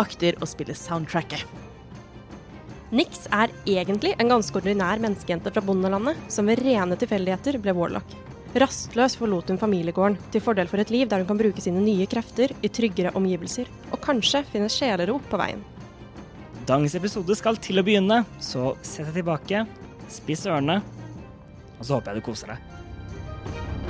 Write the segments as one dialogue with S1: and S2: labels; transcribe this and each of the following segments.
S1: akter å spille soundtracket.
S2: Nix er egentlig en ganske ordinær menneskejente fra bondelandet, som ved rene tilfeldigheter ble warlock. Rastløs forlot hun familiegården, til fordel for et liv der hun kan bruke sine nye krefter i tryggere omgivelser, og kanskje finne sjelero på veien.
S3: Dagens episode skal til å begynne, så sett deg tilbake, spiss ørene, og så håper jeg du koser deg.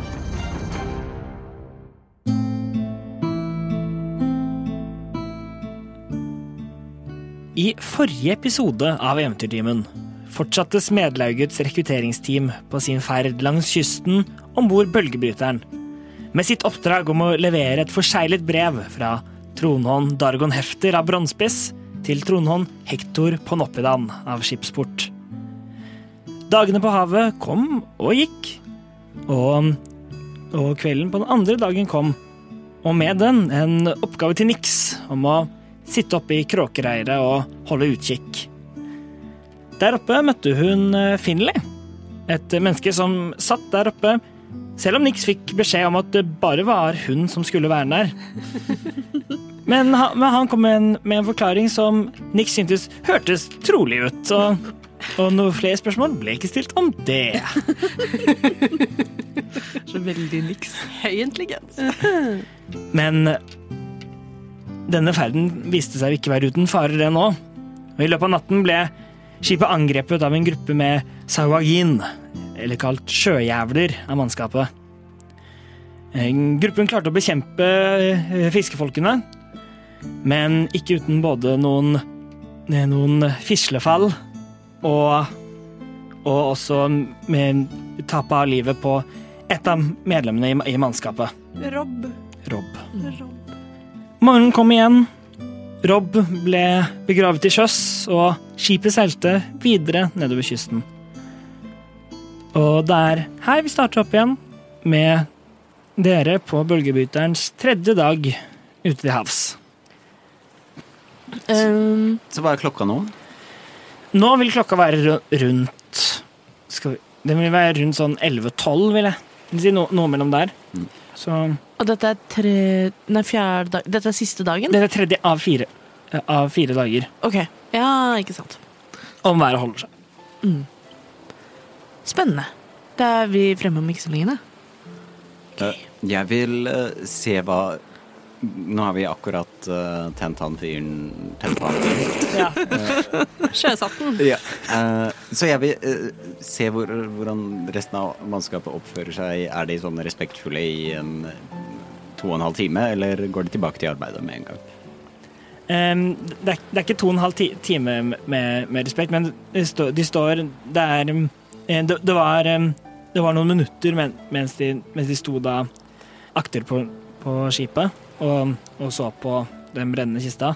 S3: I forrige episode av Eventyrtimen fortsatte Smedlaugets rekrutteringsteam på sin ferd langs kysten om bord Bølgebryteren, med sitt oppdrag om å levere et forseglet brev fra tronhånd Dargon Hefter av Bronspiss til tronhånd Hektor Ponoppidan av Skipsport. Dagene på havet kom og gikk, og, og kvelden på den andre dagen kom, og med den en oppgave til Nix om å sitte oppe i kråkereiret og holde utkikk. Der oppe møtte hun eh, Finlay, et menneske som satt der oppe, selv om Nix fikk beskjed om at det bare var hun som skulle være der. Men han, men han kom med en, med en forklaring som Nix syntes hørtes trolig ut, og, og noen flere spørsmål ble ikke stilt om det.
S4: Så veldig niks. Høy intelligens.
S3: Men denne ferden viste seg å ikke være uten farer det nå. Og I løpet av natten ble skipet angrepet av en gruppe med sawagin, eller kalt sjøjævler av mannskapet. Eh, Gruppen klarte å bekjempe eh, fiskefolkene, men ikke uten både noen, eh, noen fislefall og, og også med tap av livet på et av medlemmene i, i mannskapet,
S4: Rob.
S3: Rob.
S4: Rob.
S3: Morgenen kom igjen. Rob ble begravet til sjøs, og skipet seilte videre nedover kysten. Og det er her vi starter opp igjen, med dere på bølgebyterens tredje dag ute til havs.
S1: Um,
S5: Så hva er klokka nå?
S3: Nå vil klokka være ru- rundt skal vi, Den vil være rundt sånn 11-12, vil jeg si. No, noe mellom der.
S5: Mm.
S3: Så
S1: og dette er tre... Nei, fjerde dag... Dette er siste dagen?
S3: dette er tredje av fire, eh, av fire dager
S1: Ok. Ja, ikke sant.
S3: om været holder seg.
S1: Spennende. Da er vi fremme om ikke så lenge, da.
S5: Eh, Jeg vil eh, se hva Nå har vi akkurat eh, tent han fyren tent på han fyren.
S2: Sjøsatten.
S5: Ja. eh, så jeg vil eh, se hvor, hvordan resten av mannskapet oppfører seg. Er de sånn respektfulle i en to og en halv time, eller går de tilbake til arbeidet med en gang?
S3: Ehm, det, er, det er ikke to og en halv ti time med, med respekt, men de, stå, de står Det er ehm, det, det, var, ehm, det var noen minutter men, mens, de, mens de sto da akter på, på skipet og, og så på den brennende kista,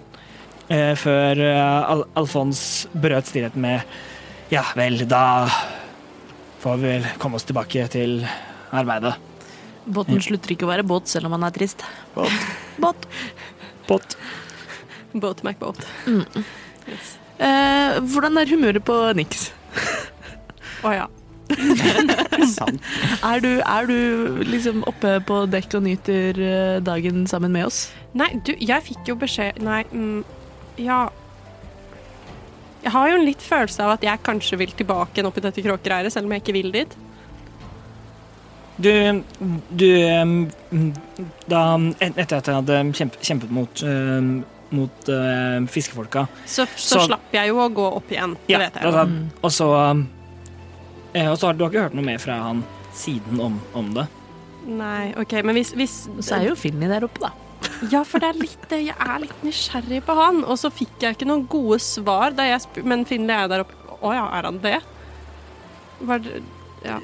S3: eh, før eh, Al Alfons brøt stillheten med Ja vel, da får vi vel komme oss tilbake til arbeidet.
S1: Båten slutter ikke å være båt selv om han er trist.
S5: Båt.
S1: Båt.
S3: Pott.
S2: Boat MacBoat.
S3: Mm.
S1: Eh, hvordan er humøret på Nix?
S2: Å ja.
S5: Sant.
S1: Er du, er du liksom oppe på dekk og nyter eh, dagen sammen med oss?
S2: Nei, du, jeg fikk jo beskjed Nei, mm, ja Jeg har jo en litt følelse av at jeg kanskje vil tilbake igjen opp i dette kråkereiret, selv om jeg ikke vil dit.
S3: Du, du ehm, Da et- Etter at jeg hadde kjemp, kjempet mot ehm, mot eh, fiskefolka.
S2: Så, så
S3: Sånn.
S2: slapp jeg jo å gå opp igjen. Det
S3: Ja,
S2: vet
S3: da-
S2: jeg. jo.
S3: da-
S1: Mm.
S3: og så eh, Og så har du har ikke hørt noe mer fra han siden om, om det.
S2: Nei, ok, men hvis, hvis
S6: Og så er jo Finni der oppe, da.
S2: Ja, for det er litt det. Jeg er litt nysgjerrig på han. Og så fikk jeg ikke noen gode svar da jeg spurte Men Finley er der oppe. Å ja, er han det? Var det Ja.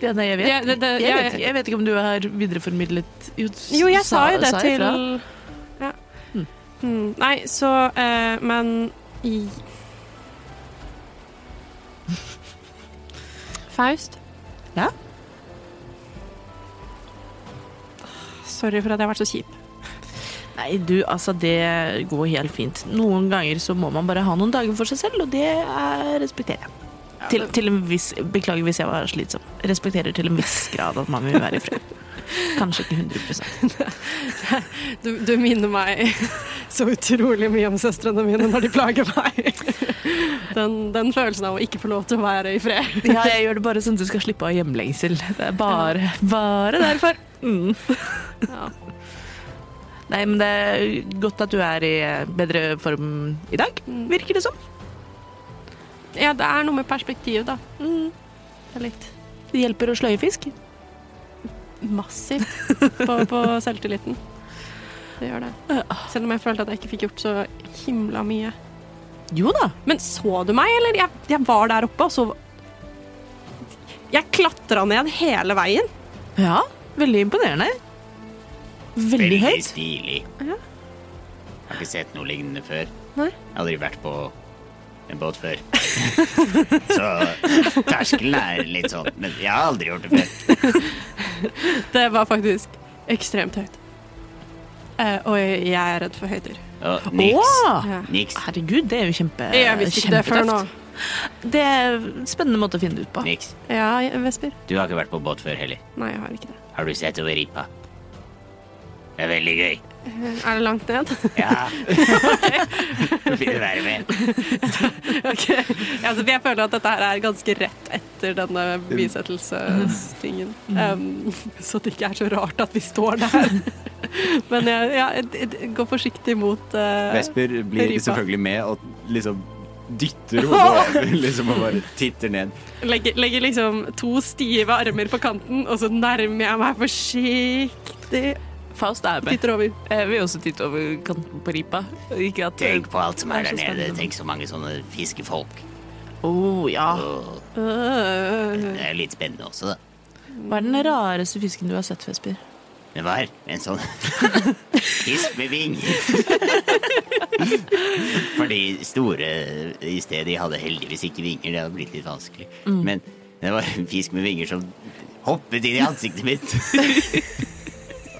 S1: Ja, nei, jeg vet,
S2: Ja, det- det-
S1: jeg,
S2: ja,
S1: vet
S2: jeg-
S1: ikke, jeg vet ikke om du har videreformidlet
S2: Jo, jeg sa jo det til
S1: ifra.
S2: Ja.
S1: Mm.
S2: Mm, Nei, så eh, Men i Faust?
S1: Ja?
S2: Sorry for at jeg har vært så kjip.
S1: Nei, du, altså, det går helt fint. Noen ganger så må man bare ha noen dager for seg selv, og det eh, respekterer jeg. Til, til en viss, beklager hvis jeg var slitsom. Respekterer til en viss grad at man vil være i fred. Kanskje ikke 100
S2: Du, du minner meg så utrolig mye om søstrene mine når de plager meg. Den, den følelsen av å ikke få lov til å være i fred.
S1: Ja, jeg gjør det bare sånn at du skal slippe av hjemlengsel. Det er bare, bare derfor. Mm.
S2: Ja.
S1: Nei, men det er godt at du er i bedre form i dag, virker det som.
S2: Mm. Ja, det er noe med perspektiv, da.
S1: Mm.
S2: Det er litt
S1: Det hjelper å sløye fisk.
S2: massivt på, på selvtilliten. Det gjør det. Selv om jeg følte at jeg ikke fikk gjort så himla mye.
S1: Jo da.
S2: Men så du meg, eller? Jeg, jeg var der oppe, og så Jeg klatra ned hele veien.
S1: Ja, veldig imponerende. Veldig høyt.
S5: stilig.
S2: Ja.
S5: Har ikke sett noe lignende før.
S2: Nei.
S5: Jeg har aldri vært på en båt før. Så terskelen er litt sånn, men jeg har aldri gjort det før.
S2: Det var faktisk ekstremt høyt. Eh, og jeg er redd for høyder.
S5: Og
S1: Åh!
S2: Ja.
S5: niks,
S1: Herregud, det er jo kjempe,
S2: Jeg visste ikke det før nå.
S1: Ah. kjempetøft. Det er en spennende måte å finne det ut på.
S5: niks.
S2: Ja, Vesper.
S5: Du har ikke vært på båt før heller.
S2: Nei, jeg har ikke det.
S5: Har du sett over ripa? Det er veldig gøy.
S2: Eh, Er det langt ned?
S5: Ja. Du vil være med.
S2: ok. Ja, altså, jeg føler at dette her er ganske rett etter denne bisettelsestingen. Um, så det ikke er så rart at vi står der. Men jeg, ja, jeg, jeg går forsiktig mot eh,
S5: Vesper blir
S2: Ripa.
S5: selvfølgelig med og liksom dytter hodet over liksom og bare titter ned.
S2: legger, legger liksom to stive armer på kanten, og så nærmer jeg meg forsiktig.
S1: Faust er med.
S2: Titter over.
S1: Jeg vil også titte over kanten på ripa. Ikke at
S5: Tenk på alt som er der
S1: Det er så
S5: nede.
S1: spennende.
S5: Tenk så mange sånne fiskefolk.
S1: Å ja.
S5: Åh,
S2: Øh.
S5: Det er litt spennende også, da.
S1: Hva er den rareste fisken du har sett, Vesper?
S5: Det var en sånn fisk med vinger. For de store i stedet de hadde heldigvis ikke vinger. Det hadde blitt litt vanskelig.
S2: Mm.
S5: Men det var en fisk med vinger som hoppet inn i ansiktet mitt.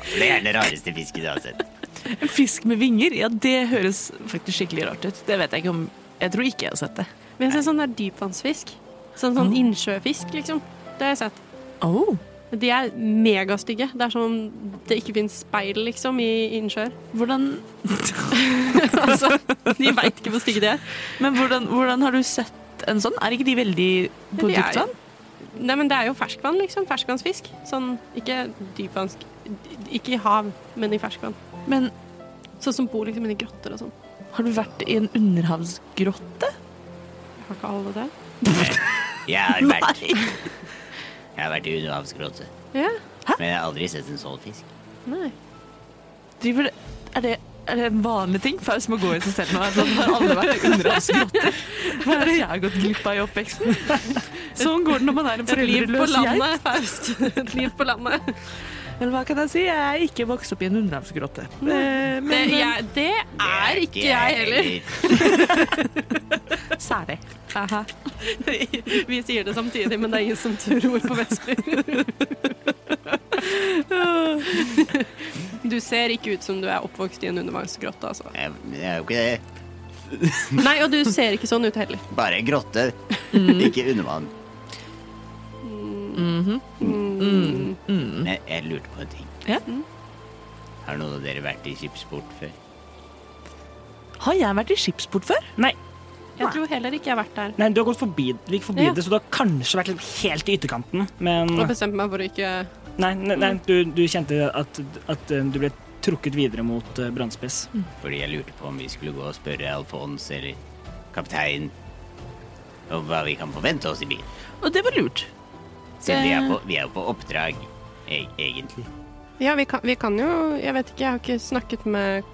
S5: Det er den rareste fisken jeg har sett.
S1: En fisk med vinger? Ja, det høres faktisk skikkelig rart ut. Det vet jeg ikke om Jeg tror ikke jeg har sett det.
S2: Men jeg ser sånn der dypvannsfisk. Sånn, sånn innsjøfisk, liksom. Det har jeg sett.
S1: Oh.
S2: De er megastygge. Det er som om det ikke finnes speil, liksom, i innsjøer.
S1: Hvordan
S2: altså, de veit ikke hvor stygge de er.
S1: Men hvordan, hvordan har du sett en sånn? Er ikke de veldig på
S2: De er-
S1: dypt vann?
S2: Nei, men det er jo ferskvann, liksom. Ferskvannsfisk. Sånn, ikke dypvanns... Ikke i hav, men i ferskvann.
S1: Men
S2: Sånn som bor liksom inni grotter og sånn.
S1: har du vært i en underhavsgrotte?
S2: Har ikke alle det?
S5: Jeg har vært, jeg har vært i underhavsgråte,
S2: Ja.
S5: men jeg har aldri sett en sånn fisk.
S2: Nei.
S1: Driver det Er det er det en vanlig ting? Faust må gå i seg selv nå. Altså, har alle vært i underhavsgrotter? Hva er det jeg har gått glipp av i oppveksten? Sånn går det når man er en
S2: Et liv på
S1: foreldreløs geit.
S2: landet, Faust. Et liv på landet.
S1: Men hva kan jeg si? Jeg er ikke vokst opp i en underhavsgrotte. Eh,
S2: Det,
S1: Men
S2: jeg, det er ikke jeg heller.
S1: særlig.
S2: Vi sier det samtidig, men det er ingen som tror på Vesper. Du ser ikke ut som du er oppvokst i en undervannsgrotte, altså.
S5: Jeg, jeg er jo ikke det.
S2: Nei, og du ser ikke sånn ut heller.
S5: Bare en grotte, ikke undervann. Men jeg, jeg lurte på en ting.
S1: Ja.
S5: Har noen av dere vært i skipsport før?
S1: Har jeg vært i skipsport før?
S3: Nei,
S2: Jeg tror heller ikke jeg har vært der.
S3: nei du har gått forbi, du gikk forbi
S2: Ja.
S3: det, så du har kanskje vært litt helt i ytterkanten. Men
S2: Og bestemte meg for å ikke
S3: nei, nei, nei du, du kjente at, at eh, du ble trukket videre mot eh, Brannspiss.
S5: Fordi jeg lurte på om vi skulle gå og spørre Alfons eller kaptein om hva vi kan forvente oss i byen.
S1: Og det var lurt.
S5: Siden vi
S2: Eh,
S5: er på, vi er jo på oppdrag, e egentlig.
S2: Ja, vi kan, vi kan jo Jeg vet ikke, jeg har ikke snakket med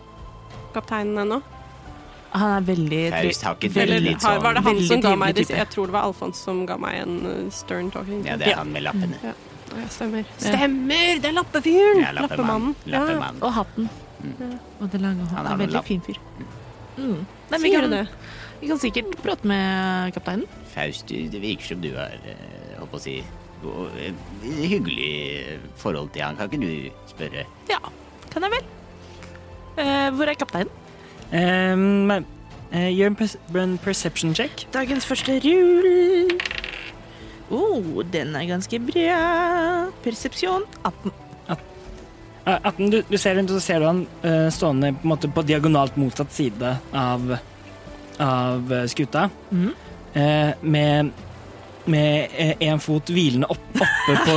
S2: kapteinen ennå.
S1: Han er veldig
S5: Faust har ikke
S2: Eller
S5: vært litt
S2: har- var det
S5: sånn
S2: han som
S1: veldig
S2: ga meg
S1: trivelig
S2: disse?
S1: type.
S2: Jeg tror det var Alfons som ga meg en uh, stern talking.
S5: Ja, det er han med lappene.
S2: Å, ja, stemmer. Stemmer! Det er lappefyren!
S5: Ja, lappemannen.
S2: Ja.
S5: Lappemannen.
S1: Og hatten. Og det lange
S5: Mm. Han
S1: håret.
S5: har
S1: En
S5: noen
S1: Veldig
S5: lapp.
S1: fin fyr. Mm. Nei, vi,
S2: Sier du
S1: kan,
S2: det?
S1: vi kan sikkert prate med kapteinen.
S5: Faust, du- det virker som du har eh, holdt på å si god- eh, hyggelig forhold til han. Kan ikke du spørre?
S1: Ja, kan jeg vel. Eh, hvor er kapteinen?
S3: Eh, men, eh, gjør en, pers en perception check.
S1: Dagens første rull. Oh, den er ganske bra. Persepsjon 18.
S3: Eh, 18, du, du ser rundt, og så ser du han eh, stående på, en måte, på diagonalt motsatt side av, av eh, skuta.
S1: Mhm.
S3: Eh, med med eh, en fot hvilende opp, oppe på,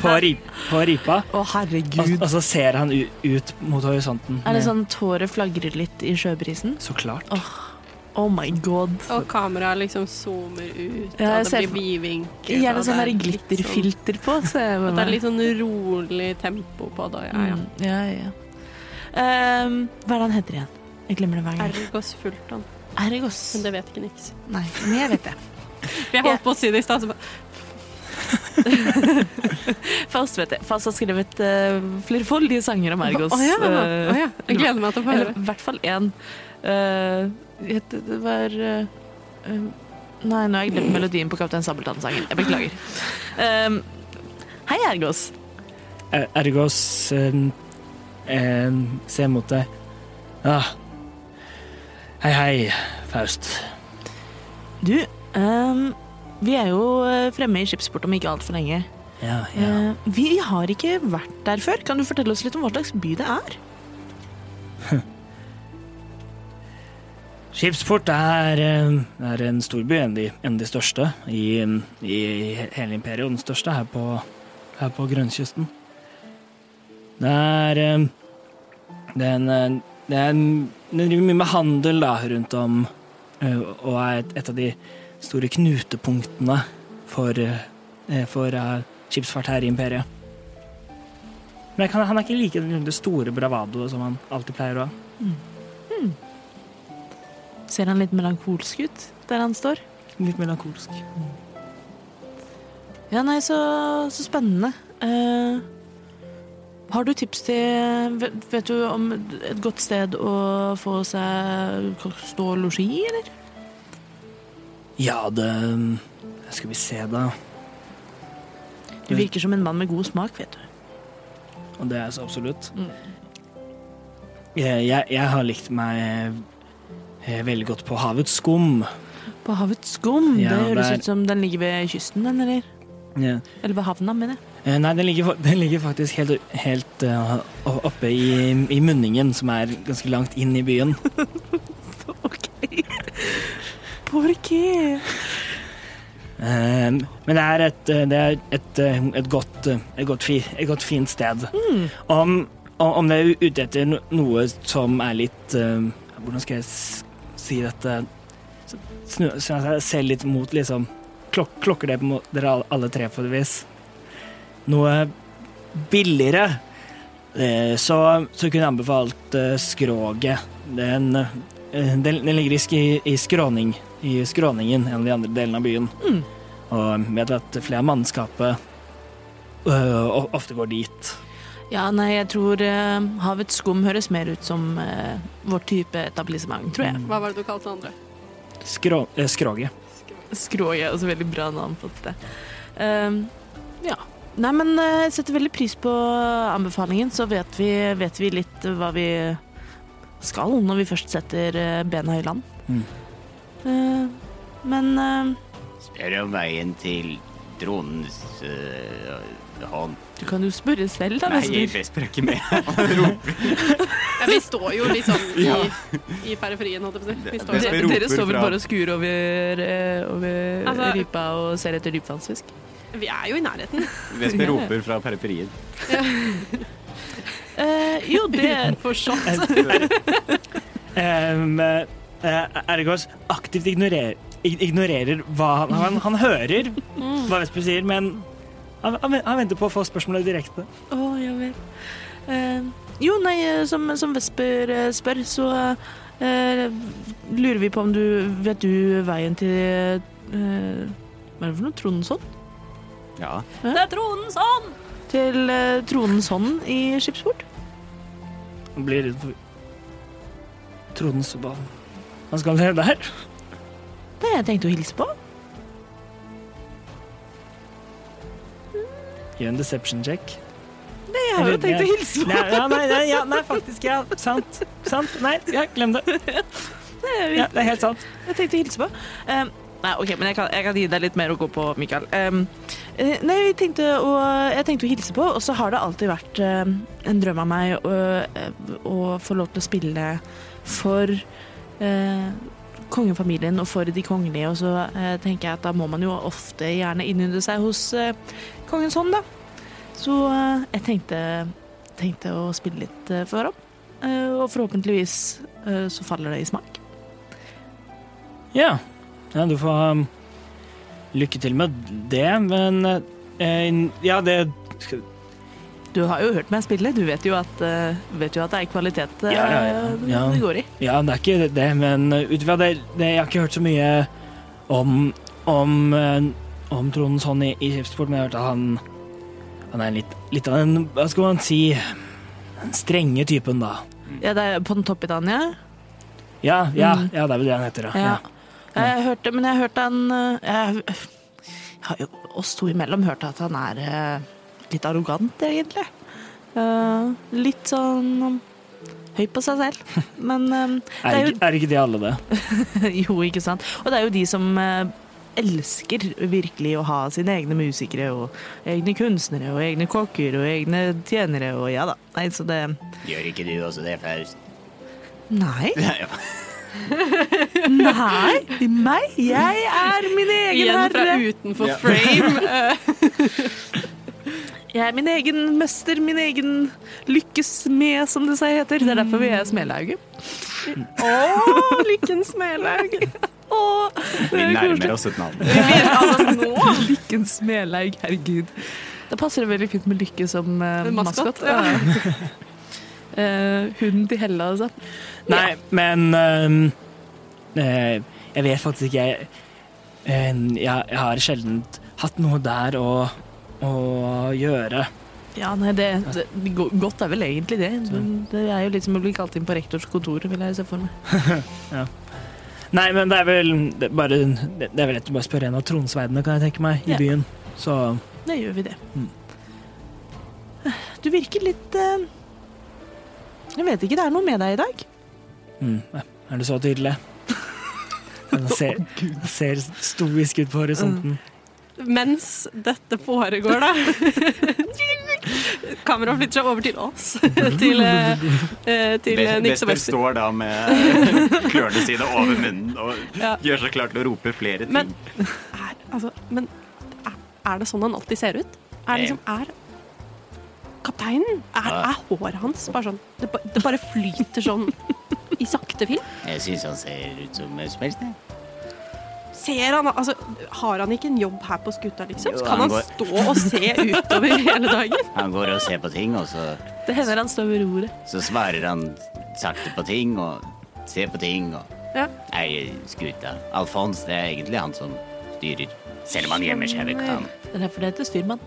S3: på, rip, på ripa.
S1: Å,
S3: Og,
S1: herregud.
S3: og så ser han u, ut mot horisonten.
S1: Altså, Er det
S3: med-
S1: sånn tåret flagrer litt i sjøbrisen?
S3: Så klart.
S1: Oh my god.
S2: Og kameraet liksom zoomer ut,
S1: Ja, jeg
S2: og
S1: ser
S2: det
S1: for-
S2: blir vidvinkel.
S1: Gjerne
S2: og
S1: sånn der
S2: det er litt sånn-
S1: glitterfilter på. Så jeg
S2: At det er litt sånn rolig tempo på det. Ja, ja.
S1: Mm, ja, ja. Ehm, hva er det han heter igjen? Jeg glemmer det hver gang.
S2: Ergos Fulton.
S1: Ergos.
S2: Men det vet ikke niks.
S1: Nei, men jeg vet det.
S2: Jeg holdt på å si det i stad, så bare
S1: Faust vet det. Faust har skrevet eh, flerfoldige sanger om Ergos.
S2: Å ja,
S1: eh,
S2: å ja. Jeg gleder meg til å få
S1: Eller
S2: høre.
S1: i hvert fall én. Eh, het- det var eh, eh, Nei, nå har jeg glemt melodien på Kaptein Sabeltann-sangen. Jeg beklager. Ehm, hei, Ergos.
S3: Er- Ergos eh, eh, ser mot deg. Ah. Hei, hei, Faust.
S1: Du, ehm, vi er jo eh, fremme i skipsport om ikke altfor lenge.
S3: Ja, ja.
S1: Eh, vi har ikke vært der før. Kan du fortelle oss litt om hva slags by det er?
S3: Skipsport er, eh, er en stor by, en av de, en av de største i, i hele imperiet, og den største her på, her på grønnkysten. Det er eh, Det er en, eh, det er en Den driver mye med handel da, rundt om, eh, og er et, et av de store knutepunktene for, eh, for eh, skipsfart her i imperiet. Men jeg kan, han er ikke like det store bravadoet som han alltid pleier å ha.
S1: Ser han litt melankolsk ut der han står?
S3: Litt melankolsk.
S1: Ja, nei, så, så spennende. Eh, har du tips til vet, vet du om et godt sted å få seg kost og losji, eller?
S3: Ja, det Skal vi se, da.
S1: Du virker som en mann med god smak, vet du.
S3: Og det er så absolutt.
S1: Mm.
S3: Jeg, jeg, jeg har likt meg eh, veldig godt på havets skum.
S1: På havets skum.
S3: Ja,
S1: det høres
S3: der-
S1: ut som den ligger ved kysten, den, eller?
S3: Ja.
S1: Eller ved havna, mener jeg.
S3: Eh, Nei, den ligger, fa- den ligger faktisk helt, helt eh, o- oppe i, i munningen, som er ganske langt inn i byen.
S1: OK. Por qué?
S3: Eh, Men det er et, eh, det er et, eh, et, godt, eh, et, godt, fi, et godt, fint sted. Om, om om det er ute etter no- noe som er litt eh, Hvordan skal jeg s- si dette Så Snu snu seg selv litt mot liksom klok Klokker det på må- dere alle- alle tre på et vis? Noe billigere, eh, så, så kunne jeg anbefalt eh, skroget. Den, eh, den, den ligger i, sk i skråning, i skråningen, en av de andre delene av byen. Og vet at flere av mannskapet øh, o- ofte går dit.
S1: Ja, nei, jeg tror eh, havets skum høres mer ut som eh, vår type etablissement, tror jeg.
S2: Hva var det du kalte det andre?
S3: Skrå, eh, skroget.
S1: Skråje er også veldig bra navn på et sted. Ehm, ja. Nei, men eh, jeg setter veldig pris på anbefalingen, så vet vi, vet vi litt hva vi skal når vi først setter eh, bena i land.
S3: Mm.
S1: Eh, men eh,
S5: Spør om veien til dronens eh, hånd.
S1: du kan jo spørre selv, da.
S5: Nei, Vesper
S1: Vesper.
S5: er ikke med.
S2: Ja, vi står jo litt sånn i, i periferien, holdt jeg på å si. Vi står jo
S5: det-
S2: der.
S1: Dere,
S5: roper
S1: dere står vel
S5: fra-
S1: bare og skuer over, eh, over
S2: Altså-
S1: ripa og ser etter dypvannsfisk?
S2: Vi er jo i nærheten.
S5: Vesper roper fra periferien.
S1: Eh, Jo, det
S2: Forstått.
S3: Um, Ergos aktivt ignorerer, ig- ignorerer hva han, han, han hører,
S1: Mm.
S3: hva Vesper sier, men han, han ven- han venter på å få spørsmålet direkte.
S1: Å, ja vel. Eh, jo, nei, eh, som, som Vesper eh, spør, så eh, lurer vi på om du Vet du veien til eh, Hva er det for noe? Trondensholm?
S5: Ja.
S2: Det er tronens hånd!
S1: Til eh, Trondensholm i Skipsport?
S3: Han blir redd for Trodens barn. Hva skal han gjøre der?
S1: Nei, jeg tenkte å hilse på.
S3: Gjør en deception check.
S1: Jeg har jo tenkt å hilse på.
S3: Nei, ja, nei, nei, ja, nei, faktisk, ja. Sant. Sant. Nei, ja, glem det. Ja, det er helt sant.
S1: Jeg tenkte å hilse på. Ehm, nei, ok, men jeg kan, jeg kan gi deg litt mer å gå på, Mikael. Ehm, eh, nei, jeg tenkte, å, jeg tenkte å hilse på, og så har det alltid vært ehm, en drøm av meg å, eh, å få lov til å spille for eh, kongefamilien og for de kongelige, og så eh, tenker jeg at da må man jo ofte gjerne innynde seg hos eh, kongens hånd, da. Så eh, jeg tenkte, tenkte å spille litt eh, for ham, eh, og forhåpentligvis eh, så faller det i smak.
S3: Ja. ja, du får ha um, lykke til med det, men eh, Ja, det skal,
S1: Du har jo hørt meg spille, du vet jo at, eh, vet jo at det er kvalitet eh,
S3: Ja, ja, ja. Ja.
S1: det går i.
S3: Ja, det er ikke det, men eh, ut fra det, det Jeg har ikke hørt så mye om om, eh, om Trond sånn i, i skipsport, men jeg har hørt at han han er litt, litt av den Hva skal man si Den strenge typen, da.
S1: Ja, det er på den topp i Dania.
S3: Ja, ja,
S1: Mm.
S3: ja det er vel det han heter, da.
S1: Ja.
S3: Ja.
S1: Jeg hørte, men jeg hørte han eh, jeg, jeg har jo oss to imellom hørt at han er eh, litt arrogant, egentlig. Eh, litt sånn um, høy på seg selv. Men eh, det
S3: Er,
S1: er jo
S3: ikke, er ikke de alle det?
S1: jo, ikke sant. Og det er jo de som eh, elsker virkelig å ha sine egne musikere og egne kunstnere og egne kokker og egne tjenere og ja da. Nei, så det
S5: Gjør ikke du også det, Faust?
S1: Nei. Nei, meg? Jeg er min egen
S2: Igjen fra
S1: herre.
S2: utenfor
S5: Ja.
S2: frame. Eh,
S1: Jeg er min egen mester, min egen lykkesmed, som det seg heter. Det er derfor vi er Smelauget. Å, lykkens Smelaug. Å, det
S5: Vi
S1: er
S5: nærmer
S1: koselig.
S5: oss et navn.
S1: Altså, nå, lykkens Smelaug, herregud. Da passer det veldig fint med Lykke som uh,
S2: Maskott,
S1: maskot.
S2: ja.
S1: Eh, hunden til Hella, altså.
S3: Nei, men øhm, eh, Jeg vet faktisk ikke. Jeg, eh, jeg, jeg har sjelden hatt noe der å, å gjøre.
S1: Ja, nei, det, det, go- godt er vel egentlig det. Men Det er jo litt som å bli kalt inn på rektors kontor, vil jeg se for meg.
S3: Nei, men det er vel det er bare, det er vel lett å bare spørre en av tronsverdene, kan jeg tenke meg, i
S1: Ja.
S3: byen. Så
S1: Da gjør vi det.
S3: Mm.
S1: Du virker litt eh, Jeg vet ikke, det er noe med deg i dag.
S3: mm, er det så tydelig? Han ser, han ser stoisk ut på horisonten.
S2: Mens dette foregår, da Kameraet flytter seg over til oss. Til, eh, eh, til eh, Nix og
S5: Vesper
S2: Vesper.
S5: står da med klørne sine over munnen og
S2: Ja.
S5: gjør seg klar til å rope flere ting.
S2: Men- Er, altså, men er, er det sånn han alltid ser ut? Er liksom Er Kapteinen? Er,
S5: Ja.
S2: er håret hans bare sånn det, ba- det bare flyter sånn i sakte film?
S5: jeg syns han ser ut som hvem som helst. jeg.
S2: Ser han Altså, har han ikke en jobb her på skuta, liksom?
S5: Jo,
S2: kan
S5: han
S2: han
S5: går-
S2: stå og se utover hele dagen?
S5: Han går og ser på ting, og så,
S1: Det hender han står ved roret.
S5: så svarer han sakte på ting og ser på ting og
S2: Ja.
S5: eier skuta. Alfons, det er egentlig han som styrer. Selv om han gjemmer seg ved kamp.
S1: Det er derfor det heter styrmann.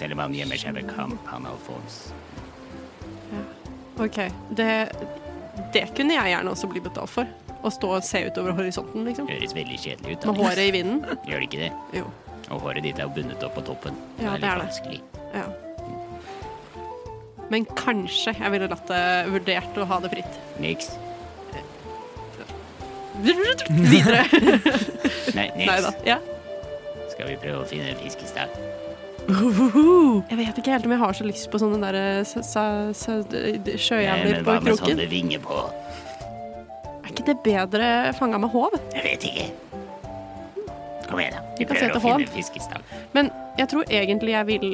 S5: Selv om han gjemmer seg ved kamp, han Alfons.
S2: OK. Det, det kunne jeg gjerne også bli betalt for. Å stå og se utover horisonten, liksom.
S5: Høres veldig kjedelig ut.
S2: Med
S5: Alex.
S2: håret i vinden.
S5: Gjør det ikke det?
S2: Jo.
S5: Og håret ditt er jo bundet opp på toppen.
S2: Ja, det er det.
S5: vanskelig.
S2: Ja. Men kanskje jeg ville latt det vurdert å ha det fritt.
S5: Niks.
S2: Videre.
S5: Nei,
S2: Nei
S5: niks.
S2: da. Ja.
S5: Skal vi prøve å finne en fiskestang?
S2: Jeg vet ikke helt om jeg har så lyst på sånne der eh, s- s- s- d- sjøjævler
S5: men
S2: på
S5: hva med
S2: kroken.
S5: sånne vinger på?
S2: Er ikke det bedre fanga med håv?
S5: Jeg vet ikke. Kom igjen, da.
S2: Vi
S5: Vi
S2: kan
S5: prøver
S2: sette
S5: å finne
S2: hånd.
S5: en fiskestang.
S2: Men jeg tror egentlig jeg vil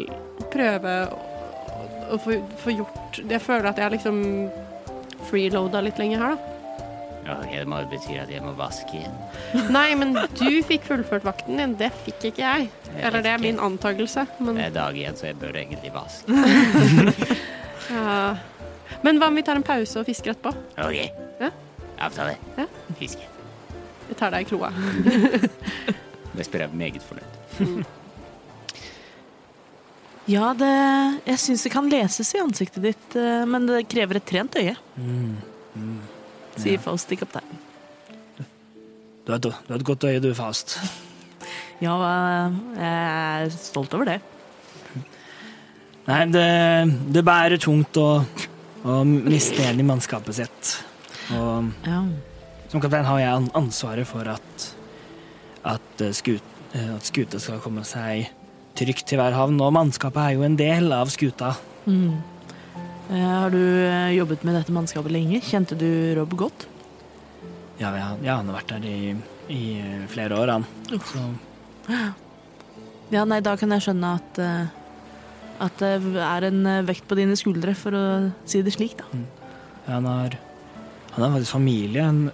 S2: prøve å- å få, få gjort Jeg føler at jeg har liksom freeloada litt lenger her, da.
S5: Ja, ok, det må jo bety at jeg må vaske igjen.
S2: Nei, men du fikk fullført vakten din. Det fikk ikke jeg.
S5: Jeg
S2: Eller
S5: vet
S2: det er
S5: ikke.
S2: min antakelse, men
S5: Det er Eh, dag igjen, så jeg bør egentlig vaske.
S2: ja. Men hva om vi tar en pause og fisker etterpå?
S5: Ok.
S2: Ja.
S5: Avtale.
S2: Ja.
S5: Fiske.
S2: Jeg tar deg i kloa.
S5: Vesper er meget fornøyd.
S1: Ja, det, jeg syns det kan leses i ansiktet ditt, eh, men det krever et trent øye. Sier Faust til kapteinen.
S3: Du har, et- du har et godt øye, du, Faust.
S1: Ja, hva- jeg er stolt over det.
S3: Nei, det, det bærer tungt å, å miste en i mannskapet sitt. Og
S1: Ja.
S3: som kaptein har jeg an- ansvaret for at, at, eh, skut, eh, at skuta skal komme seg trygt til hver havn, og mannskapet er jo en del av skuta.
S1: Mm. Eh, Har du eh, jobbet med dette mannskapet lenge? Kjente du Rob godt?
S3: Ja, ja, ja han har vært der i, i eh, flere år, han. Så,
S1: Ja, nei, da kan jeg skjønne at eh, at det er en eh, vekt på dine skuldre, for å si det slik, da.
S3: han har han har faktisk familie. Han,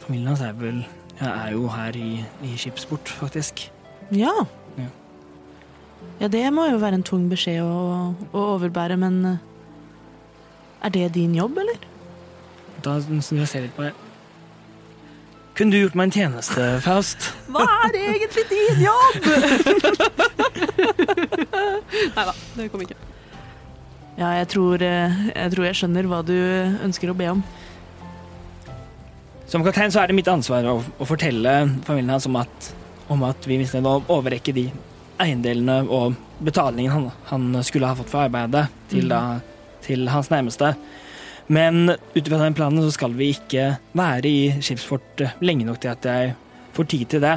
S3: familien hans er vel ja, er jo her i, i skipsport, faktisk.
S1: Ja.
S3: Ja.
S1: Ja, det må jo være en tung beskjed å, å overbære, men eh, er det din jobb, eller?
S3: Da snur jeg og ser litt på meg. Kunne du gjort meg en tjeneste, Faust?
S1: Hva er egentlig din jobb?
S2: Nei da, det kom ikke.
S1: Ja, jeg tror, eh, jeg tror jeg skjønner hva du ønsker å be om.
S3: Som kaptein så er det mitt ansvar å, å fortelle familien hans om at, om at vi visste å overrekke de eiendelene og betalingen han, han skulle ha fått for arbeidet, til, da, til hans nærmeste. Men ut fra den planen så skal vi ikke være i skipsfort eh, lenge nok til at jeg får tid til det.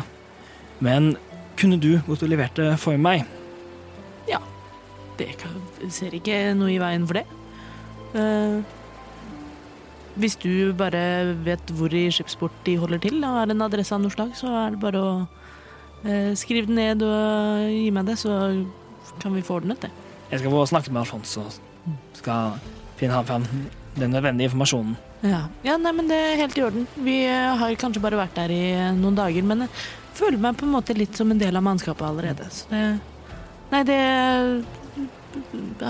S3: Men kunne du gått og levert det for meg?
S1: Det kan, ser ikke noe i veien for det. Eh, hvis du bare vet hvor i skipsport de holder til, og har en adresse av noe slag, så er det bare å eh, skrive den ned og gi meg det, så kan vi få ordnet det.
S3: Jeg skal få snakke med Alfons og skal finne han fram den nødvendige informasjonen.
S1: Ja. ja, nei, men det er helt i orden. Vi eh, har kanskje bare vært der i eh, noen dager, men jeg føler meg på en måte litt som en del av mannskapet allerede. Så det Nei, det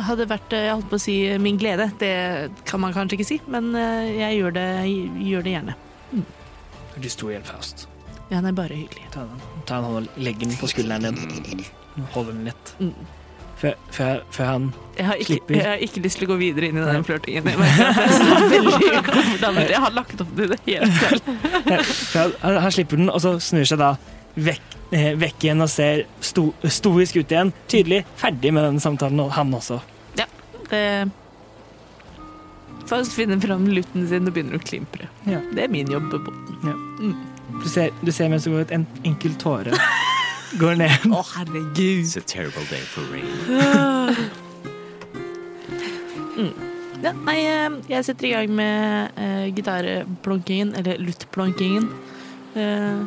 S1: hadde vært eh, Jeg holdt på å si min glede. Det kan man kanskje ikke si, men eh, jeg gjør det, jeg gjør det gjerne.
S3: Til stor hjelp, Faust.
S1: Ja, nei, bare hyggelig.
S3: Ta den, ta den hånd og legge den på skulderen
S5: Mm.
S3: din. Holde den litt.
S1: Mm.
S3: Før, før, før han
S1: Jeg har, ikke,
S3: Slipper.
S1: jeg har ikke lyst til å gå videre inn i
S3: Nei.
S1: den flørtingen. Jeg, merker at jeg er så veldig komfortabel. jeg har lagt opp til det helt selv.
S3: før han, han slipper den, og så snur seg da vekk, eh, vekk igjen og ser sto, stoisk ut igjen. Tydelig ferdig med den samtalen, og han også.
S1: Det Faust finner fram lutten sin og begynner å klimpre.
S3: Ja.
S1: Det er min jobb på båten.
S3: Du ser, du ser mens det går ut en enkel tåre går ned.
S1: Å, herregud.
S5: It's a terrible day for rain.
S1: Ja, nei, eh, jeg setter i gang med eh, gitarplonkingen, eller luttplonkingen. Eh,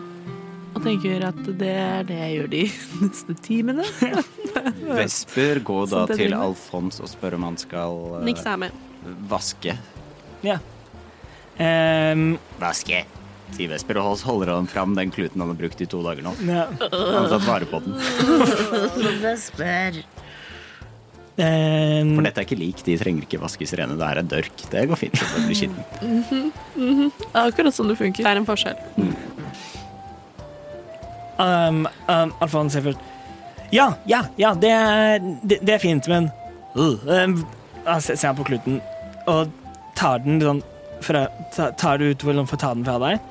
S1: og tenker at det er det jeg gjør de neste timene.
S5: Vesper går da
S1: Sånn det
S5: til
S1: driver.
S5: Alfons og spør om han skal eh,
S2: Niks er med.
S5: vaske.
S3: Ehm,
S5: Vaske, sier Vesper, og så holder han fram den kluten han har brukt i to dager nå.
S3: ja.
S5: Han har tatt vare på den.
S3: Ehm,
S5: For dette er ikke lik, de trenger ikke vaskes rene. Det her er dørk. Det går fint. Det blir skitten.
S1: Akkurat sånn det
S2: Det
S1: funker.
S2: er en forskjell.
S3: Um, um, Alfons sier først Ja, ja, ja, det er, det, det er fint, men uh, um, Han ser ser han på kluten og tar den sånn fra, ta, Tar du utover lommen for å ta den fra deg?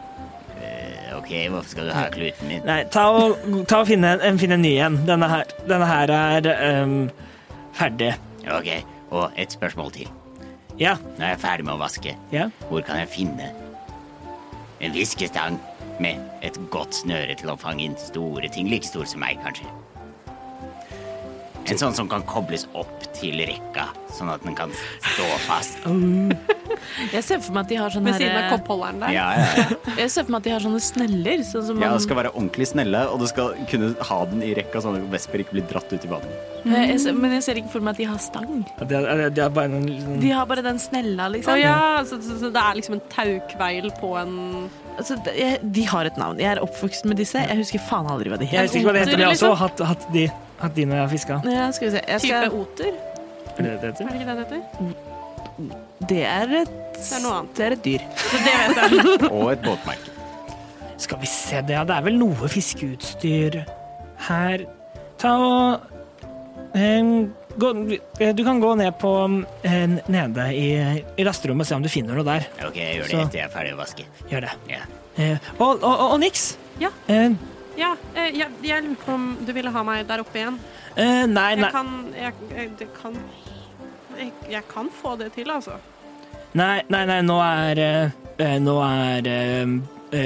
S5: OK, hvorfor skal du ha kluten min?
S3: Nei, ta og, ta og finne, en, finne en ny en. Denne her, denne her er um, ferdig.
S5: OK, og et spørsmål til.
S3: Ja,
S5: Når jeg er ferdig med å vaske,
S3: ja.
S5: hvor kan jeg finne en viskestang med et godt snøre til å fange inn store ting? Like stor som meg, kanskje. En sånn som kan kobles opp til rekka, sånn at den kan stå fast.
S1: Jeg ser for meg at de har sånne,
S2: Ved siden av
S1: her, eh,
S2: koppholderen der.
S5: Ja, ja, ja.
S1: jeg ser for meg at de har sånne sneller. Sånn som
S5: ja,
S1: man,
S5: det skal være ordentlig snelle, og du skal kunne ha den i rekka sånn at Vesper ikke blir dratt ut i vannet.
S1: Eh, jeg ser, men jeg ser ikke for meg at de har stang.
S3: Det er, det er bare en liten
S1: De har bare den snella, liksom.
S2: Å ja, så, så, så det er liksom en taukveil på en
S1: Altså, det- jeg, de har et navn. Jeg er oppvokst med disse. Jeg husker faen aldri hva de
S3: Jeg
S1: het.
S3: husker ikke hva det heter, men jeg har
S2: Oter, liksom.
S3: også hatt, hatt, de, hatt de når jeg har fiska.
S1: Ja, skal vi se. Jeg
S2: type
S1: skal,
S2: oter.
S3: Er det det det
S2: Er
S3: heter?
S2: det ikke det det heter?
S1: det er et
S2: Det er noe annet.
S1: Det er et dyr.
S5: Og et båtmerke.
S3: Skal vi se det, ja. Det er vel noe fiskeutstyr her. Ta og em, gå, Du kan gå ned på eh, nede i, i lasterommet og se om du finner noe der.
S5: Ok, jeg
S3: gjør det Så. etter
S5: jeg er ferdig å vaske.
S3: Gjør det.
S5: Ja.
S3: Eh, og, og, og, og Nix.
S2: Ja.
S3: Eh,
S2: Ja, eh, jeg, jeg lurer på om du ville ha meg der oppe igjen.
S3: eh, nei,
S2: Jeg
S3: nei.
S2: kan jeg, jeg, det kan jeg, jeg kan få det til, altså.
S3: Nei, nei, nei, nå er eh, eh, Nå er eh,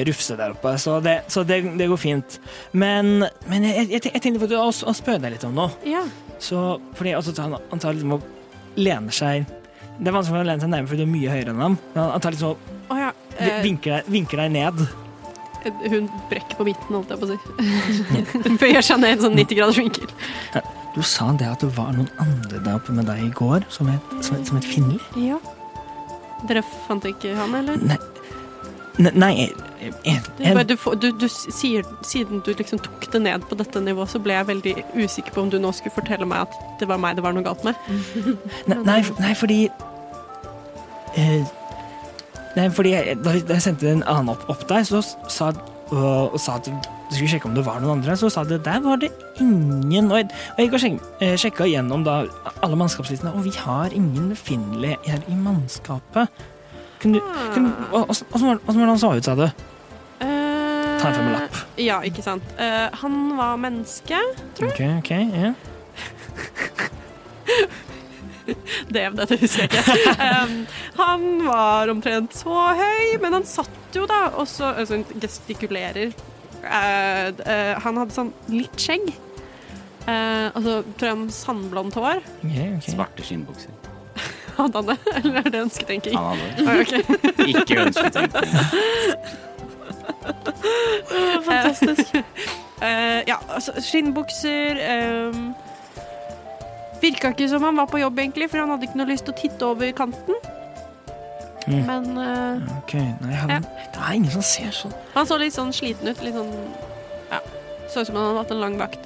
S3: Rufse der oppe, så det, så det, det går fint. Men, men jeg, jeg, jeg tenkte på å, å spørre deg litt om noe.
S2: Ja.
S3: Så, fordi altså, han, han tar liksom og lener seg Det er vanskelig for ham å lene seg nærmere, for du er mye høyere enn ham. Men han, han tar liksom og
S2: Å ja.
S3: vi-
S2: eh,
S3: vinker, deg, vinker deg ned.
S2: Hun brekker på midten, holdt jeg på å si. Bøyer seg ned i en sånn 90 graders vinkel.
S3: Du sa det at det var noen andre der oppe med deg i går, som het, som het, som het Finli.
S2: Ja. Dere fant ikke han, eller?
S3: Ne- Nei, en, en,
S2: Du, bare, du, får- du, du sier, siden du liksom tok det ned på dette nivået, så ble jeg veldig usikker på om du nå skulle fortelle meg at det var meg det var noe galt med.
S3: Ne- Nei, f- nei fordi eh, Nei, fordi jeg, da jeg da jeg sendte en annen opp, opp der, så s- sa, og, og sa at du skulle sjekke om det var noen andre, så sa det der var det ingen. Og jeg, og jeg gikk og sjek, eh, sjekka igjennom da alle mannskapslistene, og vi har ingen Finlay her i mannskapet. Kunne du
S2: Ah.
S3: kunne, og- og- Åssen var åssen var det han så ut, sa du?
S2: Eh,
S3: Ta en femmerlapp.
S2: Ja, ikke sant. Eh, han var menneske.
S3: Ok, ok, ja.
S2: Det, dette husker jeg ikke. Um, han var omtrent så høy, men han satt jo da og så altså, han gestikulerer. Eh, d- eh, han hadde sånn litt skjegg. Eh, og så tror jeg han sandblondt hår.
S3: ok, ok.
S5: Svarte skinnbukser.
S2: Hadde han det? Eller er det ønsketenking?
S5: Han hadde
S2: Ah, ok.
S5: det. ikke ønsket det.
S2: Fantastisk. ja, altså, skinnbukser um, Virka ikke som han var på jobb, egentlig, for han hadde ikke noe lyst til å titte over kanten.
S3: Mm.
S2: Men eh,
S3: Ok, nei, han,
S2: Ja.
S3: Det er ingen som ser sånn
S2: Han så litt sånn sliten ut. Litt sånn Ja. Så ut som han hadde hatt en lang vakt.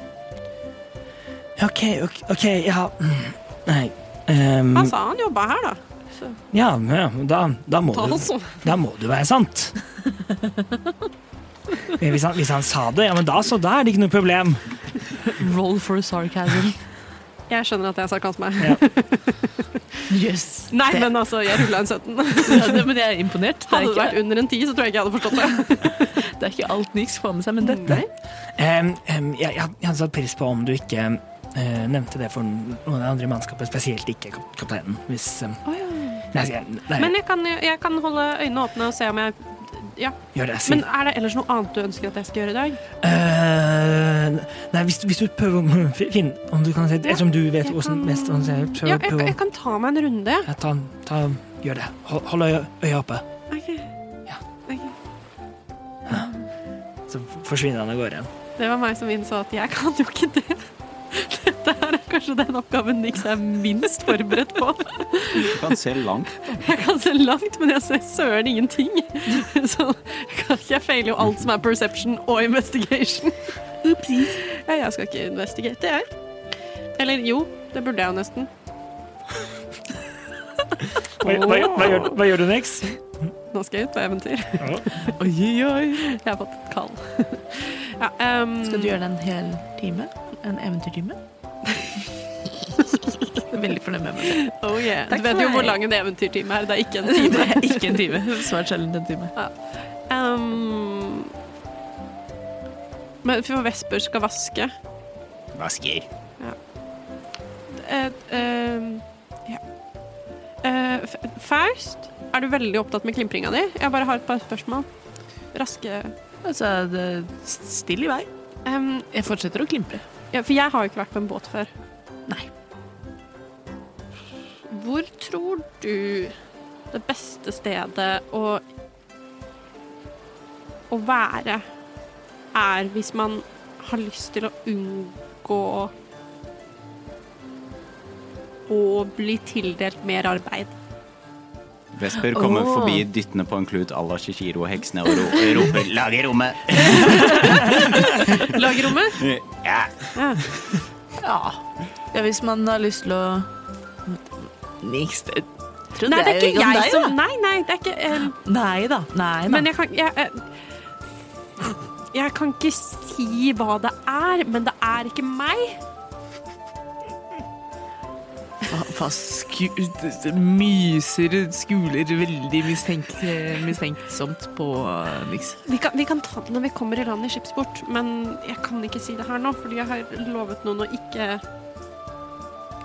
S3: OK, ok, ok, ja mm, Nei.
S1: Mm.
S3: ehm,
S2: Han sa han jobba her, da.
S3: Ja, men ja, men da, da, må
S2: Da
S3: du,
S2: så.
S3: da må det være sant. Eh, Hvis han, hvis han sa det, ja, men da så da er det ikke noe problem.
S1: Roll for sarcasm.
S2: Jeg skjønner at jeg sa kanskje meg.
S1: Yes.
S2: Nei,
S1: det,
S2: men altså, jeg rulla en 17.
S1: ja, det, men jeg er imponert. Det er,
S2: Hadde det vært
S1: ikke,
S2: under en 10, så tror jeg ikke jeg hadde forstått det.
S1: det er ikke alt Nix får med seg, men dette
S3: Em, em, jeg, jeg, jeg hadde satt pris på om du ikke eh, nevnte det for noen av de andre i mannskapet, spesielt ikke kap- kapteinen. Hvis em, Nei, jeg, nei
S2: Men jeg kan, jeg kan holde øynene åpne og se om jeg Ja.
S3: gjør det. Si.
S2: Men er det ellers noe annet du ønsker at jeg skal gjøre i dag?
S3: Eh, nei, hvis, du- hvis du prøver å fi- finne om du kan se
S2: Ja,
S3: Ettersom du vet
S2: jeg
S3: hvordan
S2: kan-
S3: mest hvordan jeg
S2: Ja,
S3: prøver,
S2: jeg, jeg kan ta meg en runde.
S3: ja, ta, ta, Gjør det. Hold, hold øya, øya oppe.
S2: Ok.
S3: Ja.
S2: Ok.
S3: Så forsvinner han av gårde igjen.
S2: Det var meg som innså at jeg kan jo ikke det. Dette her er kanskje den oppgaven Nix er minst forberedt på.
S5: Du kan se langt.
S2: Jeg kan se langt, men jeg ser søren ingenting. Så kan- jeg feiler jo alt som er perception og investigation. Ja, jeg skal ikke investigate, jeg. Eller jo, det burde jeg jo nesten.
S3: Hva, hva, hva, gjør, hva gjør du, Nix?
S2: Nå skal jeg ut på eventyr.
S1: Oi, oi, oi.
S2: Jeg har fått et kall. Ja, ehm,
S1: Skal du gjøre det en hel time? En eventyrtime? Veldig fornøyd med meg. selv.
S2: Oh yeah. Du
S1: Takk
S2: vet
S1: for
S2: jo hvor
S1: meg.
S2: lang en eventyrtime er. Det er ikke en time.
S1: Det er ikke en time. Svært sjelden en time.
S2: Ehm, men for Vesper skal vaske.
S5: Vasker.
S2: Eh, ehm, ja. Eh, F- Faust, er du veldig opptatt med klimpringa di? Jeg bare har et par spørsmål. Raske
S1: Altså, det still i vei.
S2: Ehm,
S1: Jeg fortsetter å klimpre.
S2: ja, For jeg har jo ikke vært på en båt før.
S1: Nei.
S2: Hvor tror du det beste stedet å å være er hvis man har lyst til å unngå å bli tildelt mer arbeid?
S5: Vesper kommer
S1: Åh.
S5: forbi dyttende på en klut à la Shishiro og heksene og ro roper 'lag i rommet'.
S2: Lagerrommet?
S5: Ja.
S1: Ja. ja, hvis man har lyst til å Niks. Jeg tror
S2: Nei, det er ikke jeg
S1: som
S2: som Nei, nei, det er ikke eh,
S1: Nei da. Nei da.
S2: Men jeg kan jeg, jeg, jeg kan ikke si hva det er, men det er ikke meg.
S1: Fa- fa- sku, myser skuler veldig mistenk, mistenksomt på eh, Nix.
S2: Vi kan, vi kan ta det når vi kommer i land i skipsport, men jeg kan ikke si det her nå, fordi jeg har lovet noen å ikke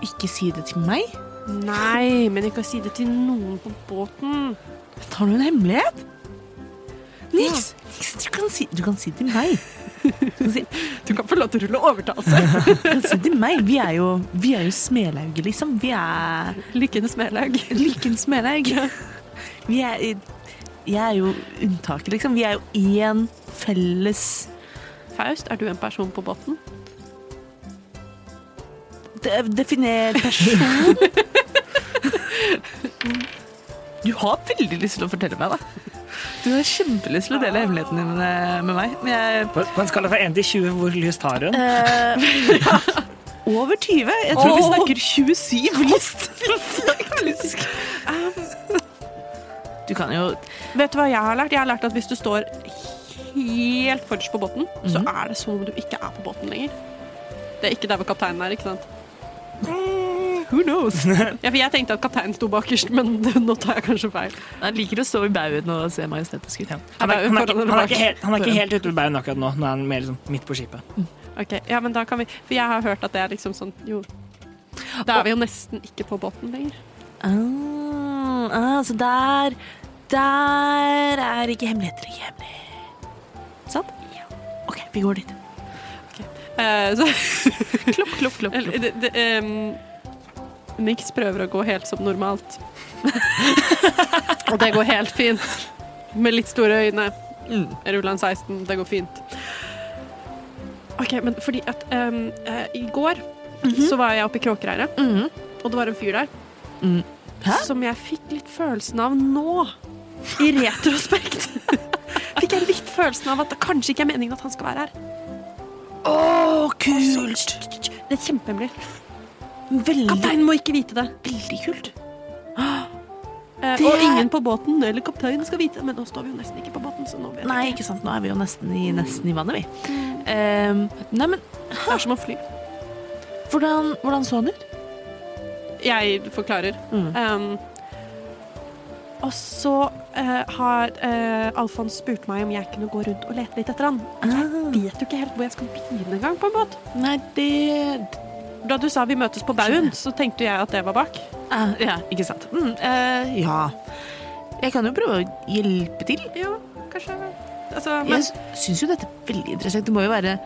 S1: Ikke si det til meg.
S2: Nei, men ikke å si det til noen på båten.
S1: Tar du en hemmelighet? Nix, Nix, du, kan si, du kan si det til meg. Du kan si,
S2: Du kan få lov til å rulle altså. overtalelse.
S1: du kan si det til meg. Vi er jo, vi er jo smelauget, liksom. Vi er
S2: Lykkens medlag.
S1: Lykkens smelhaug. Vi er Jeg er jo unntaket, liksom. Vi er jo én felles
S2: Faust, er du en person på båten?
S1: de definert person. Du har veldig lyst til å fortelle meg, da. Du har kjempelyst til å dele hemmelighetene dine med meg. Men jeg
S3: På, på en skala fra 1 til 20, hvor lyst har hun?
S1: Over 20? Jeg tror vi
S2: Åh.
S1: snakker 27 lyst. Faktisk. Du kan jo
S2: Vet du hva jeg har lært? Jeg har lært at hvis du står helt forrest på båten, så er det som om du ikke er på båten lenger. Mhm. Det er ikke der hvor kapteinen er, ikke sant?
S1: Who knows?
S2: Ja, for jeg tenkte at kapteinen sto bakerst, men nå tar jeg kanskje feil.
S1: Han liker å stå i baugen og se majestetisk ut.
S3: Han er, han, er, ikke- han, er ikke helt, han er
S1: Foran.
S3: ikke helt ute ved baugen akkurat nå. Nå er han mer liksom, midt på skipet.
S2: Ok, ja, men da kan vi For jeg har hørt at det er liksom sånn Jo. Da er vi jo nesten ikke på båten lenger.
S1: Ah, ah, så der Der er ikke hemmeligheter ikke hemmelig. Sant? Ja. OK, vi går dit.
S2: Eh, så
S1: Klopp, klopp, klopp. klopp.
S2: eller, det, det, em, Nix prøver å gå helt som normalt. Og det går helt fint. Med litt store øyne.
S1: Mm.
S2: Rulla en 16, det går fint. OK, men fordi at em, eh, I går så var jeg oppe i Kråkereiret,
S1: Mhm.
S2: og det var en fyr der
S1: Mm. Hæ?
S2: som jeg fikk litt følelsen av nå. I retrospekt. fikk jeg litt følelsen av at det kanskje ikke er meningen at han skal være her.
S1: Å, kult!
S2: Det er kjempehemmelig.
S1: Veldig,
S2: Kapteinen må ikke vite det.
S1: veldig kult.
S2: Eh,
S1: Det
S2: Og
S1: er-
S2: ingen på båten eller kapteinen skal vite det. Men nå står vi jo nesten ikke på båten, så nå vet jeg
S1: Nei, ikke sant. Nå er vi jo nesten i, nesten i vannet, vi. Ehm, nei, men
S2: ikke. Det er som å fly.
S1: hvordan, hvordan så han ut?
S2: Jeg forklarer.
S1: Mm.
S2: Em, og så eh, har eh, Alfons spurt meg om jeg kunne gå rundt og lete litt etter han.
S1: Ah,
S2: Vet jo ikke helt hvor jeg skal begynne engang på en båt.
S1: nei, det
S2: Da du sa vi møtes på baugen, så tenkte jeg at det var bak.
S1: ah, Ja, ikke sant. Mm, eh, ja. Jeg kan jo prøve å hjelpe til.
S2: Jo, kanskje altså,
S1: Jeg
S2: men,
S1: s- syns jo dette er veldig interessant. Det må jo være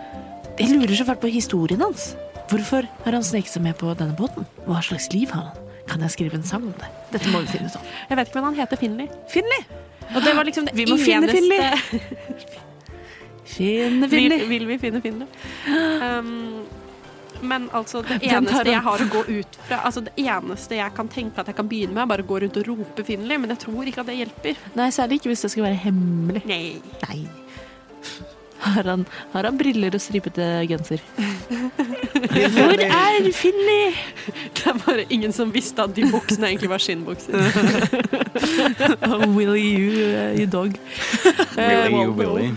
S1: Jeg lurer så fælt på historien hans. Hvorfor har han sneket seg med på denne båten? Hva slags liv har han? Kan jeg skrive en sang om det? Dette må vi finne ut av.
S2: Jeg vet ikke, men han heter Finley.
S1: Finley!
S2: Og det var liksom det
S1: Vi må finne
S2: eneste-
S1: Finley. Finne,
S2: Vil,
S1: Finley.
S2: vil vi finne Finley? Um, men altså, det
S1: Hvem tar
S2: eneste jeg
S1: han?
S2: har å gå ut fra Altså, det eneste jeg kan tenke at jeg kan begynne med, er bare å gå rundt og rope Finley, men jeg tror ikke at det hjelper.
S1: Nei, særlig ikke hvis det skal være hemmelig.
S2: Nei.
S1: Nei. Har han, har han briller og stripete genser? Hvor er Finley?
S2: Det er bare ingen som visste at de buksene egentlig var skinnbukser.
S1: Oh, Willy, you, uh, you dog.
S5: Willy,
S1: Eh,
S5: you
S1: wow, wow.
S5: willy.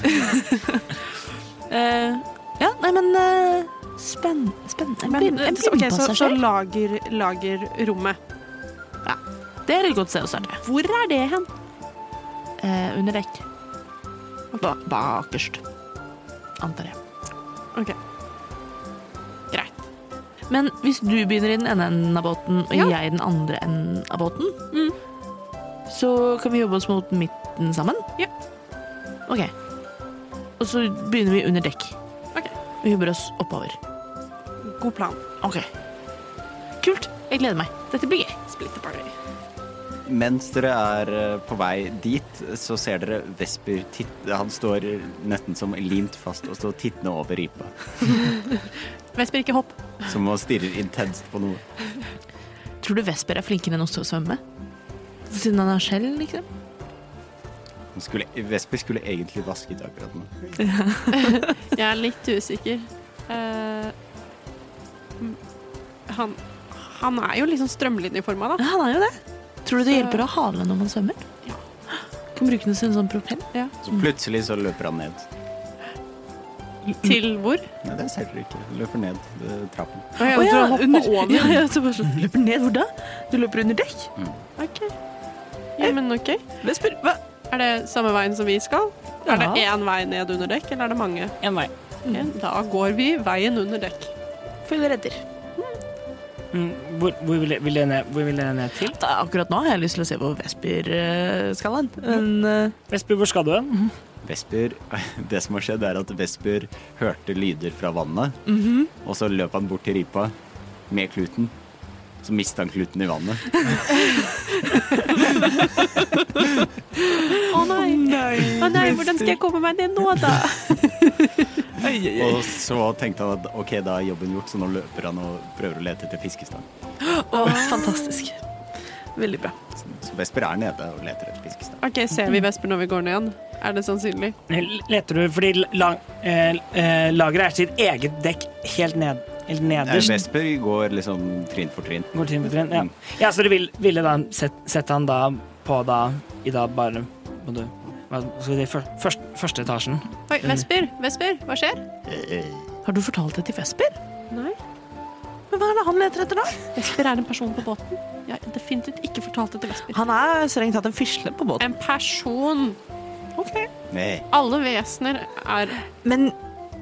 S1: Eh, ja, nei, men eh, spenn, spennende.
S2: Men,
S1: En
S2: så- ok, så, så
S1: blindpassasjer.
S2: lager, lager rommet.
S1: Det er et godt sted å starte.
S2: Hvor er det hen?
S1: Eh, under dekk. Ba bakerst. Antar jeg.
S2: Ok.
S1: Men hvis du begynner i den ene enden av båten, og
S2: Ja.
S1: jeg i den andre enden av båten,
S2: Mm.
S1: så kan vi jobbe oss mot midten sammen?
S2: Ja.
S1: Ok. Og så begynner vi under dekk.
S2: Ok.
S1: Vi jobber oss oppover.
S2: God plan.
S1: Ok. Kult. Jeg gleder meg. Dette blir gøy.
S2: Split the party.
S5: Mens dere er eh, på vei dit, så ser dere Vesper titt... Han står nesten som limt fast og står tittende over ripa,
S2: Vesper, ikke hopp.
S5: som å stirre intenst på noe.
S1: Tror du Vesper er flinkere enn oss til å svømme? Siden han har skjell, liksom?
S5: Han Skulle, Vesper skulle egentlig vasket akkurat nå.
S2: Jeg er litt usikker. Eh, mm, han, han er jo liksom strømlinjeforma, da.
S1: Ja, han er jo det. Tror du det
S2: Så-
S1: hjelper å ha halen når man svømmer?
S2: Ja.
S1: Kan bruke den som en sånn propell.
S5: Så plutselig så løper han ned.
S2: Til hvor?
S5: Nei, det ser dere ikke. Han Løper ned eh, trappen.
S2: jeg tror han hoppa over. Mm.
S1: Ja, ja, så bare sånn, løper ned hvor da? Du løper under dekk?
S2: OK. Ja, men OK.
S1: Vesper, hva?
S2: Er det samme veien som vi skal? Er det
S1: Ja.
S2: én vei ned under dekk, eller er det mange?
S3: En vei.
S2: Ok, Da går vi veien under dekk.
S1: Følg redder.
S3: Mm, Hvor, hvor, vil jeg, vil jeg ned, hvor vil jeg ned til?
S1: Da, akkurat nå har jeg lyst til å se på Vesper-skalaen. Men eh,
S3: Vesper, hvor skal du hen?
S5: Vesper Det som har skjedd, er at Vesper hørte lyder fra vannet,
S2: Mhm.
S5: og så løp han bort til ripa med kluten. Så mista han kluten i vannet.
S2: Å nei. Å nei, hvordan skal jeg komme meg ned nå, da?
S5: Og så tenkte han at ok, da er jobben gjort, så nå løper han og prøver å lete etter fiskestang.
S1: å, fantastisk. Veldig bra.
S5: Så- Så Vesper er nede og leter etter fiskestang.
S2: OK, ser vi Vesper når vi går ned? Er det sannsynlig?
S3: L- Eh, Leter du fordi la, eh, eh, lageret er sitt eget dekk helt ned, helt
S5: Eh,
S3: nederst?
S5: Vesper går liksom trinn for trinn.
S3: Går trinn på trinn, ja. ja, så du vil, ville da sett, sette han da på da i da bare på det, hva skal vi si, fyr- først, første etasjen?
S2: Oi, Vesper, Vesper, hva skjer?
S5: Eh,
S1: Har du fortalt det til Vesper?
S2: Nei.
S1: Men hva er det han leter etter da?
S2: Vesper er en person på båten. Jeg har definitivt ikke fortalt det til Vesper.
S1: Han er strengt tatt en fisle på båten.
S2: En person.
S5: Nei.
S2: Alle vesener er
S1: Men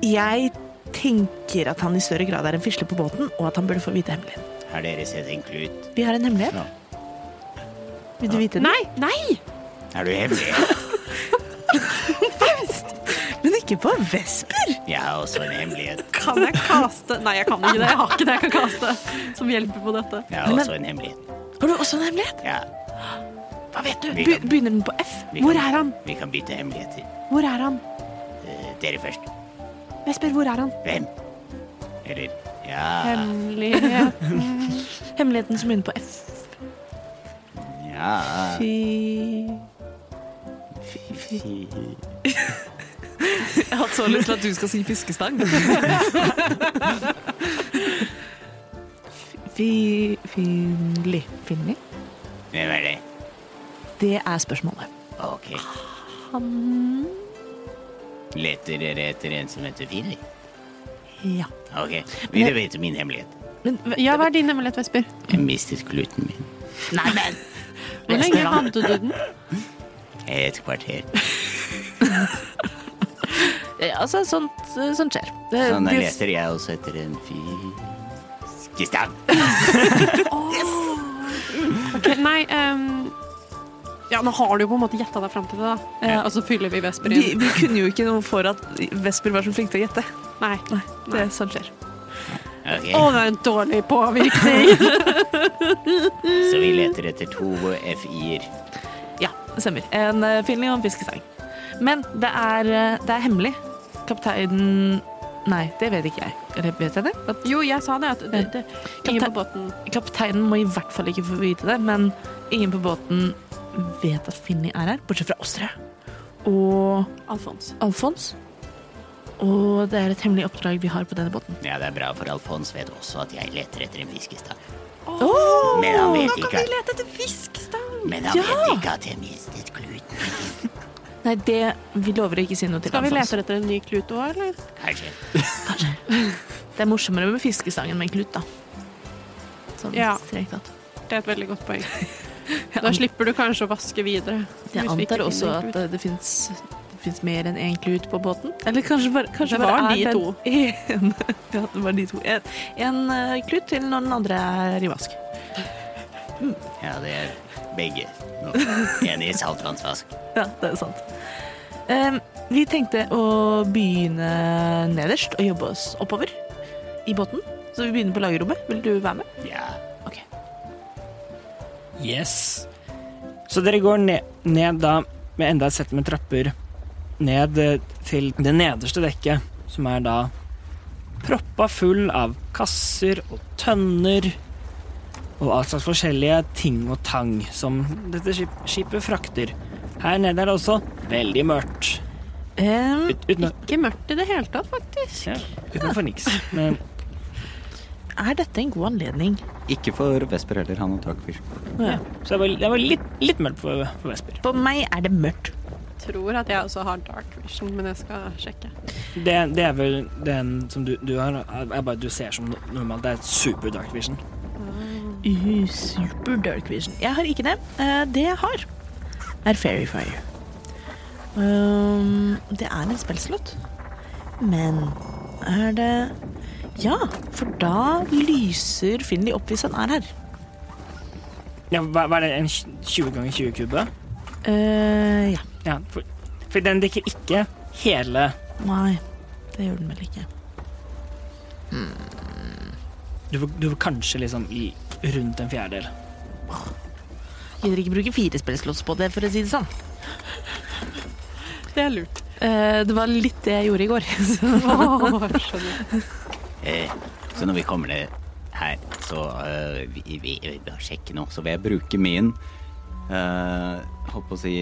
S1: jeg tenker at han i større grad er en fisle på båten, og at han burde få vite hemmeligheten.
S5: Har dere sett en klut?
S1: Vi har en hemmelighet.
S5: Ja.
S1: Vil du vite den?
S2: Nei, nei!
S5: Er du hemmelig?
S1: Men ikke på Vesper!
S5: Jeg har også en hemmelighet.
S2: Kan jeg kaste Nei, jeg kan ikke det. Jeg har ikke det jeg kan kaste som hjelper på dette.
S5: Jeg har
S1: Men-
S5: også en hemmelighet.
S1: Har du også en hemmelighet?
S5: Ja,
S1: Hva vet du?
S5: Vi
S1: Be
S5: kan-
S1: begynner den på F?
S5: vi
S2: Hvor
S5: kan-
S2: er han?
S5: Vi kan bytte hemmeligheter.
S2: Hvor er han?
S5: Eh, Dere først.
S2: Vesper, hvor er han?
S5: Hvem? Eller Ja.
S2: Hemmelighet
S1: Hemmeligheten som begynner på F.
S5: ja.
S1: Fy Jeg har så lyst til at du skal si fiskestang. Fi... Finli. Finli?
S5: Hvem er det?
S1: Det er spørsmålet.
S5: OK. Leter dere etter en som heter Finley?
S1: Ja.
S5: OK. Vil du vite min hemmelighet?
S1: Men v-
S2: Ja, hva er din hemmelighet, Vesper?
S5: Jeg mistet kluten min.
S1: Nei, men
S2: Hvor lenge hadde du den?
S5: Et kvarter.
S1: Ja, Altså, sånt, sånt skjer. Eh, Det,
S5: Sånn
S1: det-
S5: leter jeg også etter en fiskestang.
S2: Ok, nei, ehm, ja, nå har du jo på en måte gjetta deg fram til det, da. Eh, og så fyller vi Vesper
S1: vi,
S2: inn.
S1: vi kunne jo ikke noe for at Vesper var så flink til å gjette.
S2: Nei.
S1: Det er sånt skjer.
S2: Å, det er en dårlig påvirkning!
S5: Så vi leter etter to FI-er.
S1: Ja, det stemmer. En uh, finling og en fiskestang. Men det er, eh, det er hemmelig. Kapteinen Nei, det vet ikke jeg. Eller vet jeg det? At
S2: Jo, jeg sa det. At det, det ingen på båten
S1: kapteinen må i hvert fall ikke få vite det, men ingen på båten vet at Finni er her, bortsett fra oss tre. Og
S2: Alfons.
S1: Alfons. Og det er et hemmelig oppdrag vi har på denne båten.
S5: Ja, det er bra, for Alfons vet også at jeg leter etter en fiskestang.
S1: Åh!
S5: Men han vet ikke, at-
S2: lete etter fiskestang!
S5: men han vet ikke at jeg mistet kluten.
S1: Nei, det Vi lover å ikke si noe til
S2: Skal vi
S1: Alfons.
S2: lete etter en ny klut òg, eller?
S5: Kanskje.
S1: Det er morsommere med fiskestangen med en klut, da. Sånn
S2: Ja.
S1: strengt tatt.
S2: Det er et veldig godt poeng. Da slipper du kanskje å vaske videre.
S1: Jeg
S2: hvis vi ikke
S1: antar også
S2: finner en
S1: at
S2: klut.
S1: eh, det fins det fins mer enn én klut på båten? Eller kanskje bare, kanskje
S2: Det
S1: bare
S2: var
S1: er
S2: de
S1: den
S2: to.
S1: en- ja, det var de to. En, en eh, klut til når den andre er i vask.
S5: Ja, det er begge. Nå, En i saltvannsvask.
S1: Ja, det er sant. Em, vi tenkte å begynne nederst og jobbe oss oppover i båten. Så vi begynner på lagerrommet. Vil du være med?
S5: Ja.
S3: Yes. Så dere går ned, ned da med enda et sett med trapper ned eh, til det nederste dekket, som er da proppa full av kasser og tønner og all slags forskjellige ting og tang som dette skip, skipet frakter. Her nede er det også veldig mørkt.
S1: Um,
S3: Ut, uten,
S2: Ikke mørkt i det hele tatt, faktisk.
S3: ja, utenfor niks. Men
S1: er dette en god anledning?
S5: Ikke for Vesper heller, han og Dagfyr.
S3: Så det var, det var litt, litt mørkt på, på Vesper.
S1: For meg er det mørkt.
S2: Tror at jeg også har dark vision, men jeg skal sjekke.
S3: Det, det er vel den som du, du har, er bare du ser som normalt. Det er super dark vision.
S1: Uh, super dark vision. Jeg har ikke det. Eh, det jeg har, er Fairy Fire. Um, det er en spillslott. Men er det Ja, for da lyser Finley opp hvis han er her.
S3: Ja, hva, hva er det, en tj- 20 ganger 20 kube?
S1: Eh, ja.
S3: Ja, for, for den dekker ikke hele
S1: Nei, det gjør den vel ikke.
S3: Du får, du får kanskje liksom i rundt en fjerdedel.
S1: Gidder ikke bruke fire spillslotts på det, for å si det sånn.
S2: Det er lurt.
S1: Eh, det var litt det jeg gjorde i går. Så.
S2: Åh, skjønner.
S5: Eh, Så når vi kommer ned her, så eh, vi, vi, vi bør sjekke nå, så vil jeg bruke min uh, Holdt på å si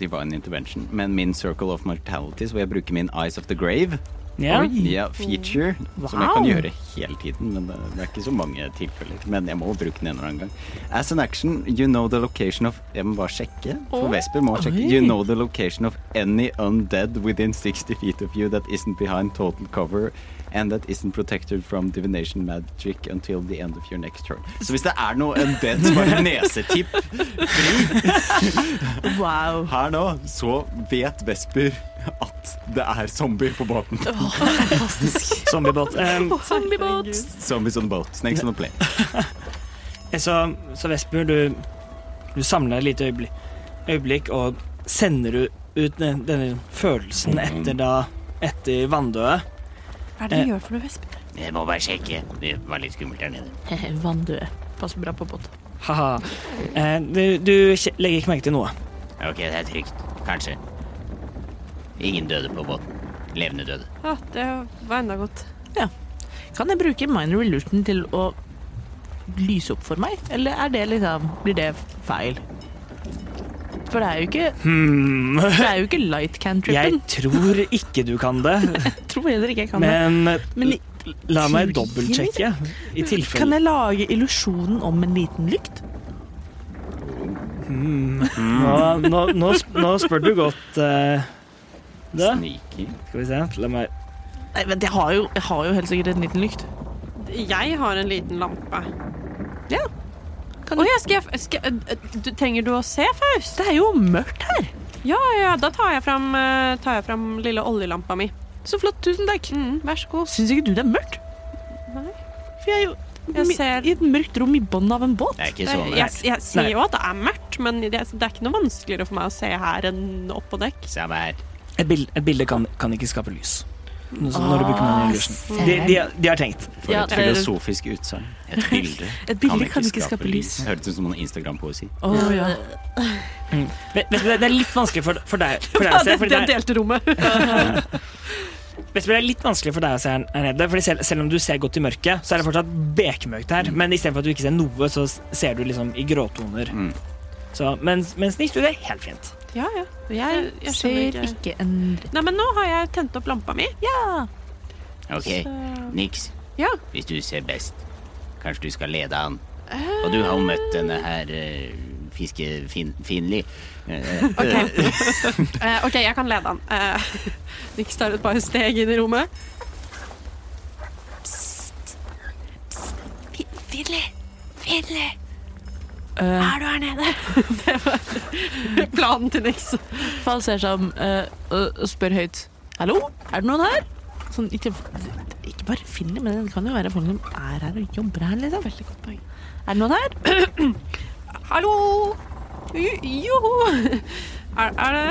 S5: Divine Intervention, men min Circle of Mortality, så vil jeg bruke min Eyes of the Grave.
S3: Ja.
S5: Ja, feature, som jeg kan
S1: Wow.
S5: gjøre hele tiden, men det, det er ikke så mange tilfeller. Men jeg må bruke den en eller annen gang. As an action, you know the location of Jeg må bare sjekke, for Vesper må sjekke. You know the location of any undead within 60 feet of you that isn't behind total cover and that isn't protected from divination magic until the end of your next turn. Så hvis det er noe undead som har nesetipp
S1: Wow.
S5: her nå, så vet Vesper at det er zombier på båten.
S3: Zombiebåt. Um,
S1: Zombiebåt.
S5: Zombies on the boat, snakes on the plane.
S3: eh, så, så Vesper, du, du samler et lite øyeblikk, øyeblikk og sender ut, ut den- denne følelsen etter da etter vanndøet.
S2: Hva er
S5: Eh.
S2: det du gjør for noe, Vesper?
S5: Jeg må bare sjekke. Det var litt skummelt der nede.
S1: Vanndøe. Passer bra på båt.
S3: Haha. Eh, du, du kje- legger ikke merke til noe.
S5: Ok, det er trygt. Kanskje. Ingen døde på båten. Levende døde.
S2: Ja, det var enda godt.
S1: Kan jeg bruke minor illusion til å lyse opp for meg, eller er det liksom Blir det feil? For det er jo ikke,
S3: Hmm.
S1: det er jo ikke light
S3: Jeg
S1: cantrippen.
S3: tror ikke du kan det,
S1: Jeg tror heller ikke jeg kan det.
S3: men
S1: Men i-
S3: la meg
S1: tror du
S3: dobbeltsjekke. I
S1: kan
S3: tilfelle
S1: jeg lage illusjonen om en liten lykt?
S3: nå, nå, nå, sp- nå spør du godt, eh, det.
S5: Sneaky.
S3: Skal vi se. La meg
S1: Nei, vent, jeg har jo, jeg har jo helt sikkert en liten lykt.
S2: Jeg har en liten lampe.
S1: Ja. Kan
S2: Å ja, skal jeg, skal, jeg- du, trenger du å se, Faust?
S1: Det er jo mørkt her.
S2: Ja, ja, da tar jeg fram, eh, tar jeg fram lille oljelampa mi.
S1: Så flott, tusen takk.
S2: Mm, vær så god.
S1: Syns ikke du det er mørkt?
S2: Nei.
S1: For jeg er jo
S2: Jeg
S1: mi-
S2: ser-
S1: i et mørkt rom i bånn av en båt.
S5: Det er ikke så
S2: Jeg, jeg,
S5: mørkt.
S2: jeg sier
S3: Nei.
S2: jo at det er mørkt, men det, det er ikke noe vanskeligere for meg å se her enn opp på dekk.
S5: Samme her.
S3: Et bilde, et bilde kan, kan ikke skape lys. Nå- så Når du bruker den illusion. De, de, de har tenkt.
S5: For
S1: Ja,
S5: et
S1: det er-
S5: filosofisk utsagn. Et bilde,
S1: Et bilde kan ikke skape lys.
S5: Hørtes ut som noen Instagram-poesi.
S1: Å, ja.
S3: Vet, vet du, det er litt vanskelig for, for deg, for deg å
S2: Ja,
S3: se.
S2: det,
S3: fordi
S2: det
S3: det er-
S2: delte rommet.
S3: Vesper, det er litt vanskelig for deg å se her- her nede. Fordi selv, selv om du ser godt i mørket, så er det fortsatt bekmørkt her. Men istedenfor at du ikke ser noe, så s- ser du liksom i gråtoner.
S5: Mm.
S3: Så, mens, mens Nils, du, det er helt fint.
S2: Ja, ja.
S1: Jeg,
S2: Jeg- jeg skjønner
S1: ser
S2: ikke.
S1: ikke en
S2: Nei, men nå har jeg tent opp lampa mi.
S1: Ja.
S7: Ok,
S2: Så-
S7: Nix,
S2: Ja.
S7: hvis du ser best, kanskje du skal lede han. Og du har jo møtt denne her uh, fiskefinlig. eh,
S2: Ok. Eh, ok, jeg kan lede han. Eh, Nix tar et par steg inn i rommet.
S1: Eh,
S2: Er du her nede? Det var planen til Nix.
S1: Fall ser seg om eh, og og spør høyt Hallo, er det noen her? Sånn, ikke, ikke bare Finley, men det kan jo være folk som er her og jobber her, liksom. Veldig godt poeng. Er det noen her?
S2: Hallo! Jo- Joho! Er, er det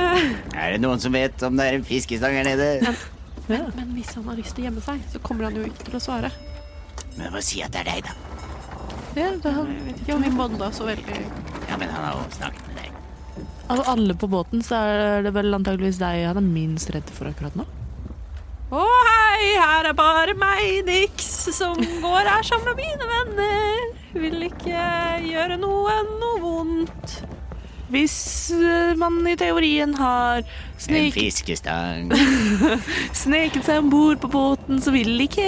S7: Er det noen som vet om det er en fiskestang her nede?
S1: Ja.
S2: Men hvis han har lyst til å gjemme seg, så kommer han jo ikke til å svare.
S7: Men bare si at det er deg, da.
S2: det. da- Jeg vet ikke om vi bonda så veldig.
S7: Ja, men han har jo snakket med deg.
S1: Av alle på båten så er det vel antageligvis deg han er minst redd for akkurat nå.
S2: Å hei, her er bare meg, Nix, som går her sammen med mine venner. Vil ikke gjøre noen noe vondt.
S1: Hvis eh, man i teorien har
S7: En
S1: snik,
S7: fiskestang.
S1: sneket seg om bord på båten, så vil ikke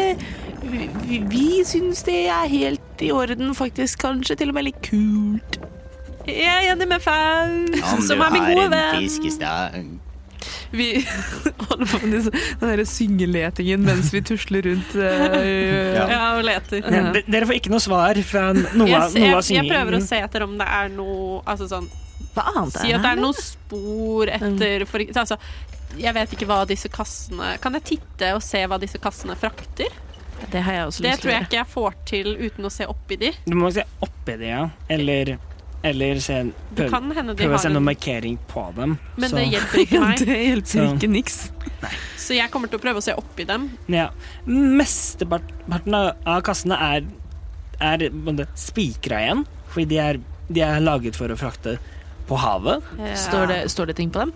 S1: vi, vi, vi synes det er helt i orden, faktisk. Kanskje til og med litt kult.
S2: Jeg er enig med Faust,
S7: Om du
S2: som er min
S7: har
S2: gode
S7: en
S2: venn.
S7: fiskestang.
S1: Vi holder på med disse, den derre syngeletingen mens vi tusler rundt. eh,
S5: Ja.
S2: Ja, og leter.
S1: Ja.
S3: Ne- Dere får ikke noe svar fra noe
S2: Uh-huh. Jeg,
S3: av noe
S2: jeg,
S3: av
S2: jeg prøver å
S3: syngingen.
S2: se etter om det er noe Altså sånn
S1: Hva annet
S2: Si at det
S1: her?
S2: er noen spor etter for, altså, Jeg vet ikke hva disse kassene Kan jeg titte og se hva disse kassene frakter?
S1: Det har jeg også
S2: Det
S1: lyst til
S2: tror
S1: å
S2: jeg
S1: gjøre.
S2: ikke jeg får til uten å se oppi de.
S3: Du må se oppi det, ja. Eller, eller se,
S2: Det
S3: prøve,
S2: kan hende de
S3: prøve å
S2: har
S3: se noe
S2: en,
S3: markering på dem.
S2: Men
S3: så-
S2: det hjelper ikke meg.
S1: Det hjelper
S3: Så-
S1: ikke niks.
S2: Så jeg kommer til å prøve å se oppi dem.
S3: Ja. Mesteparten av av kassene er, er på en måte spikra igjen, fordi de er, de er laget for å frakte på havet.
S2: Eh,
S1: Står det, står det ting på dem?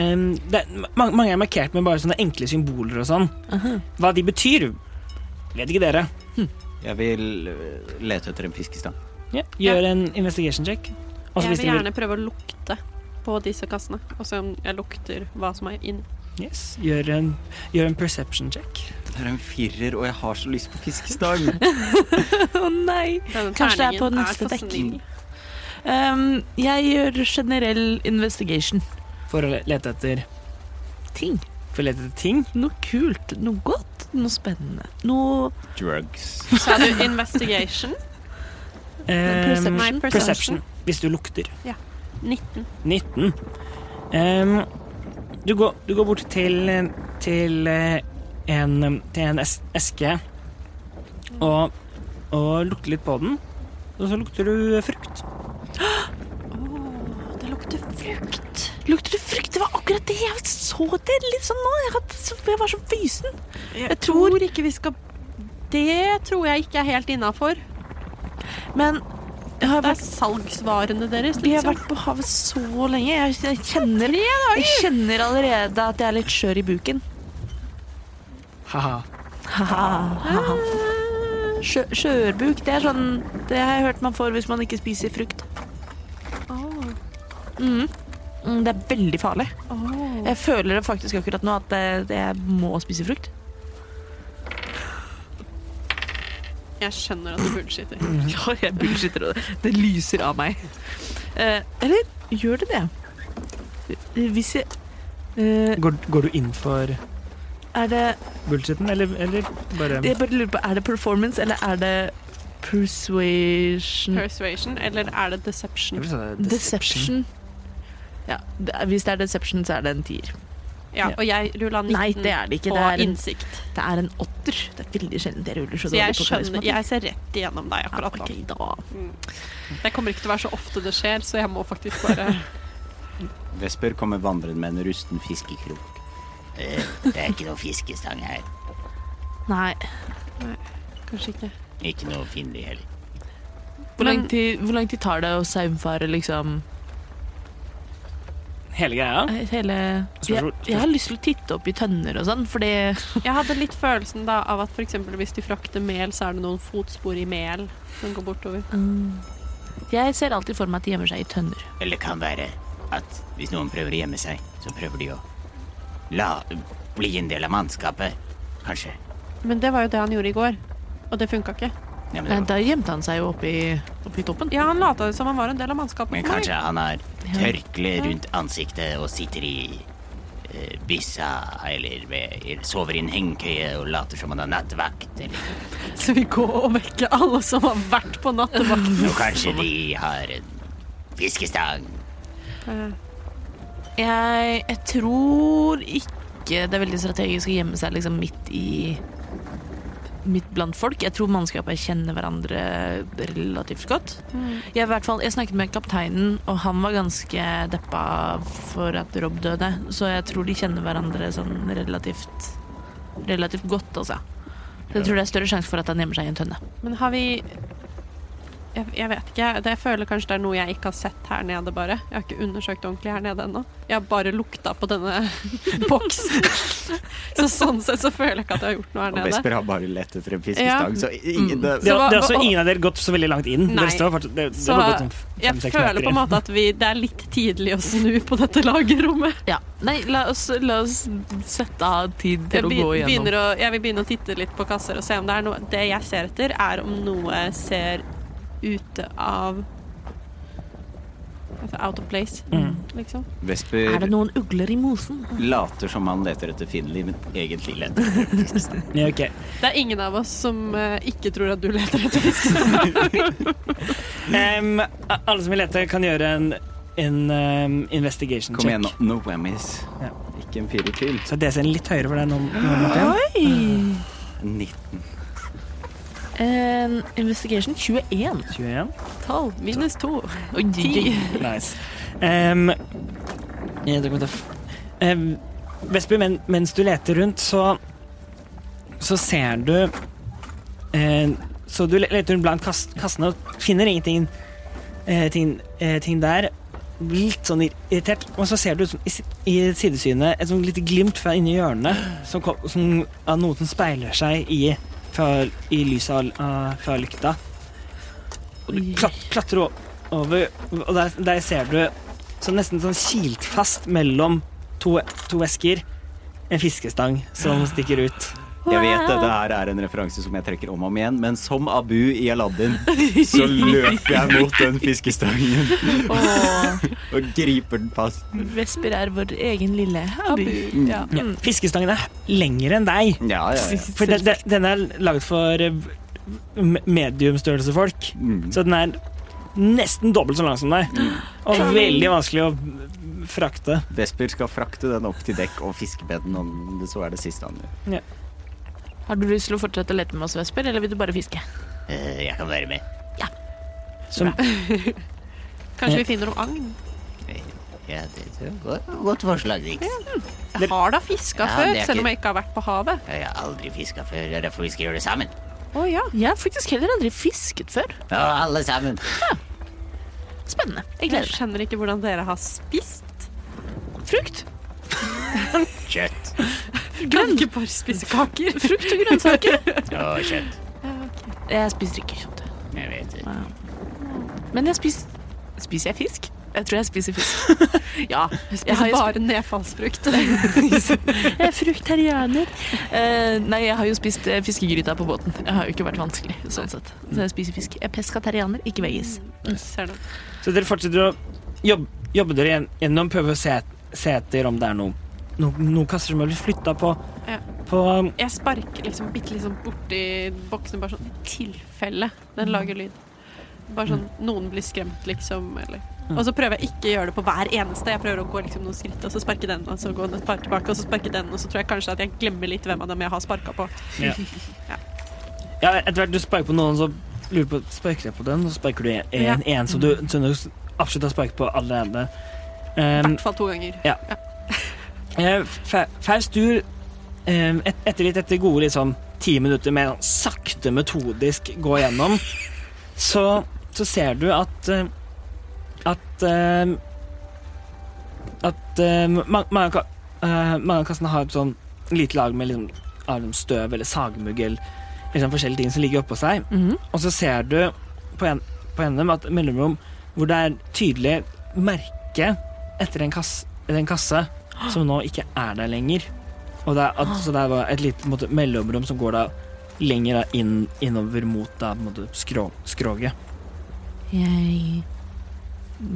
S3: Em, det, mange, mange er markert med bare sånne enkle symboler og sånn. Hva de betyr, vet ikke dere.
S5: Jeg vil øh, lete etter en fiskestang.
S3: Ja. Gjør en investigation check. Og så
S2: Jeg
S3: hvis
S2: vil
S3: de vil
S2: gjerne prøve å lukte på disse kassene, og se om jeg lukter hva som er inni.
S3: yes, gjør, en, gjør en perception check.
S5: Det er en firer, og jeg har så lyst på fiskestang.
S1: Å nei!
S2: Denne
S1: Kanskje det er på
S2: terningen
S1: neste
S2: for
S1: dekk.
S2: snill.
S1: Um, jeg gjør generell investigation.
S3: For å le- lete etter,
S1: Ting.
S3: for å lete etter ting.
S1: Noe kult, noe godt, noe spennende. Noe
S5: Drugs.
S2: Sa du investigation?
S3: Em,
S1: Perception.
S2: Nei, perception.
S3: Ehm, perception. Hvis du lukter.
S2: 19.
S3: 19. Ehm, du, går, du går bort til, til, eh, en, til en es eske og, og lukter litt på den. Og så lukter du frukt.
S2: Å, det lukter frukt.
S1: Lukter det frukt? Det var akkurat det jeg så det litt sånn nå. Jeg, hadde, så- jeg var så fysen. Jeg tror
S2: tror ikke vi skal Det tror jeg ikke er helt innafor.
S1: Men jeg har
S2: Det er
S1: vært,
S2: salgsvarene deres,
S1: vi har
S2: liksom.
S1: vært på havet så lenge. Jeg, jeg, kjenner, jeg kjenner allerede at jeg er litt skjør i buken.
S3: Haha.
S1: Haha. Skjø- Skjørbuk, det er sånn Det har jeg hørt man får hvis man ikke spiser frukt. Mhm. Mm, Det er veldig farlig. Jeg føler det faktisk akkurat nå at det- det- jeg må spise frukt.
S2: Jeg skjønner at du bullshitter.
S1: Ja, jeg bullshitter, og det- det lyser av meg. Eh, eller gjør det det? Hvis jeg eh,
S3: Går, går du inn for
S1: Er det
S3: bullshitten, eller, eller bare
S1: Jeg bare lurer på, er det performance, eller er det persuasion?
S2: Persuasion, eller er det deception?
S1: Deception. Ja, det er- hvis det er deception, så er det en tier.
S2: Ja, og jeg rulla 19
S1: Nei, det er det ikke.
S2: på
S1: Det er en,
S2: innsikt.
S1: det er en åtter. Det er veldig sjelden jeg ruller så
S2: Så
S1: dårlig
S2: jeg
S1: på
S2: skjønner
S1: karisma.
S2: Jeg ser rett igjennom deg
S1: Ja,
S2: akkurat nå.
S1: ok, da.
S2: Det kommer ikke til å være så ofte det skjer, så jeg må faktisk bare
S5: Vesper kommer vandrende med en rusten fiskekrok.
S7: Eh, Det er ikke noe fiskestang her.
S1: Nei.
S2: Kanskje ikke.
S7: Ikke noe finlig heller.
S1: Hvor
S2: Men-
S1: lang, tid, hvor lang tid tar det å saumfare liksom
S3: Hele greia?
S1: Eh, hele jeg,
S3: Spørsmål-
S1: jeg har lyst til å titte opp i tønner og sånn, fordi
S2: Jeg hadde litt følelsen da av at f.eks. hvis de frakter mel, så er det noen fotspor i mel som går bortover.
S1: Mm. Jeg ser alltid for meg at de gjemmer seg i tønner.
S7: Eller det kan være at hvis noen prøver å gjemme seg, så prøver de å la bli en del av mannskapet. Kanskje.
S2: Men det var jo det han gjorde i går, og det funka ikke.
S7: Ja, men,
S1: Nei,
S7: det var-
S1: Eh, da gjemte han seg jo oppi, oppi toppen.
S2: Ja, han lata som han var en del av mannskapet.
S7: men
S2: for meg.
S7: kanskje han har tørkle rundt ansiktet og sitter i eh, byssa eller ved, sover i en hengekøye og later som han har nattvakt. Eller
S2: Så vi går og vekker alle som har vært på nattevakt.
S7: og kanskje de har en fiskestang.
S2: Eh,
S1: Jeg, jeg tror ikke det er veldig strategisk å gjemme seg liksom midt i Midt blant folk. Jeg tror mannskapet kjenner hverandre relativt godt.
S2: mm.
S1: Jeg, i hvert fall, jeg snakket med kapteinen, og han var ganske deppa for at Rob døde. Så jeg tror de kjenner hverandre sånn relativt Relativt godt, altså. Så jeg tror det er større sjanse for at han gjemmer seg i en tønne.
S2: Men har vi jeg, jeg vet ikke. Det, jeg føler kanskje det er noe jeg ikke har sett her nede, bare. Jeg har ikke undersøkt ordentlig her nede ennå. Jeg har bare lukta på denne boksen. så sånn sett så føler jeg ikke at jeg har gjort noe
S5: Og
S2: her nede.
S5: Vesper har bare lett etter en
S2: Ja.
S5: fiskestang, så ingen
S3: Det,
S2: Så hva-
S3: det er også
S2: hva-
S3: ingen av dere gått så veldig langt inn.
S2: Nei.
S3: Dere står fortsatt, det, det
S2: Så
S3: har gått sånn
S2: Jeg
S3: fem-seks
S2: føler
S3: meter
S2: på en
S3: igjen.
S2: måte at vi, det er litt tidlig å snu på dette lagerrommet.
S1: Ja. Nei, la oss, la oss sette av tid
S2: Jeg,
S1: til å
S2: be-
S1: gå igjennom.
S2: begynner å, jeg vil begynne å titte litt på kasser og se om det er noe Det jeg ser etter, er om noe ser ute av altså Out of place,
S1: Mm.
S2: liksom.
S5: Vesper
S1: Er det noen ugler i mosen?
S5: later som han leter etter Finley, men egentlig leter etter en fiskestang.
S3: Ja, ok.
S2: Det er ingen av oss som eh, ikke tror at du leter etter fisk.
S3: Em, a- alle som vil lete, kan gjøre en, en em, investigation
S5: Kom
S3: check.
S5: igjen, no, no whammies.
S3: Ja.
S5: Ikke en firer til.
S3: Så DC-en litt høyere for deg nå. nå Martin.
S5: 19.
S1: Eh, investigation 21.
S3: 21.
S2: Tolv minus to.
S1: Oi, Ti.
S3: Nice. Um, jeg tok meg tøff. Um, Vesper, men, mens du leter rundt, så så ser du eh, Så du le- leter rundt blant kas- kassene og finner ingenting eh, ting, eh, ting der. Blir Litt sånn irritert. Og så ser du sånn i, si- i sidesynet et sånn lite glimt fra inni hjørnet som, kom, som, av noe som speiler seg i, fra, i lyset av, av- fra lykta. Og du klat, klatrer opp over, og der, der ser du så nesten sånn kilt fast mellom to, to esker en fiskestang som stikker ut.
S5: Jeg vet dette her er en referanse som jeg trekker om og om igjen, men som Abu i Aladdin, så løper jeg mot den fiskestangen
S1: Og
S5: og griper den fast.
S1: Vesper er vår egen lille Abu.
S2: Ja.
S3: Ja. Fiskestangen er lengre enn deg,
S5: Ja, ja, ja.
S3: for den, den- den er laget for eh, m- mediumstørrelsefolk.
S5: Mm.
S3: Så den er nesten dobbelt så lang som deg, og veldig vanskelig å frakte.
S5: Vesper skal frakte den opp til dekk og fiskebeden, om det så er det siste han gjør.
S1: Har du lyst til å fortsette å lete med oss, Vesper, eller vil du bare fiske?
S7: Eh, Jeg kan være med.
S3: Som,
S2: Kanskje
S1: Eh.
S2: vi finner noe agn?
S7: Ja, det det er godt- godt forslag, Nix.
S2: Jeg har da fiska
S7: Ja,
S2: før,
S7: det er
S2: selv
S7: ikke-
S2: om jeg ikke har vært på havet.
S7: Jeg har aldri fiska før, det er derfor vi skal gjøre det sammen.
S2: Å ja.
S1: Jeg har faktisk heller aldri fisket før.
S7: Å, alle sammen.
S1: Spennende. Jeg
S2: Jeg
S1: gleder meg.
S2: skjønner ikke hvordan dere har spist.
S1: Frukt.
S7: Kjøtt.
S2: Kan ikke bare spise kaker.
S1: Frukt og grønnsaker.
S7: Å, kjøtt.
S1: Jeg spiser ikke kjøtt.
S7: Jeg vet det.
S1: Men jeg spiser Spiser jeg fisk? Jeg tror jeg spiser fisk. ja. Jeg har
S2: Spiser
S1: jo
S2: bare nedfallsfrukt.
S1: sp- jeg er fruktarianer. Eh, nei, jeg har jo spist eh, fiskegryta på båten. Jeg har jo ikke vært vanskelig, sånn sett. Så jeg spiser fisk. Jeg er pescatarianer, ikke veggis.
S2: Ser du.
S3: så dere fortsetter å jobbe, jobbe dere igjen- gjennom, prøve å se, se etter om det er noe, noe, noen kasser som har blitt flytta på,
S2: Ja.
S3: på um,
S2: Jeg sparker liksom bitte liksom borti boksen, bare sånn i tilfelle den lager lyd. Bare sånn noen blir skremt, liksom, eller Og så prøver jeg ikke å gjøre det på hver eneste. Jeg prøver å gå liksom noen skritt, og så sparke den, og så gå et par tilbake, og så sparke den, og så tror jeg kanskje at jeg glemmer litt hvem av dem jeg har sparka på.
S3: Ja, etter hvert du sparker på noen, så lurer du på Sparker jeg på den, og så sparker du en,
S2: Ja.
S3: en, en som du, som du absolutt har sparket på allerede.
S2: I
S3: Um,
S2: hvert fall to ganger.
S3: eh, Fa- Faust, du um, et, etter litt etter gode liksom, ti minutter med sånn sakte, metodisk gå gjennom, så, så ser du at eh, at eh, at eh, ma- mange, av ka- eh, mange av kassene har et sånn lite lag med liksom, av liksom støv eller sagmugg eller liksom, forskjellige ting som ligger oppå seg.
S2: Mhm.
S3: Og så ser du på, en, på NM at mellomrom hvor det er tydelig merke etter en, kass, etter en kasse som nå ikke er der lenger. Og det er, at, så det er bare et lite på en måte, mellomrom som går da lenger da, inn, innover mot da, på en måte, skrå, skroget.
S1: Jeg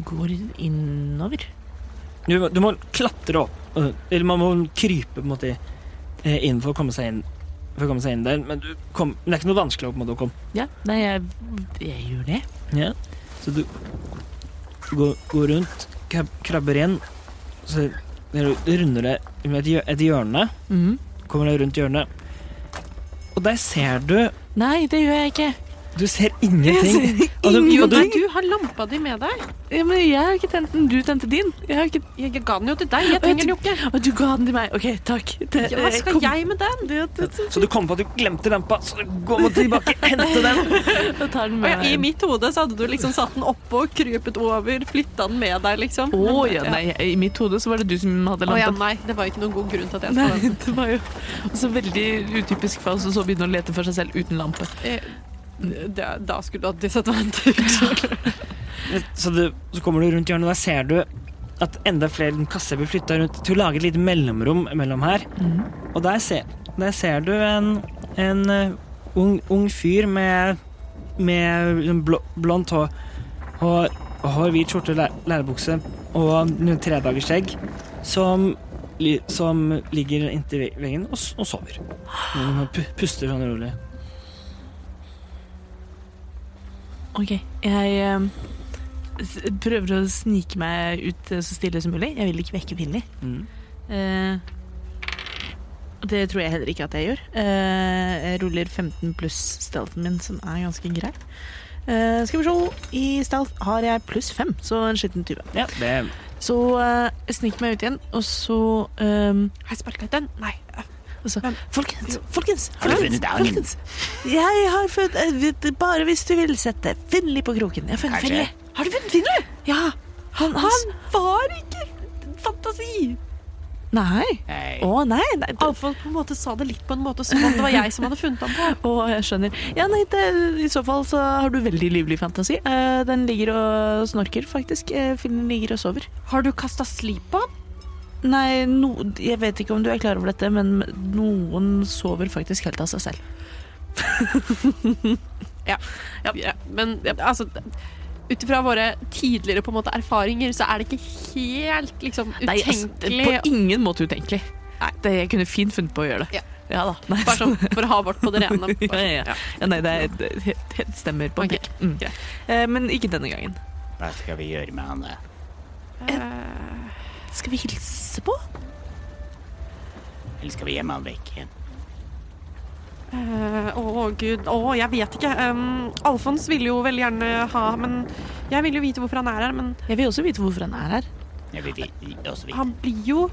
S1: går innover.
S3: Du, må- du må klatre opp, øh, eller man må krype på en måte eh, inn for å komme seg inn. For å komme seg inn der, men, du kom, men det er ikke noe vanskelig å på en måte å komme
S1: Ja, nei, jeg, jeg gjør det.
S3: Ja. Så du går, går rundt, krab- krabber inn, så når du runder det med et hjø- et hjørne.
S2: Mhm.
S3: Kommer deg rundt hjørnet. Og der ser du
S1: Nei, det gjør jeg ikke.
S3: Du ser ingenting. Og du-
S2: Jo,
S3: og du-
S2: men du har lampa di med deg.
S1: Ja, men jeg har ikke tent den. Du tente din. Jeg har ikke...
S2: Jeg jeg ga den jo til deg. Jeg trenger den jo ikke.
S1: Å, du ga den til meg. OK, takk. Det-
S2: Ja, hva skal
S1: kom-
S2: jeg med den?
S1: Det, det, det,
S3: Så du kommer på at du glemte lampa, så du går mot tilbake, henter den.
S1: jeg tar den
S2: Og
S1: med
S2: jeg, I mitt hode så hadde du liksom satt den oppå, krypet over, flytta den med deg, liksom.
S1: Å
S2: Men-
S1: ja, nei, i mitt hode så var det du som hadde
S2: Å ja,
S1: lampen.
S2: nei, det var ikke noen god grunn til at jeg
S1: Nei,
S2: skal
S1: det var jo også veldig utypisk for oss å så begynne å lete for seg selv uten lampe.
S2: det, Da skulle du hatt disadvantage.
S3: Så, du, så kommer du rundt hjørnet, og der ser du at enda flere kasser blir flytta rundt til å lage et lite mellomrom mellom her. Og der ser, der ser du en, en eh, ung, ung fyr med, med liksom blå, blondt hår og og hår, hvit skjorte, læ- lærebukse og noen tredagers skjegg som, li- som ligger inntil ve- veggen og, s- og sover. Og pu- Puster sånn rolig.
S1: Ok, jeg eh, s- prøver å snike meg ut eh, så stille som mulig. Jeg vil ikke vekke Finley.
S3: Mm.
S1: Eh, og det tror jeg heller ikke at jeg gjør. Eh, jeg ruller 15 pluss stealthen min, som er ganske grei. Eh, skal vi se, i stealth har jeg pluss 5, så en skitten 20.
S3: Ja, det
S1: Så eh, jeg sniker meg ut igjen, og så eh,
S2: Har jeg sparka den? Nei.
S1: Altså,
S2: Men-
S1: folkens, folkens,
S7: Har du
S1: folkens,
S7: funnet dagen?
S1: folkens. Jeg har funnet jeg vet, Bare hvis du vil sette Finli på kroken. Jeg har funnet
S7: Kanskje.
S1: Finli. Har du funnet Finli? Ja. Han, han,
S2: var ikke fantasi!
S1: Nei.
S7: Nei.
S1: Å, nei. nei det,
S2: Alfond på en måte sa det litt på en måte som om det var jeg som hadde funnet den på.
S1: å, jeg skjønner. Ja, nei, det, I så fall så har du veldig livlig fantasi. Eh, den ligger og snorker, faktisk. Uh, Finli ligger og sover.
S2: Har du kasta slip på den?
S1: Nei, no, jeg vet ikke om du er klar over dette, men noen sover faktisk helt av seg selv.
S2: Ja, ja, men ja, altså ut ifra våre tidligere på en måte erfaringer, så er det ikke helt liksom
S1: Nei, altså,
S2: utenkelig
S1: På ingen måte utenkelig. Det, jeg kunne fint funnet på å gjøre det.
S2: Ja.
S1: Ja da. Nei,
S2: Bare sånn for å ha vårt på det rene. Bare
S1: Ja, ja,
S2: sånn, ja.
S1: Ja, nei, det, er, det, det det stemmer på
S2: Ok,
S1: prikk. Mm.
S2: greit.
S1: Eh, men ikke denne gangen.
S7: Hva skal vi gjøre med han da?
S1: Skal vi hilse på?
S7: Eller skal vi gjemme han vekk igjen?
S2: Eh, Å, gud. Å, jeg vet ikke. Um, Alfons ville jo veldig gjerne ha Men jeg ville jo vite hvorfor han er her, men
S1: Jeg vil også vite hvorfor han er her.
S7: Jeg vil vi- også vite.
S2: han blir jo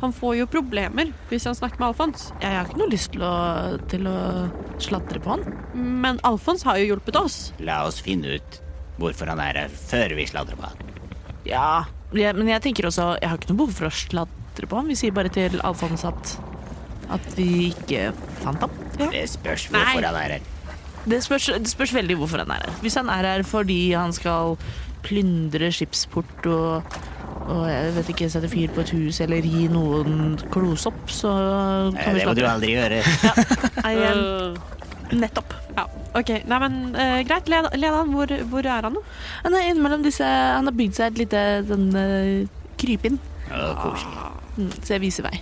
S2: Han får jo problemer hvis han snakker med Alfons.
S1: Jeg har ikke noe lyst til å, til å sladre på han.
S2: Men Alfons har jo hjulpet oss.
S7: La oss finne ut hvorfor han er her før vi sladrer på han.
S1: Ja, jeg, men jeg tenker også Jeg har ikke noe behov for å sladre på han. Vi sier bare til Alfons at at vi ikke fant ham.
S7: Det spørs hvorfor han er her.
S1: Det spørs, det spørs veldig hvorfor han er her. Hvis han er her fordi han skal plyndre skipsport og, og jeg vet ikke, sette fyr på et hus eller gi noen klosopp, så
S7: Nei,
S1: kan vi
S7: Eh, Det må du
S1: sladre.
S7: aldri gjøre.
S1: Nei,
S2: Eh,
S1: nettopp.
S2: ja, OK. Nei, men eh, greit. Led, led han. Hvor, hvor er han nå?
S1: Han er innimellom disse Han har bygd seg et lite sånn, eh, krypinn,
S7: Å, koselig.
S1: Mm, så jeg viser vei.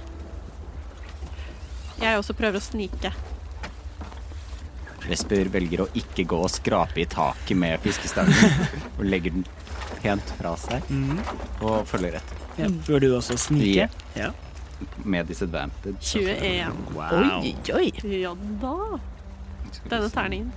S2: Jeg også prøver å snike.
S5: Vesper velger å ikke gå og skrape i taket med fiskestangen, og legger den pent fra seg og følger etter.
S3: ja. Bør du også snike? Ja.
S5: Med disadvantage.
S2: 21.
S3: Wow.
S1: oi.
S2: Ja da. Denne terningen.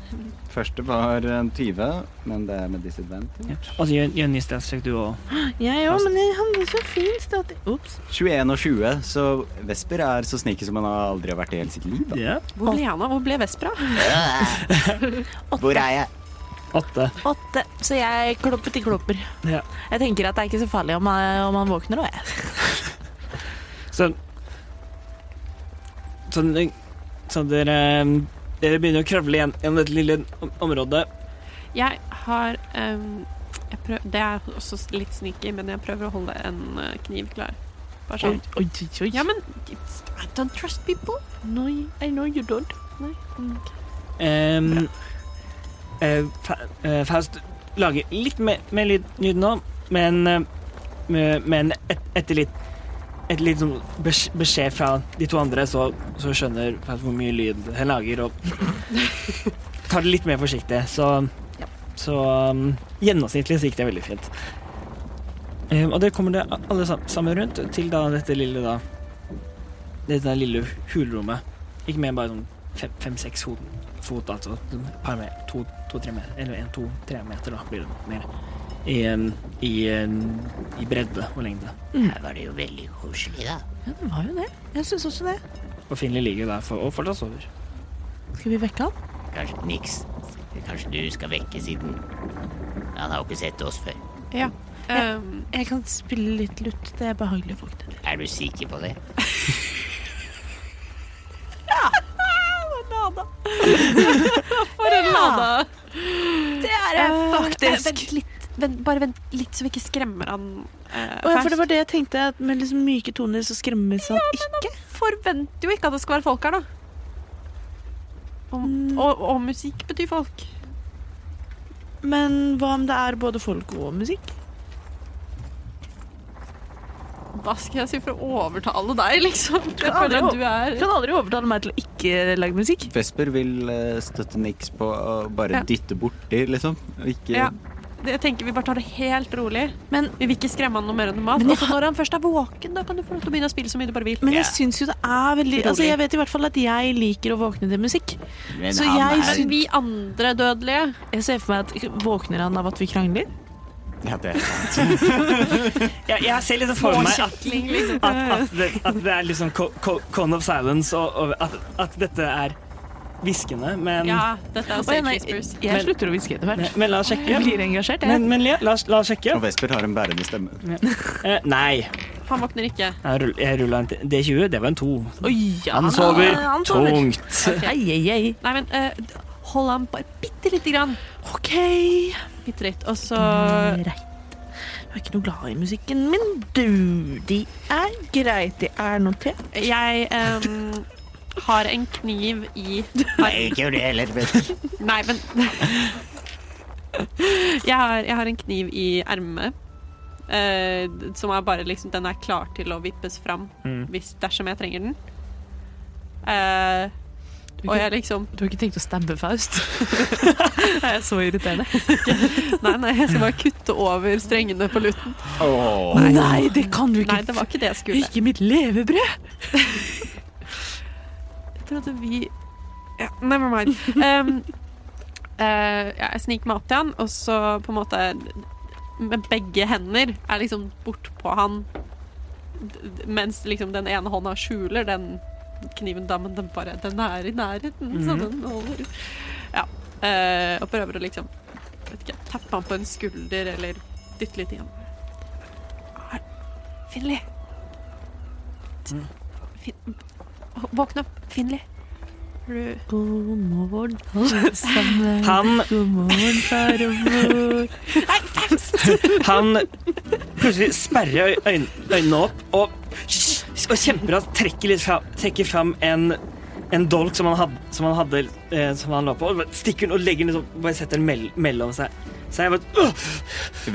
S5: Første var en 20, men det er med disadvantage.
S3: Ja. Og så gjør gjør en ny stedsjekk du òg.
S1: Jeg òg, men jeg- han er så fin stadig. Ops.
S5: 21 og 20, så Vesper er så sneaky som han aldri har vært i hele sitt liv. Da.
S3: Ja.
S2: Hvor ble han av? Hvor ble Vespra?
S7: Hvor er jeg?
S3: Åtte.
S1: Åtte. Så jeg kloppet i klopper.
S3: Ja.
S1: Jeg tenker at det er ikke så farlig om han, om han våkner òg, jeg.
S3: Så, så, så dere, dere begynner å kravle igjen gjennom dette lille om- området.
S2: Jeg har ehm, jeg prøv, Det er også s- litt sneaky, men jeg prøver å holde en eh, kniv klar. Bare
S1: Oi,
S2: sånn.
S1: oi, oi.
S2: Ja, men it's- I don't trust people.
S1: no, I know you don't.
S3: Ehm, eh, Fa- eh, Faust lager litt mer, mer lyd, lyd nå, men, eh, med- men et, etter litt et litt sånn besk- beskjed fra de to andre, så, så skjønner Faust hvor mye lyd han lager, og tar det litt mer forsiktig. Så, så um, gjennomsnittlig så gikk det veldig fint. Ehm, og det kommer det alle sam- sammen rundt til da dette lille da Dette lille hulrommet. Ikke mer enn bare sånn fem- fem-seks hoder fot, altså. Et par meter. To-tre meter. Eller en, to-tre meter, da blir det mer. I, em, i, em, I bredde og lengde.
S7: Her var det jo veldig koselig, da.
S1: Ja, det var jo det. Jeg syns også det.
S3: Og Finley ligger der for, og fortsatt sover.
S1: Skal vi vekke han?
S7: Kanskje Nix Kanskje du skal vekke siden Han har jo ikke sett oss før.
S2: Ja. Um,
S1: Jeg kan spille litt lutt. Det er behagelig å våkne til.
S7: Er du sikker på det?
S2: for en lada!
S1: Det er
S2: Eh, Vent litt, vent, bare vent litt, så vi ikke skremmer han eh,
S1: Å ja, for
S2: først.
S1: det var det jeg tenkte, at med liksom myke toner så skremmes han ikke.
S2: Forventer jo ikke at det skal være folk her, da. Og,
S1: Mm.
S2: og, og musikk betyr folk.
S1: Men hva om det er både folk og musikk?
S2: Hva skal jeg si for å overtale deg, liksom? Jeg
S1: aldri
S2: føler
S1: å-
S2: at du er
S1: Du kan aldri overtale meg til å ikke lage musikk.
S5: Vesper vil eh, støtte Nix på å bare
S2: Ja.
S5: dytte borti, liksom. og Ikke
S2: Ja. Det- Jeg tenker Vi bare tar det helt rolig.
S1: Men,
S2: Vi vil ikke skremme han noe mer enn normalt. Og så når han først er våken, da kan du få lov til å begynne å spille så mye du bare vil.
S1: men jeg syns jo det er veldig Altså, Jeg vet i hvert fall at jeg liker å våkne til musikk.
S7: Men
S1: Så
S7: han
S1: jeg
S7: er
S2: Men vi andre dødelige
S1: Jeg ser for meg at Våkner han av at vi krangler?
S5: Ja, det er sant.
S3: Jeg, jeg ser litt for meg at, at, at, det, at det er liksom co- co- Cone of Silence, og, og at, at dette er hviskende, men
S2: Ja, dette
S1: Mm. Å, ja,
S2: er Sage
S1: nei,
S2: Whispers.
S1: jeg
S3: Men-
S1: slutter å hviske etter
S3: Men,
S1: hvert.
S3: men la oss sjekke.
S1: Jeg blir engasjert, jeg.
S3: Men, men le- la, oss- la oss sjekke.
S5: Og Vesper har en bærende stemme.
S3: Eh, nei.
S2: Han våkner ikke.
S3: Jeg rull- Jeg rulla en t- D20. Det var en to.
S1: Oi, ja,
S3: Han sover
S1: han sover.
S3: tungt.
S1: Ei, ei, ei.
S2: Nei, men eh, d- hold han bare bitte lite grann.
S1: OK.
S2: Bitte litt. Og så
S1: Greit. Jeg er ikke noe glad i musikken min, du. De er greit. De er notert.
S2: Jeg em, har en kniv i
S7: Nei, ikke gjør det heller. vet du.
S2: Nei, men jeg, har, jeg har en kniv i ermet. eh, som er bare liksom Den er klar til å vippes fram hvis, dersom jeg trenger den. Eh, og jeg liksom
S1: Du har ikke tenkt å stabbe Faust? det er så irriterende.
S2: Nei, nei, jeg skal bare kutte over strengene på luten.
S5: Åh.
S1: Nei, det kan du ikke.
S2: Nei, det var ikke det jeg skulle.
S1: Ikke mitt levebrød.
S2: Jeg trodde vi ja, Never mind. Em, eh, ja, jeg sniker meg opp til han, og så på en måte med begge hender er liksom bortpå han d- d- mens liksom den ene hånda skjuler den kniven da, men den bare Den er i nærheten, så den holder Ja. eh, og prøver å liksom vet ikke, tappe han på en skulder eller dytte litt igjen. Er- Finley! Fin, våkne opp, Finley. Er du
S1: God morgen, alle sammen.
S3: Han,
S1: God morgen, far og mor.
S3: han plutselig sperrer øy- øyn, øynene opp og, og kjemperaskt trekker, litt fra, trekker fram en, en dolk som han, had, som han hadde eh, Som han lå på. Og bare stikker den og legger den liksom, bare setter den mell, mellom seg. Så jeg bare øh!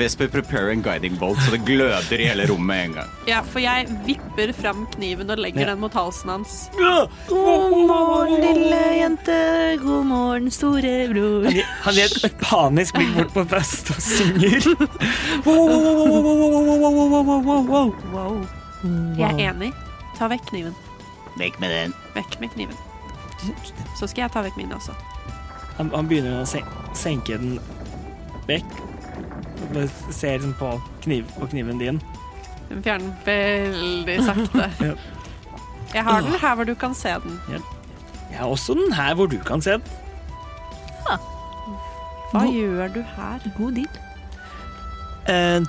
S5: Vesper prepare en guiding bolt, så det gløder i hele rommet med en gang.
S2: Ja, for jeg vipper fram kniven og legger
S3: Ja.
S2: den mot halsen hans.
S3: øh!
S1: God morgen, lille jente. God morgen, storebror.
S3: Han gir- Han gir et panisk blikk bort på Faust og synger. Wow, wow, wow, wow, wow, wow, wow, wow, wow, wow, wow.
S2: Wow. Jeg er enig. Ta vekk kniven.
S7: Vekk med den.
S2: Vekk med kniven. Så skal jeg ta vekk min også.
S3: Han, han begynner å sen senke den vekk. Og Bare ser liksom på, kniv på kniven din.
S2: Den fjerner den veldig sakte.
S3: Ja.
S2: Jeg har den her hvor du kan se den.
S3: Jeg har også den her hvor du kan se den.
S2: Hva gjør du her?
S1: God deal.
S3: Eh,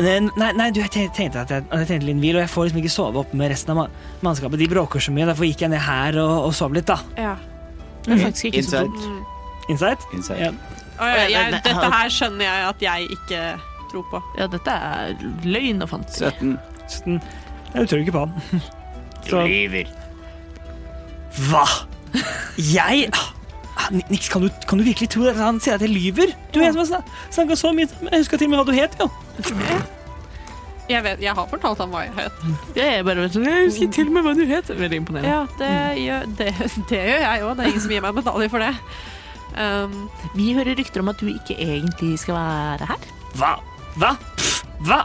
S3: nei, nei, du, jeg te- tenkte at jeg, jeg tenkte litt hvil, og jeg får liksom ikke sove oppe med resten av ma- mannskapet. De bråker så mye, derfor gikk jeg ned her og, og sov litt, da.
S2: Ja.
S1: Det er faktisk ikke så
S5: Inside.
S1: dumt.
S3: Insight?
S5: Inside.
S3: Ja.
S2: Å, ja, jeg, dette her skjønner jeg at jeg ikke tror på.
S1: Ja, dette er løgn og fantasi.
S5: 17.
S3: Så den- Jeg tror ikke på han.
S7: Du
S3: Så
S7: lyver.
S3: Hva? Jeg Ah, Nix, kan du, kan du virkelig tro det? Han sier at jeg lyver. Du er en som har snak- snakket så mye. Jeg husker til og med hva du het, jo.
S2: Jeg, vet, jeg har fortalt ham hva jeg het.
S1: Jeg er bare sånn, jeg husker til og med hva du het. Veldig imponerende.
S2: Ja, det gjør, det, det gjør jeg òg. Det er ingen som gir meg medalje for det. Um,
S1: Vi hører rykter om at du ikke egentlig skal være her.
S3: Hva? Hva? Pff, Hva?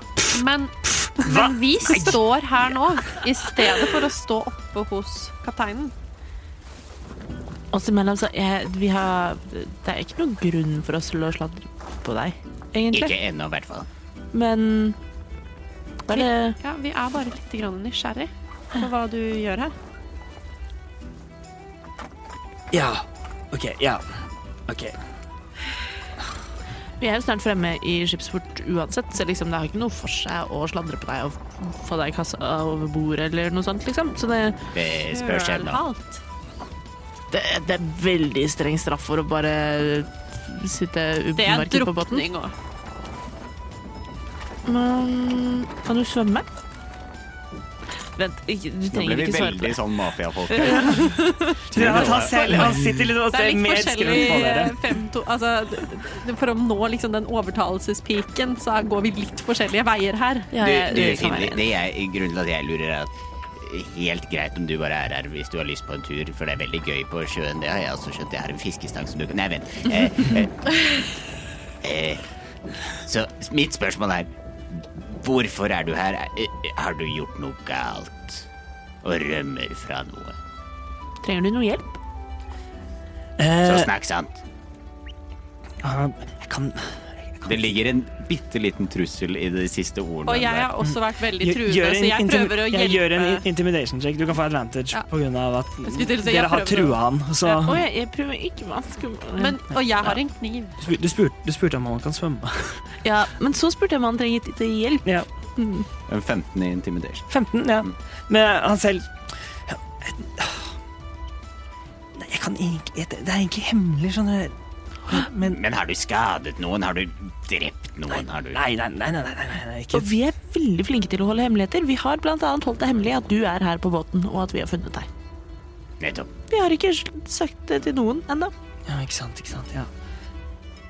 S2: Men,
S3: Hva?
S2: men vi står her nå, i stedet for å stå oppe hos kapteinen.
S1: Oss imellom, så altså, jeg, vi har Det er ikke noen grunn for oss til å sladre på deg, egentlig.
S7: Ikke ennå, i hvert fall.
S1: Men bare
S2: Ja, vi er bare litt grann nysgjerrig på hva du gjør her.
S3: Ja. OK. Ja. OK.
S1: Vi er jo snart fremme i skipsport uansett, så liksom det har ikke noe for seg å sladre på deg og f- få deg i kassa over bordet eller noe sånt, liksom. Så det,
S7: Det spørs ennå.
S2: Alt.
S1: det, det er veldig streng straff for å bare sitte
S2: Det er
S1: ubemerket på båten.
S2: drukning òg.
S1: Men kan du svømme? Vent, ikke,
S5: Nå
S1: du
S5: ble
S1: trenger
S5: vi
S1: ikke svare på
S5: veldig
S1: det.
S5: sånn mafiafolk her.
S3: Tror han, tar selv, han sitter litt og
S2: Det
S3: ser
S2: er litt
S3: mer skremt på
S2: forskjellig
S3: dere.
S2: fem, to, altså, d- d- For å nå liksom den overtalelsespiken, så går vi litt forskjellige veier her. Eh, liksom.
S1: Ja,
S7: Du,
S1: jeg-
S7: du,
S1: jeg kan være
S7: Ingrid,
S1: enig.
S7: det jeg, grunnen til at jeg lurer, er at helt greit om du bare er her hvis du har lyst på en tur, for det er veldig gøy på sjøen. Det har jeg også skjønt. Jeg har en fiskestang som du kan Nei, vent. Eh, eh, eh, så mitt spørsmål er Hvorfor er du her? Eh, eh, Har du gjort noe galt? Og rømmer fra noe?
S1: Trenger du noe hjelp?
S7: Så
S3: Eh,
S7: snakk sant.
S3: jeg kan
S5: Det ligger en bitte liten trussel i de siste ordene.
S2: Og jeg har også vært veldig
S3: Gjør-
S2: truende,
S3: gjør
S2: så jeg
S3: en
S2: prøver å
S3: intim- jeg Gjør en
S2: hjelpe.
S3: in- intimidation check. Du kan få advantage
S2: Ja.
S3: på grunn av at
S2: Jeg skulle til å si,
S3: dere
S2: jeg
S3: har
S2: prøver å-
S3: trua han. Så
S1: Å, jeg, jeg prøver ikke å være skummel.
S2: Men, og jeg har en kniv.
S3: Spu- du, spurte, du spurte om han kan svømme.
S1: Ja, men så spurte jeg om han trengte litt hjelp.
S3: Ja.
S5: der. En 15 i intimidation.
S3: 15, ja. Men han selv Ja, jeg- Nei, jeg kan egentlig jeg- Det er egentlig hemmelig, skjønner du. Men
S7: Men har du skadet noen? Har du drept noen? Har du
S3: Nei, nei, nei, nei, nei, nei, nei ikke
S1: Og vi er veldig flinke til å holde hemmeligheter. Vi har blant annet holdt det hemmelig at du er her på båten, og at vi har funnet deg.
S7: Nettopp.
S1: Vi har ikke sl- sagt det til noen ennå.
S3: Ja, ikke sant, ikke sant. Ja.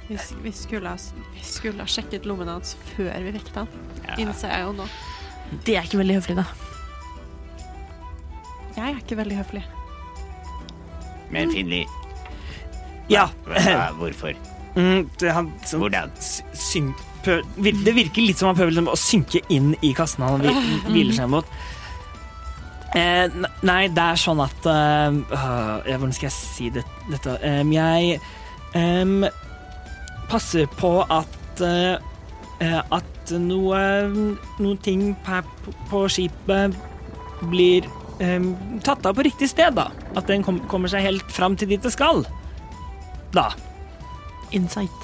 S2: Vi, s- vi, skulle ha, s- vi skulle ha sjekket lommene hans før vi vekket han.
S7: Ja.
S2: Innser jeg jo nå.
S1: Det er ikke veldig høflig, da.
S2: Jeg er ikke veldig høflig.
S7: Men Finli,
S3: ja.
S7: hva- hvorfor?
S3: Mm, det, han, sånn,
S7: Hvordan?
S3: s- syn- prøv- vir- det virker litt som han prøver liksom, å synke inn i kassen han hvil- hviler seg mot. Eh, n- nei, det er sånn at eh, øh, ja, Hvordan skal jeg si det, dette? Em, jeg em, passer på at eh, eh, At noe noen ting her på, på skipet blir em, tatt av på riktig sted, da. At den kom, kommer seg helt fram til dit det skal. Da.
S1: Insight.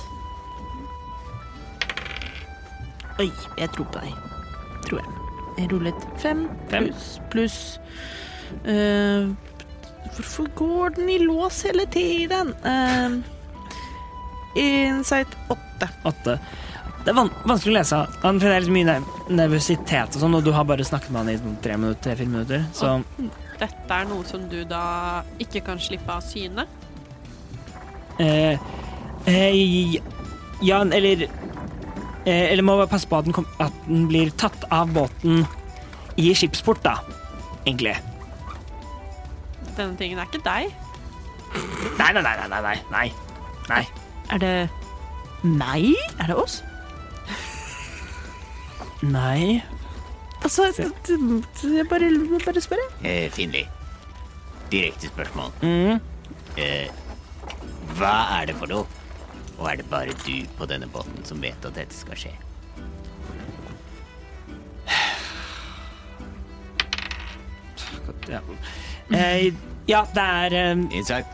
S1: Oi, jeg tror på deg. Tror jeg. Jeg rullet fem
S7: Fem.
S1: pluss pluss eh, Hvorfor går den i lås hele tiden? Eh, insight åtte.
S3: åtte. Det er van vanskelig å lese. Han for det er litt mye nerv- nervøsitet og sånn, og du har bare snakket med han i sånn tre minutter, tre-fire minutter. Så
S2: Dette er noe som du da ikke kan slippe av syne.
S3: eh, eh, Ja, eller eh, Eller må bare passe på at den, kom, at den blir tatt av båten i skipsport, da. Egentlig.
S2: Denne tingen er ikke deg.
S3: Nei, nei, nei, nei, nei. nei. Nei.
S1: Er det meg? Er det oss?
S3: Nei.
S1: Altså, d- d- jeg bare, jeg bare spør, jeg.
S7: Eh, Finli, direkte spørsmål.
S3: Mm.
S7: Eh, hva er det for noe? Og er det bare du på denne båten som vet at dette skal skje?
S3: Ja. Eh, ja, det er eh,
S7: Insight.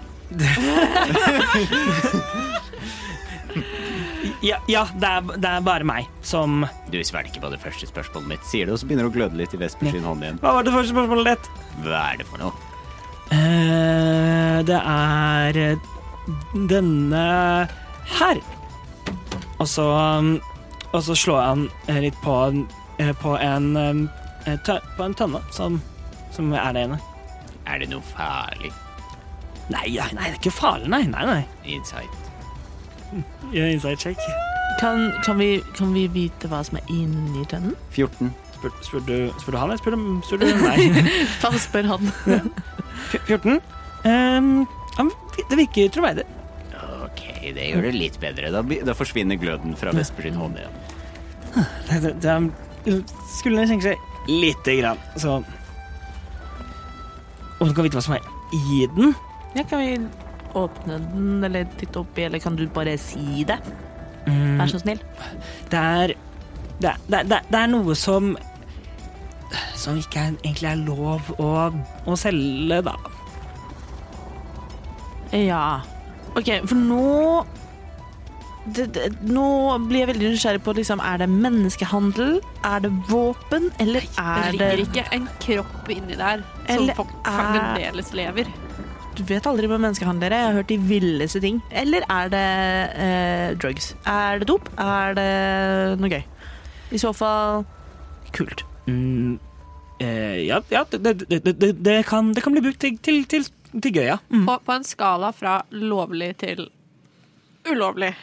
S3: ja, ja, det er, det er bare meg som
S7: Du svelger på det første spørsmålet mitt.
S5: Sier det, og så begynner det å gløde litt i Vespers sin hånd igjen.
S3: Hva var det første spørsmålet ditt?
S7: Hva er det for noe?
S3: Eh, Det er eh, denne her. Og så, um, og så slår han eh, litt på, en- eh, på, en, um, eh, tø på en tønne som, som er der inne.
S7: Er det noe farlig?
S3: Nei, nei, nei, det er ikke farlig, nei. nei, nei.
S7: Insight.
S3: Gjør en Inside check.
S1: Kan, kan, vi, kan vi vite hva som er inni tønnen?
S5: 14.
S3: Spør, spør, du, spør du han, eller spør du, spør du meg?
S1: Da spør han.
S3: Fj- 14. Ehm, ja, men det virker troverdig.
S7: Ok, det gjør det litt bedre.
S5: Da, be- da forsvinner gløden fra Vespers sin hånd igjen.
S3: Det, det, det er- skulle tenke seg lite grann, så Om du kan vite hva som er i den?
S1: Ja, kan vi åpne den, eller titte oppi, eller kan du bare si det? Vær så snill.
S3: Det er det, er- det, er- det, er- det er noe som Som ikke er, egentlig er lov å, å selge, da.
S1: Ja. Ok, for nå det, det, Nå blir jeg veldig nysgjerrig på liksom, Er det menneskehandel, er det våpen, eller
S2: Det
S1: er det
S2: ligger ikke en kropp inni der som
S1: Eller
S2: fak-
S1: er-
S2: fremdeles lever.
S1: Du vet aldri med menneskehandlere. Jeg har hørt de villeste ting. Eller er det eh, drugs? Er det dop? Er det noe gøy? I så fall kult.
S3: Mm, eh, ja, ja det, det, det, det, det, kan, det kan bli brukt til, til, til, til gøy, ja. Mm.
S2: På, på en skala fra lovlig til ulovlig.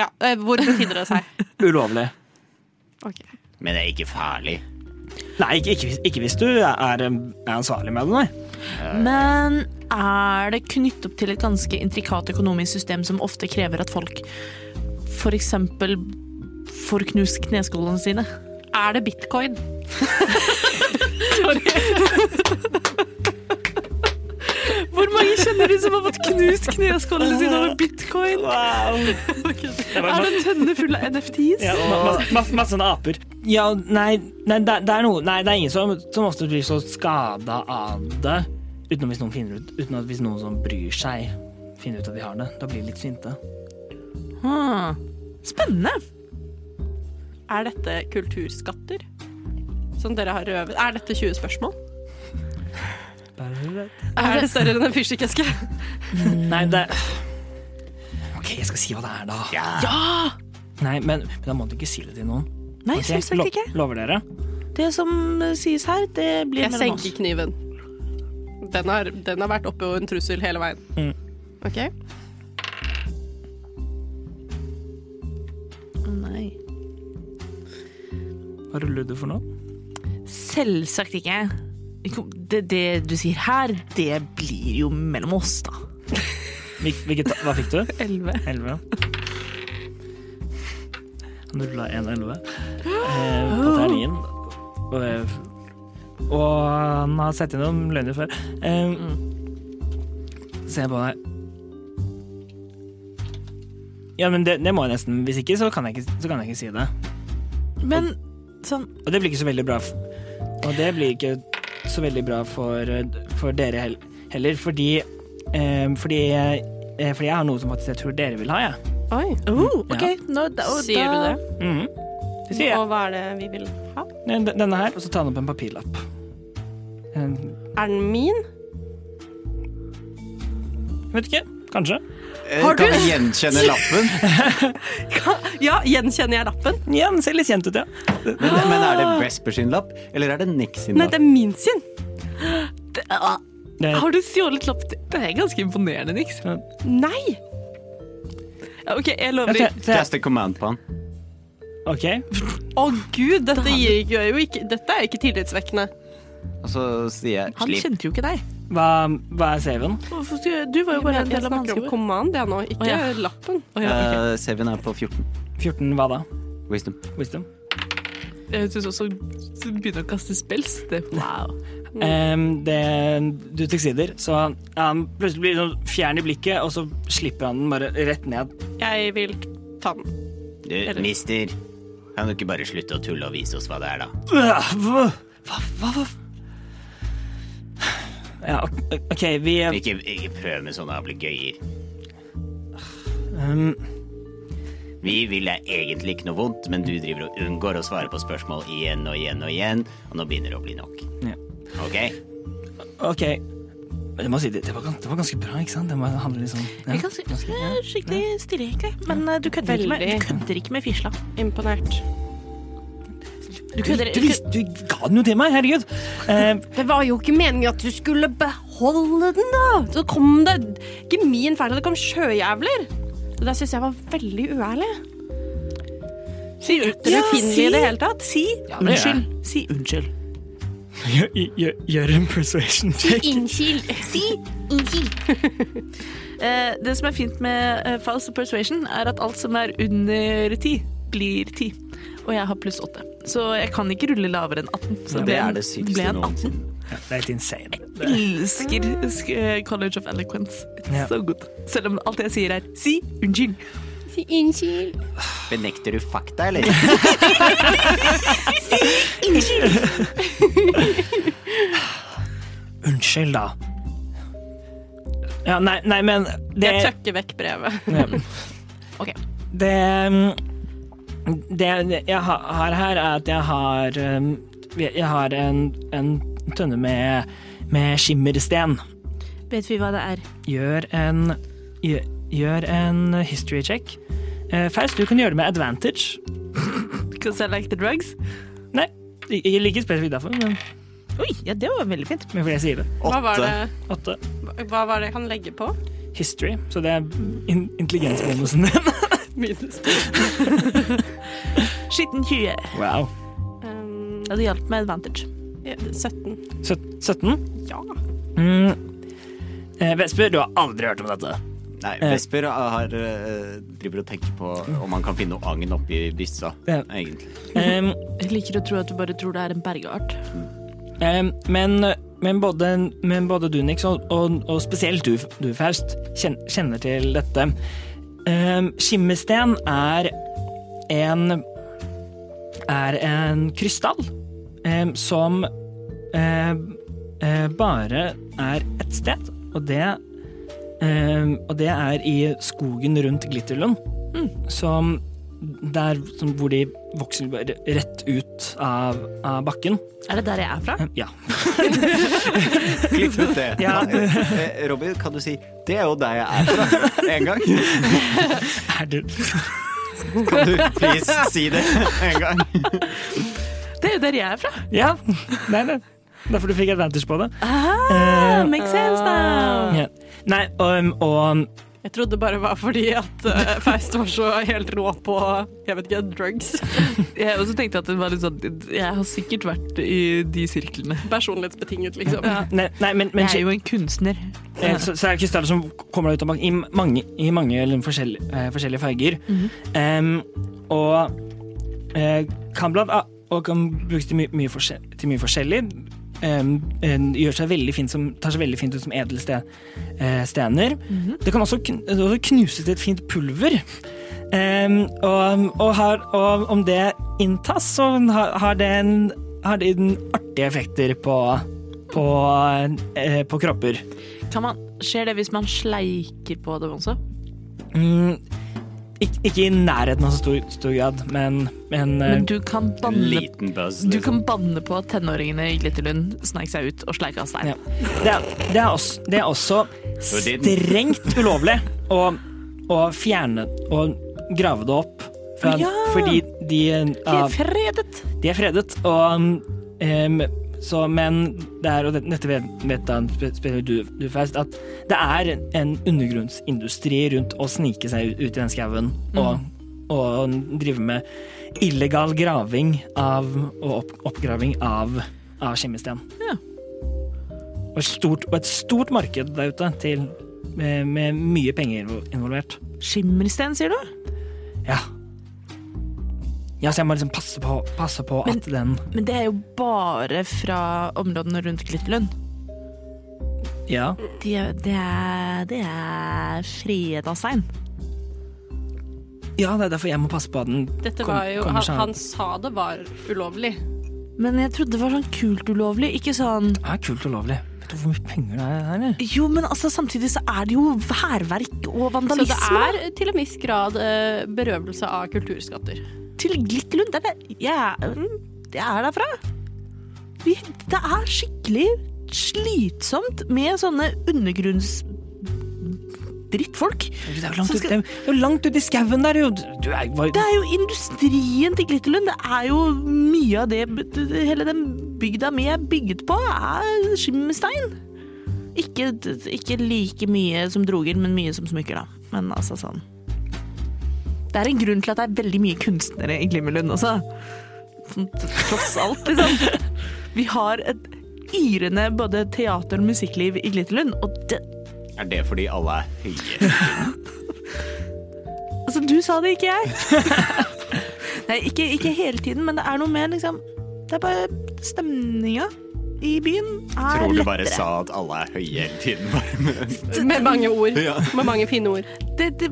S2: Ja, eh, hvor befinner det seg?
S3: Ulovlig.
S2: Ok.
S7: Men det er ikke farlig.
S3: Nei, ikke, ikke, hvis- ikke hvis du er, er ansvarlig med det, nei.
S1: Men er det knyttet opp til et ganske intrikat økonomisk system som ofte krever at folk f.eks. får knust kneskålene sine?
S2: Er det bitcoin?
S1: Hvor mange kjenner du som har fått knust kneskålene sine over bitcoin? Er det en tønne full av NFTs?
S3: Ja, ma- ma- masse, masse sånne aper. Ja, nei, nei, det, det er noe, nei det er ingen som, som ofte blir så skada av det, utenom hvis noen finner ut Uten at hvis noen som bryr seg, finner ut at de har det. Da blir de litt sinte.
S1: Hmm. Spennende.
S2: Er dette kulturskatter? Som dere har røvet? Er dette 20 spørsmål? Er det større enn en fyrstikkeske?
S3: Nei, det OK, jeg skal si hva det er, da.
S7: Ja.
S3: Nei, men, men da må du ikke si det til noen.
S1: Nei,
S3: Ok?
S1: selvsagt
S3: Lo-
S1: ikke.
S3: Lover dere?
S1: Det som sies her, det blir
S2: Jeg
S1: mellom oss.
S2: senker kniven. Den har, den har vært oppe og en trussel hele veien.
S3: Mm.
S2: OK?
S1: Nei.
S3: Hva ruller du for noe?
S1: Selvsagt ikke. Det, det du sier her, det blir jo mellom oss, da.
S3: Hvil- Hvilket, hva fikk du?
S1: Elleve.
S3: Elleve. Han rulla en elleve eh, på terningen. Og, eh, og han har sett gjennom løgner før. Eh, Ser jeg på deg Ja, men det, det må jeg nesten. Hvis ikke, så kan jeg ikke, så kan jeg ikke si det.
S1: Men sånn
S3: Og det blir ikke så veldig bra f- Og det blir ikke så veldig bra for, for dere hel- heller, fordi eh, fordi, jeg- eh, fordi jeg har noe som faktisk jeg tror dere vil ha, jeg.
S2: Oi.
S1: oh, OK. Nå, da, og
S2: Uh, Sier du
S1: da-
S2: det?
S3: Mhm. Det sier jeg.
S2: Og hva er det vi vil ha?
S3: Den- Denne her, og så tar han opp en papirlapp. En-
S2: Er den min?
S3: Jeg vet ikke. Kanskje.
S5: Har du?
S7: Eh,
S5: Kan vi gjenkjenne lappen?
S2: Ja, gjenkjenner jeg lappen?
S3: Ja, den ser litt kjent ut, ja.
S5: Men, men er det Vesper sin lapp, eller er det Nick sin
S2: Nei,
S5: lapp?
S2: det er min sin.
S1: Det- ah,
S3: Det,
S1: Har du stjålet lapp? Det det er ganske imponerende, Nix.
S2: Nei!
S1: Ja, OK, jeg
S3: Ja,
S1: lover.
S3: se- se-
S5: Cast a command på han.
S3: OK.
S2: Å gud, dette gir ikke, jo ikke Dette er jo ikke tillitsvekkende.
S5: Og så sier jeg
S1: Han
S5: slipp.
S1: kjente jo ikke deg.
S3: Hva, hva er CV-en?
S1: Hvorfor skulle- Du var jo bare en
S2: Jeg,
S1: del av
S2: snakker om
S1: mannskapet.
S2: command jeg nå, ikke
S1: Å,
S2: lappen.
S1: Å, ja, ok.
S5: Uh, Seven er på 14.
S3: 14 hva da?
S5: Wisdom.
S3: Wisdom.
S1: Jeg syns også du begynner å kaste spels. Det. Wow.
S3: Mm. Em, det, du tilsider, så han plutselig blir sånn fjern i blikket, og så slipper han den bare rett ned.
S2: Jeg vil ta den.
S7: Du, mister, kan du ikke bare slutte å tulle og vise oss hva det er, da?
S3: Hva, hva, hva, hva? Ja, ok, ok, vi eh,
S7: Ikke, ikke prøv med sånne ablegøyer.
S1: Um,
S3: em,
S7: Vi vil deg egentlig ikke noe vondt, men du driver og unngår å svare på spørsmål igjen og igjen og igjen, og nå begynner det å bli nok.
S3: Ja.
S7: Ok?
S3: OK. Men jeg må si, det, det, var, gans- det var ganske bra, ikke sant? Det må handle litt sånn ja.
S1: Jeg kan si- det er Skikkelig stille, egentlig. Men eh, du kødder ikke med, du
S2: Veldig.
S1: kødder ikke med fisla.
S2: Imponert.
S1: Du
S3: Du,
S1: kødder,
S3: du, visste- du ga den jo til meg, herregud! Eh,
S2: Det var jo ikke meningen at du skulle beholde den, da! Så kom det ikke min feil at det kom sjøjævler. Det der syns jeg var veldig uærlig.
S1: Sier
S2: Det er ufinnelig i det hele tatt.
S1: Si unnskyld. Si unnskyld.
S3: gjør, gjør, gjør en persuasion check.
S2: Innkild.
S1: Si unnskyld. Eh, det som er fint med eh, Faust og Persuasion, er at alt som er under ti, blir ti. Og jeg har pluss åtte. Så jeg kan ikke rulle lavere enn 18. Så
S5: Så
S1: jeg
S5: det
S1: ble en-
S5: er det sykeste
S1: ble en 18.
S5: noensinne.
S3: Det er helt insane.
S1: elsker sk- eh, College of Eloquence. It's
S3: Ja.
S1: so good. Selv om alt jeg sier er si unnskyld.
S7: Benekter du fakta, eller?
S3: Unnskyld, da. Ja, nei, nei, men det
S2: Jeg tøkker vekk brevet.
S3: Ja.
S1: Ok.
S3: Det mm, Det jeg ha- har her, er at jeg har um, Jeg har en, en tønne med, med skimmersten.
S1: Vet vi hva det er?
S3: Gjør en gjør, gjør en history check. Eh, Faust, du kan gjøre det med advantage.
S1: Because I like the drugs.
S3: Nei, jeg ligger spesifikt derfor, men
S1: Oi, ja, det var veldig fint.
S3: men fordi jeg sier det.
S2: Hva var det,
S3: Åtte.
S2: hva var det han legger på?
S3: History. Så det er in intelligensbonusen din.
S2: Minus
S1: Skitten 20.
S3: Wow.
S2: um,
S1: Ja, det hjalp med advantage.
S2: ja, 17.
S3: Søt- 17?
S2: Ja.
S3: Mm. Eh, Vesper, du har aldri hørt om dette.
S7: Nei, Vesper har, eh, driver og tenker på om han kan finne noe agn oppi byssa,
S3: Ja.
S7: egentlig.
S3: Um,
S1: Jeg liker å tro at du bare tror det er en bergart.
S3: Ehm, men, men, både, men både du, Nix, og, og, og spesielt du, du Faust, kjen- kjenner til dette. Um, skimmesten er en er en krystall em, som em, eh, bare er ett sted, og det em, og det er i skogen rundt Glitterlund, som der som, hvor de vokser bare rett ut av, av bakken.
S1: Er det der jeg er fra?
S3: Em, Ja.
S7: Klipp ut det.
S3: Ja.
S7: Eh, Robin, kan du si 'det er jo der jeg er fra' en gang?
S3: Er du
S7: Kan du please si det en gang?
S1: Det er jo der jeg er fra.
S3: Ja. Nei, nei. Derfor du fikk advantage på det. Eh,
S1: Ah, makes sense now.
S3: Ja. Nei, og, og
S2: Jeg trodde det bare var fordi at eh, Faust var så helt rå på jeg vet ikke, drugs.
S1: Jeg også tenkte at det var litt sånn Jeg har sikkert vært i de sirklene.
S2: Personlighetsbetinget, liksom.
S3: Nei, nei men, men
S1: jeg er jo en kunstner.
S3: eh, så, så er det krystaller som kommer ut av bank i mange, i mange eller forskjellige, eh, forskjellige farger. Em, og eh, kan blant a- og kan brukes til mye, mye, forskjell, til mye forskjellig. Em, en gjør seg veldig fint som, tar seg veldig fint ut som edelstener. Det kan også, kn- det også knuses til et fint pulver. Em, og, og, har, og om det inntas, så har, har det en har det en artige effekter på, på, eh, på kropper.
S1: Kan man, skjer det hvis man sleiker på dem også?
S3: Mm, ikke, ikke i nærheten av så stor, stor grad, men, men, eh,
S1: Men du kan banne,
S7: Liten buzz.
S1: du
S7: liksom.
S1: kan banne på at tenåringene i Glitterlund sneik seg ut og sleika stein.
S3: ja. det, er, det, er også, det er også
S7: din.
S3: strengt ulovlig å, å fjerne og grave det opp. fra-
S1: Ja.
S3: Fordi de, eh,
S1: De
S3: ja,
S1: er fredet!
S3: de er fredet, og um, em, så, men det er, og det- dette vet, vet da spe- spesielt du, du Faust, at det er en undergrunnsindustri rundt å snike seg ut, ut i den skauen og,
S1: Mm.
S3: og drive med illegal graving av, og opp, oppgraving av, av skimmesten.
S1: Ja.
S3: Og, et stort, og et stort marked der ute til, med, med mye penger involvert.
S1: Skimmersten, sier du?
S3: Ja. Ja, så jeg må liksom passe på, passe på
S1: Men-
S3: at den
S1: Men det er jo bare fra områdene rundt Glitterlund.
S3: Ja.
S1: De er, det er, det er freda stein.
S3: Ja, det er derfor jeg må passe på at den
S2: Dette
S3: kom-
S2: var jo
S3: kommer
S2: han,
S3: seg-
S2: han sa det var ulovlig.
S1: Men jeg trodde det var sånn kult ulovlig, ikke sånn
S3: Det er kult og lovlig. Vet du hvor mye penger det er her? eller?
S1: Jo, men altså, samtidig så er det jo hærverk og
S2: Så det
S1: vandalisme.
S2: er til en viss grad eh, berøvelse av kulturskatter.
S1: til Glitterlund. Det er der jeg, mm, jeg er derfra. Vi, det er skikkelig slitsomt med sånne undergrunns drittfolk.
S3: Det er jo langt,
S1: Så
S3: ut,
S1: skal-
S3: det er det er jo langt ut i skauen der, jo. Du er, hva,
S1: Det er jo industrien til Glitterlund. Det er jo mye av det Hele den bygda mi er bygget på, er skimmerstein. Ikke, ikke like mye som droger, men mye som smykker, da. Men altså sånn Det er en grunn til at det er veldig mye kunstnere i Glimmerlund også. Sånn, Tross alt, liksom. Vi har et yrende både teater- og musikkliv i Glitterlund, og det
S7: Er det fordi alle er høye?
S1: Altså, du sa det, ikke jeg. Nei, ikke, ikke hele tiden, men det er noe mer, liksom. Det er bare stemninga. i byen er
S7: Tror du
S1: lettere.
S7: bare sa at alle er høye hele tiden? Bare med.
S2: Med mange ord.
S7: Ja.
S2: Med mange fine ord.
S1: Det, det,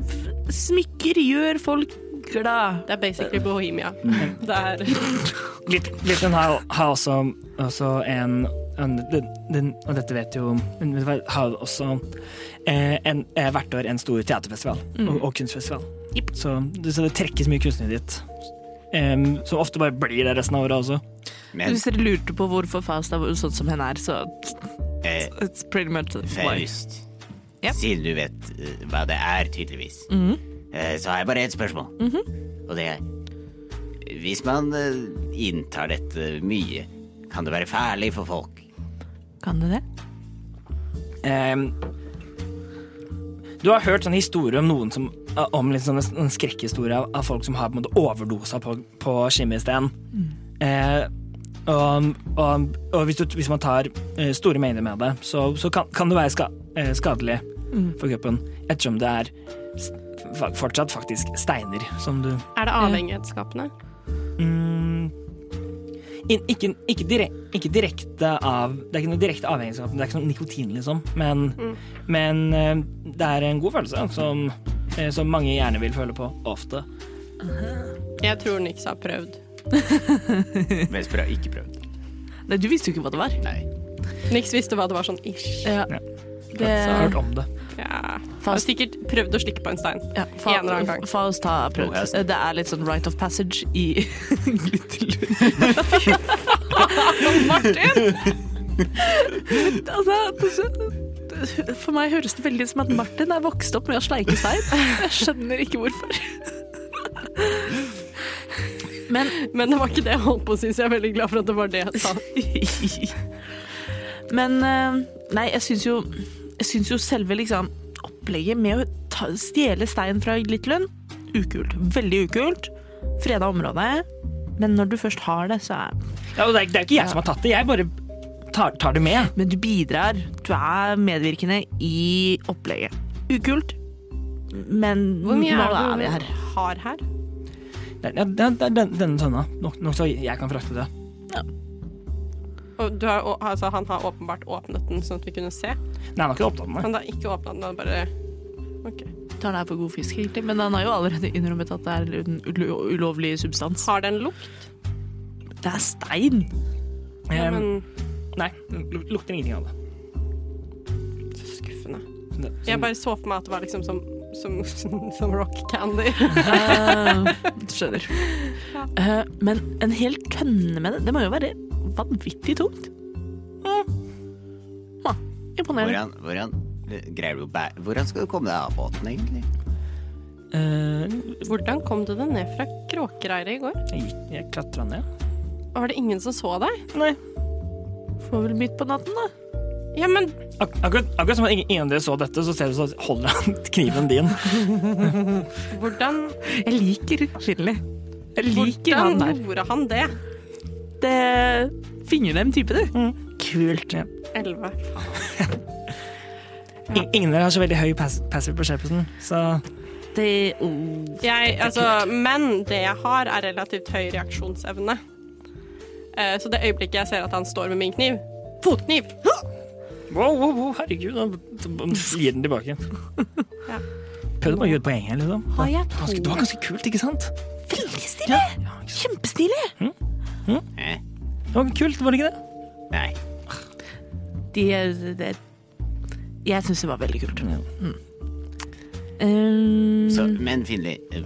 S1: smykker gjør folk glad.
S2: Det er basically Bohemia. Det er
S3: Litt, litt den har, har også, også en, en den, den, Og dette vet jo men vet du hva, Har også eh, en, eh, hvert år en stor teaterfestival
S2: Mm.
S3: og, og kunstfestival. Så, det- så det trekkes mye kunstnere dit. Em, som ofte bare blir det resten av året også.
S7: Men
S1: Hvis dere lurte på hvorfor Faust er sånn som hun er, så
S7: eh,
S1: it's pretty much why.
S7: Faust,
S1: Ja. Mhm.
S7: siden du vet eh, hva det er, tydeligvis, eh, så har jeg bare ett spørsmål. Og det er Hvis man eh, inntar dette mye, kan det være farlig for folk?
S1: Kan det det?
S3: Em, Ehm, du har hørt sånne historier om noen som om litt sånne, en skrekkhistorie av, av folk som har på en måte overdosa på, på skimmisten. Eh, og, og, og hvis, du, hvis man tar eh, store mengder med det, så, så kan, kan det være ska, eh, skadelig for kroppen. Ettersom det er s- fa- fortsatt faktisk steiner som du
S2: Er det avhengighetsskapende?
S3: mm, in, ikke, ikke, direk, ikke direkte av Det er ikke noe direkte avhengighetsskap, det er ikke noe nikotin, liksom. Men,
S2: Mm.
S3: men eh, det er en god følelse som, eh, som mange gjerne vil føle på ofte.
S2: Jeg tror Nix har prøvd.
S7: Mens prøv, ikke prøvd.
S1: Nei, du visste jo ikke hva det var.
S7: Nei.
S2: Nix visste hva det var sånn ish.
S3: Jeg har hørt om det.
S2: Ja. Han har sikkert prøvd å slikke på en stein.
S1: Ja,
S2: En eller annen gang.
S1: Faust har prøvd.
S7: Faust.
S1: Det er litt sånn right of passage i Glitterlund. Martin! altså, det- for meg høres det veldig ut som at Martin er vokst opp med å sleike stein. Jeg skjønner ikke hvorfor. Men
S2: Men det var ikke det jeg holdt på å si, så jeg er veldig glad for at det var det jeg sa.
S1: Men eh, nei, jeg syns jo Jeg syns jo selve liksom opplegget med å ta, stjele stein fra Glitterlund Ukult. Veldig ukult. Freda område. Men når du først har det, så er
S3: Ja, og det, er, det er ikke jeg som har tatt det, jeg bare tar, tar det med.
S1: Men du bidrar. Du er medvirkende i opplegget. Ukult. Men
S2: Hvor mye
S1: nå
S2: er
S1: er vi
S2: det
S1: her.
S2: du har her?
S3: Det er, det er, det er den- denne tønna. Nok, nok så jeg kan frakte det.
S2: Og du har, å- altså, han har åpenbart åpnet den sånn at vi kunne se.
S3: Nei, han har ikke opptatt den. nei.
S2: Han har ikke åpnet den, han bare OK.
S1: Tar det her for god fisk, egentlig. Men han har jo allerede innrømmet at det er en ulo- ulovlig substans.
S2: Har det en lukt?
S1: Det er stein!
S2: Ja,
S3: Em,
S2: men
S3: Nei, luk- lukter ingenting av det.
S2: så skuffende.
S3: det så-
S2: Jeg bare så for meg at det var liksom som, som, som rock candy.
S1: Du skjønner. Eh, men en hel tønne med det, det må jo være vanvittig tungt. Mm. Ah, imponerende.
S7: Hvordan, hvordan eh, greier du å bære Hvordan skal du komme deg av båten, egentlig?
S3: Eh,
S2: Hvordan kom du deg ned fra kråkereiret i går?
S3: jeg gikk, jeg klatra ned.
S2: Var det ingen som så deg?
S3: Nei.
S1: Får vel midt på natten, da.
S2: Ja, men
S3: Ak akkurat, akkurat som at ingen, ingen av dere så dette, så ser du så holder han kniven din.
S2: hvordan,
S1: Jeg liker Shinley. Jeg liker han
S2: hvordan
S1: der.
S2: gjorde han det?
S1: Det fingernem type, du. Kult.
S3: Ja.
S2: Elleve.
S3: I- Ingen av dere har så veldig høy pass passive perception, så
S1: Det oh.
S2: Jeg, altså, men det jeg har, er relativt høy reaksjonsevne. Eh, Så det øyeblikket jeg ser at han står med min kniv Fotkniv!
S3: Wow, wow, wow, herregud, han han gir den tilbake.
S2: Ja.
S3: Prøvde bare å gjøre et poeng her, liksom.
S2: Har jeg
S3: Det var ganske- Det var ganske kult, ikke sant?
S1: Veldig stilig! Kjempestilig!
S7: Eh?
S3: Det var kult, var det ikke det?
S7: Nei.
S1: De, det, jeg syns det var veldig kult. Mm. Um,
S7: Så, men Finli, eh,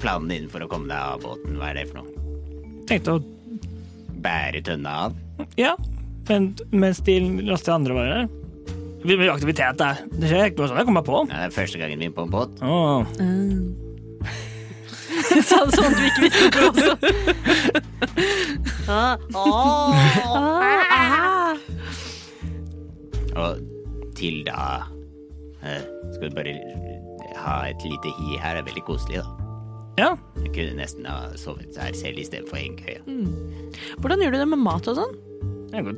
S7: planen din for å komme deg av båten, hva er det for noe?
S3: Tenkte å
S7: Bære tønna av?
S3: Ja. Men mens de laster andre varer her. Vi blir aktivitet der. Det skjer ikke noe sånt jeg kommer på.
S7: Ja, det er første gangen min på en båt.
S3: Åh.
S1: sånn, sånn eh. du ikke visste det også.
S7: Og til da eh, Skal du bare ha et lite hi her? Det er veldig koselig, da.
S3: Ja.
S7: Jeg kunne nesten ha sovet her selv istedenfor å henge
S1: Mm.
S7: køya.
S1: Hvordan gjør du det med mat og sånn?
S3: Jeg går.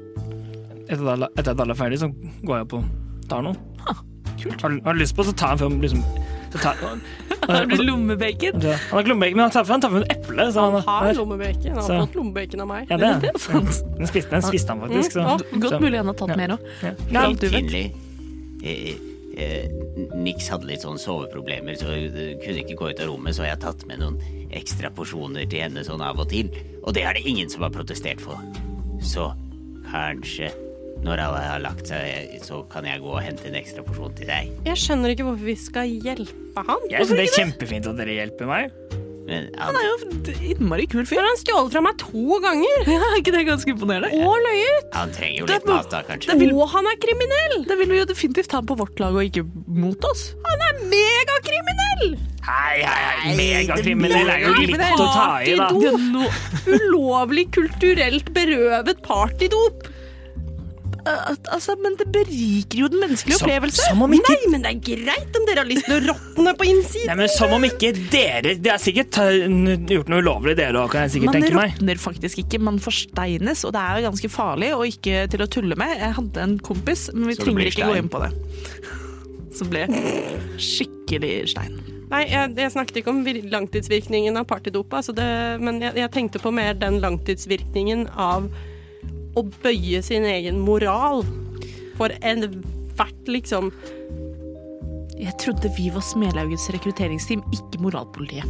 S3: Etter at alle- etter at alle er ferdige, så går jeg opp og tar noe. Har, du- har du lyst på, så tar jeg en film. Liksom, så tar,
S1: Har du lommebacon?
S3: Ja, Han har lommebacon, men han tar, han tar med en eple. Så han,
S2: Han har
S3: her.
S2: lommebacon. Han har
S3: Så-
S2: fått lommebacon av meg.
S3: ja, det. er-
S1: Det er sant. Mm,
S3: Den spiste, den spiste han faktisk.
S2: Mm,
S3: Så.
S1: Godt
S3: så-
S1: mulig han har tatt
S3: Ja.
S1: mer òg.
S3: Ja.
S1: For alt du vet.
S7: Pinlig. Eh, eh, Nix hadde litt sånn soveproblemer, så hun eh, kunne ikke gå ut av rommet, så jeg har tatt med noen ekstra porsjoner til henne sånn av og til. Og det er det ingen som har protestert for. Så kanskje, når alle har lagt seg, så kan jeg gå og hente en ekstra porsjon til deg.
S2: Jeg skjønner ikke hvorfor vi skal hjelpe han.
S3: Jeg synes det er kjempefint at dere hjelper meg.
S7: Men
S1: Han er jo en innmari kul
S2: Nå
S1: fyr.
S2: har han stjålet fra meg to ganger!
S1: Ja, er ikke det ganske imponerende?
S2: Og løyet!
S7: Han trenger jo
S1: Det er
S7: litt
S1: bo-
S7: mat da, kanskje.
S1: det vil-
S2: Og han er kriminell!
S1: Da vil vi jo definitivt ha han på vårt lag og ikke mot oss.
S2: Han er megakriminell!
S3: Hei, hei, hei, megakriminell er jo litt
S2: Nei,
S3: å ta i, da.
S2: partydop.
S1: No,
S2: Ulovlig kulturelt berøvet partydop.
S1: al- altså, men det beriker jo den menneskelige
S3: Som,
S1: opplevelse.
S3: som om
S2: Nei,
S3: ikke
S2: men det er greit om dere har lyst til å råtne på innsiden.
S3: Nei, men Som om ikke dere Det er sikkert eh, n- gjort noe ulovlig, dere òg, kan jeg sikkert
S1: Man
S3: tenke meg.
S1: råtner faktisk ikke, man forsteines, og det er jo ganske farlig og ikke til å tulle med. Jeg hadde en kompis, men vi
S7: Så du
S1: trenger
S7: blir
S1: ikke gå
S7: stein.
S1: inn på det. Som ble skikkelig stein.
S2: Nei, jeg, jeg snakket ikke om vir- langtidsvirkningen av partydopa, så det, men jeg, jeg tenkte på mer den langtidsvirkningen av å bøye sin egen moral for enhvert liksom
S1: Jeg trodde vi var Smelaugets rekrutteringsteam, ikke moralpolitiet.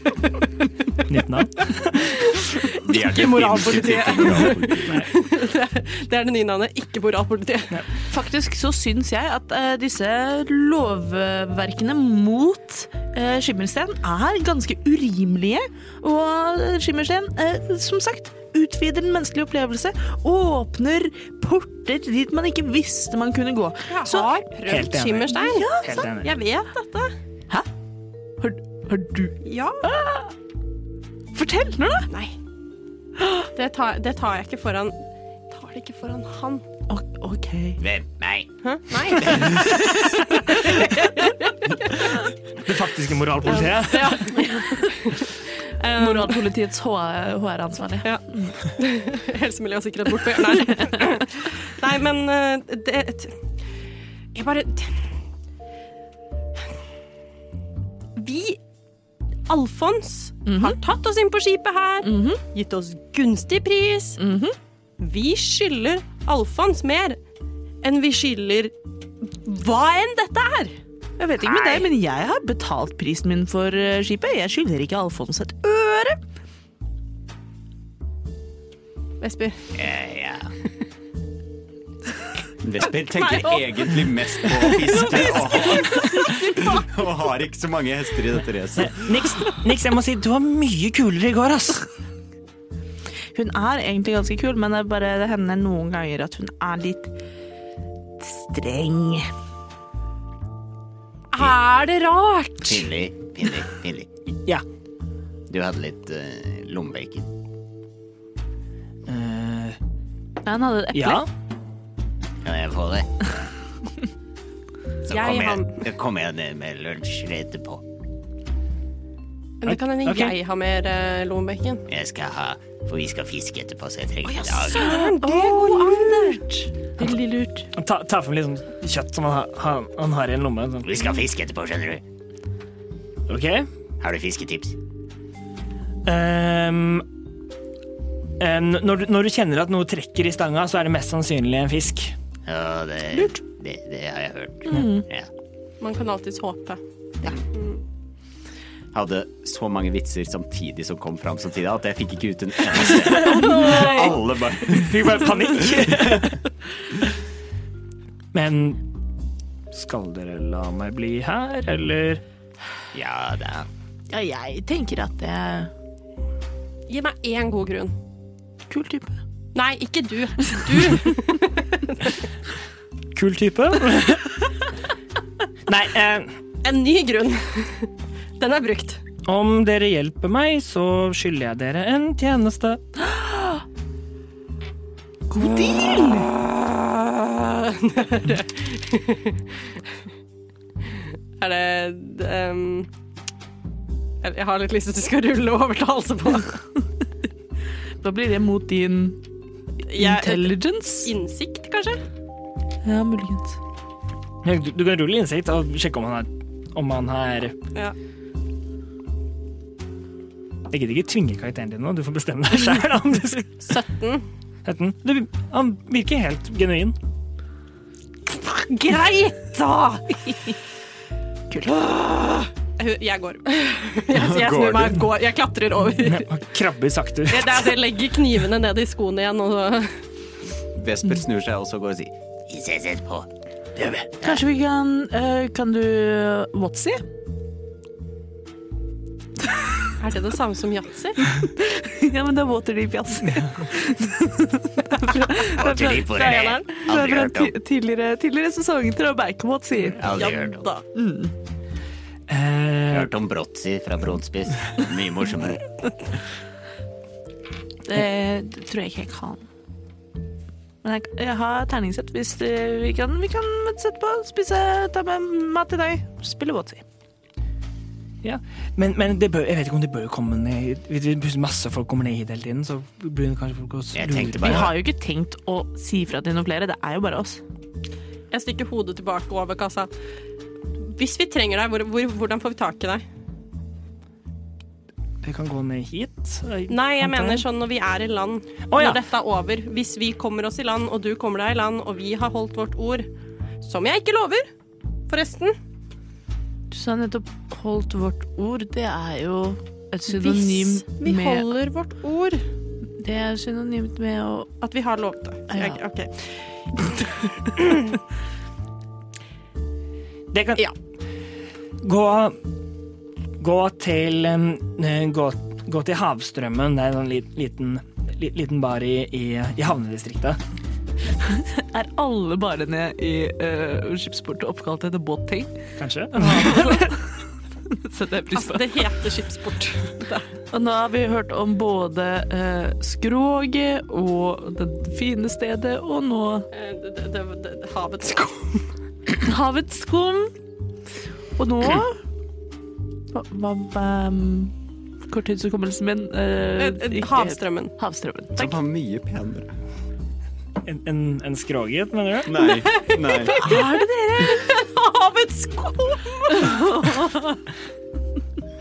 S3: 19 av.
S7: De er definitivt
S2: moralpolitiet.
S7: ikke moralpolitiet.
S2: Det er det nye navnet, ikke moralpolitiet.
S1: Faktisk så syns jeg at eh, disse lovverkene mot eh, Skimmersten er ganske urimelige. Og eh, Skimmersten, eh, som sagt, utvider den menneskelige opplevelse. Åpner porter dit man ikke visste man kunne gå.
S2: Jeg
S1: Så
S2: har
S3: Helt
S2: prøvd
S3: enig.
S2: Skimmerstein.
S3: Helt enig.
S2: Jeg vet dette.
S1: har, har du
S2: Ja.
S1: Fortell nå, da!
S2: Nei. Det tar, det tar jeg ikke foran Tar det ikke foran han.
S1: O- OK.
S7: Hvem? Meg?
S2: Hæ? Nei.
S3: Det faktiske moralpolitiet.
S2: Um,
S1: Moralpolitiets HR-ansvarlig.
S2: Ja. Helse, miljø og sikkerhet bort på hjørnet. Nei, men eh, det t- Jeg bare Vi, Alfons, har tatt oss inn på skipet her, gitt oss gunstig pris. Vi skylder Alfons mer enn vi skylder hva enn dette er.
S1: Jeg vet ikke med deg, men jeg har betalt prisen min for eh, skipet. Jeg skylder ikke Alfons et øre.
S2: Vesper.
S7: Eh, ja. Vesper tenker egentlig mest på å fiske og, og har ikke så mange hester i dette racet.
S3: Niks, Niks, jeg må si du var mye kulere i går, ass.
S1: Hun er egentlig ganske kul, men det, er bare, det hender noen ganger at hun er litt streng.
S2: Er det rart?
S7: Pinlig, pinlig, pinlig.
S3: Ja.
S7: Du hadde litt uh, lommebacon.
S3: Eh,
S1: Nei, han hadde et eple.
S3: ja.
S7: Kan jeg få det? Så
S2: Jeg
S7: kommer jeg,
S2: har-
S7: så kommer jeg ned med lunsj etterpå.
S2: Men det kan hende
S3: Ok.
S2: jeg har mer uh, lommebekken.
S7: Jeg skal ha, for vi skal fiske etterpå, så jeg trenger en dag.
S2: Søren, det går an!
S1: Veldig lurt.
S3: Han tar ta frem litt sånn kjøtt som han, har- han, han har i en lomme. Sånn.
S7: Vi skal fiske etterpå, skjønner du.
S3: OK.
S7: Har du fisketips?
S3: Ehm, eh, når, du, når du kjenner at noe trekker i stanga, så er det mest sannsynlig en fisk.
S7: Ja, det, Lurt. Det, det har jeg hørt. Ja.
S2: Man kan alltids håpe.
S5: hadde så mange vitser samtidig som kom fram samtidig, at jeg fikk ikke ut en eneste. Alle bare
S3: Fikk bare panikk. Men skal dere la meg bli her, eller
S7: Ja da.
S1: Ja, jeg tenker at det er
S2: Gi meg én god grunn.
S1: kul type.
S2: Nei, ikke du. Du.
S3: Kul type? Nei, eh,
S2: En ny grunn. Den er brukt.
S3: om dere hjelper meg, så skylder jeg dere en tjeneste.
S1: God deal!
S2: Er det ehm, jeg- Jeg har litt lyst til at du skal rulle overtalelse på.
S1: Da blir det mot din
S2: Jeg-
S1: intelligence.
S2: Innsikt, kanskje?
S1: Ja, muligens.
S3: Du, du kan rulle innsikt og sjekke om han er, om han er
S2: Ja.
S3: Jeg gidder ikke tvinge karakteren din nå, du får bestemme deg sjæl.
S2: 17.
S3: Han virker helt genuin.
S2: Greit, da! Åh, Jeg går. Jeg,
S5: Går
S2: jeg snur meg
S5: du?
S2: og går. Jeg klatrer over.
S3: Han krabber sakte ut.
S2: Det er altså, jeg legger knivene ned i skoene igjen, og så
S5: Vesper snur seg også og går og sier
S7: Vi ses etterpå.
S1: Kanskje vi kan eh, Kan du eh, Whatsy?
S2: Er det det samme som yatzy?
S1: ja, men det er Waterdeep Jazz. Det er fra-
S7: Waterdeep, hvor er
S1: fra-
S7: det?
S1: fra-
S7: Aldri
S1: fra
S7: hørt om.
S1: ti- Tidligere, tidligere sesong Trabeik Whatsy.
S7: Aldri hørt om.
S3: Eh,
S7: Hørt om Brotzy fra Brånspiss. Mye morsommere.
S1: Det tror jeg ikke jeg kan. Men jeg, jeg har terningsett. Hvis det, vi, kan, vi kan møtes etterpå, spise, ta med mat til deg, spille Whatsy.
S3: ja. Men, men det bør, jeg vet ikke om det bør komme ned Hvis det plutselig masse folk kommer ned hit hele tiden, så blir det kanskje folk også
S7: Jeg tenkte
S1: Vi
S7: bare-
S1: har jo ikke tenkt å si fra til noen flere, det er jo bare oss.
S2: Jeg stikker hodet tilbake over kassa. Hvis vi trenger deg, hvor, hvor, hvordan får vi tak i deg?
S3: Vi kan gå ned hit.
S2: Nei, jeg mener sånn når vi er i land.
S3: Å, ja.
S2: Når dette er over. Hvis vi kommer oss i land, og du kommer deg i land, og vi har holdt vårt ord. Som jeg ikke lover, forresten.
S1: Du sa nettopp 'holdt vårt ord'. Det er jo et synonym
S2: Hvis vi
S1: med
S2: holder vårt ord.
S1: Det er synonymt med å
S2: At vi har lovet det. Så jeg,
S1: Ja.
S2: ok.
S3: Det kan
S2: Ja.
S3: Gå Gå til em, eh, gå, gå til Havstrømmen. Det er en sånn li- liten, li- liten bar i, i, i havnedistriktet.
S1: Er alle barene i uh, skipsport oppkalt etter båtting?
S3: Kanskje?
S1: Setter jeg pris på.
S2: Altså, det heter skipsport.
S1: Og Altså, nå har vi hørt om både eh, skroget og det fine stedet, og nå
S2: Eh, det- det- det- det- Havets kom.
S1: havets skum. Og nå Hva, hva, hva Korttidshukommelsen min eh,
S2: Eh, eh,
S1: ikke-
S2: Havstrømmen.
S1: Havstrømmen.
S5: Som var mye penere.
S3: En, en, en skroget, mener du?
S5: Nei. nei.
S2: Havets kom!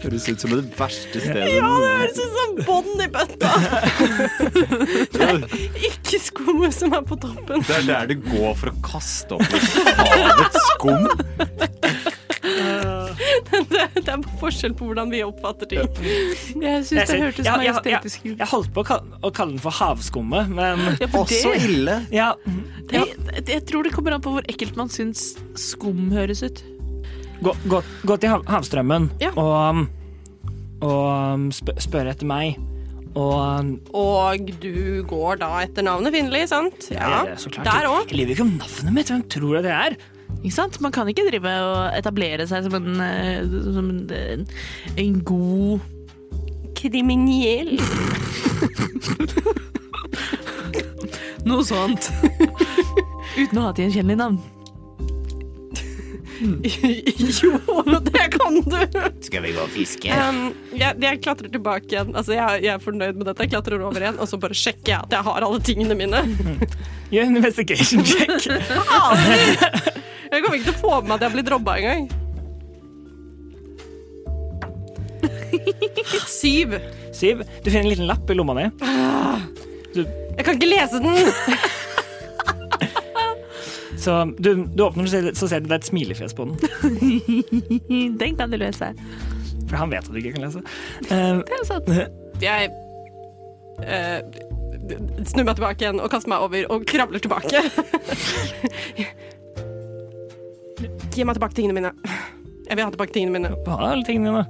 S5: Høres ut som det verste stedet.
S2: Det høres ut som bånd i bøtta. Det er ikke skummet som er på toppen.
S5: Det er der det går for å kaste opp i havets skum.
S2: Det, det er forskjell på hvordan vi oppfatter ting.
S1: Jeg syns det
S3: jeg,
S1: hørtes
S3: jeg, jeg,
S1: majestetisk ut.
S3: jeg holdt på å kalle, å kalle den for havskummet, men
S1: Ja, for
S5: Også
S1: det-
S5: ille.
S3: ja,
S1: Jeg, jeg tror det kommer an på hvor ekkelt man syns skum høres ut.
S3: gå, gå, gå til hav, Havstrømmen
S2: Ja.
S3: og, og spør, spør etter meg. Og um,
S2: Og du går da etter navnet Finli, sant? Ja,
S3: jeg, så klart,
S2: Der òg.
S3: Jeg lyver ikke om navnet mitt. Hvem tror jeg det er?
S1: Ikke sant? Man kan ikke drive og etablere seg som en, eh, som en, eh, en god
S2: Kriminell.
S1: Noe sånt. Uten å ha et gjenkjennelig navn.
S2: jo, det kan du.
S7: Skal vi gå og fiske?
S2: Um, jeg, jeg klatrer tilbake igjen. Altså, jeg, jeg er fornøyd med dette. Jeg klatrer over igjen, og så bare sjekker jeg at jeg har alle tingene mine.
S3: Gjør en investigation check.
S2: Jeg kommer ikke til å få med meg at jeg blir robba engang. Syv.
S3: Siv, du finner en liten lapp i lomma di.
S2: Jeg kan ikke lese den!
S3: Så du, du åpner den, så ser- så ser du det er et smilefjes på den.
S1: Den kan du løse.
S3: For han vet at du ikke kan lese. Eh,
S1: Det er sant.
S2: Jeg eh, snur meg tilbake igjen og kaster meg over og kravler tilbake. Gi meg tilbake tingene mine. Jeg vil ha tilbake tingene mine.
S3: hva er alle tingene dine?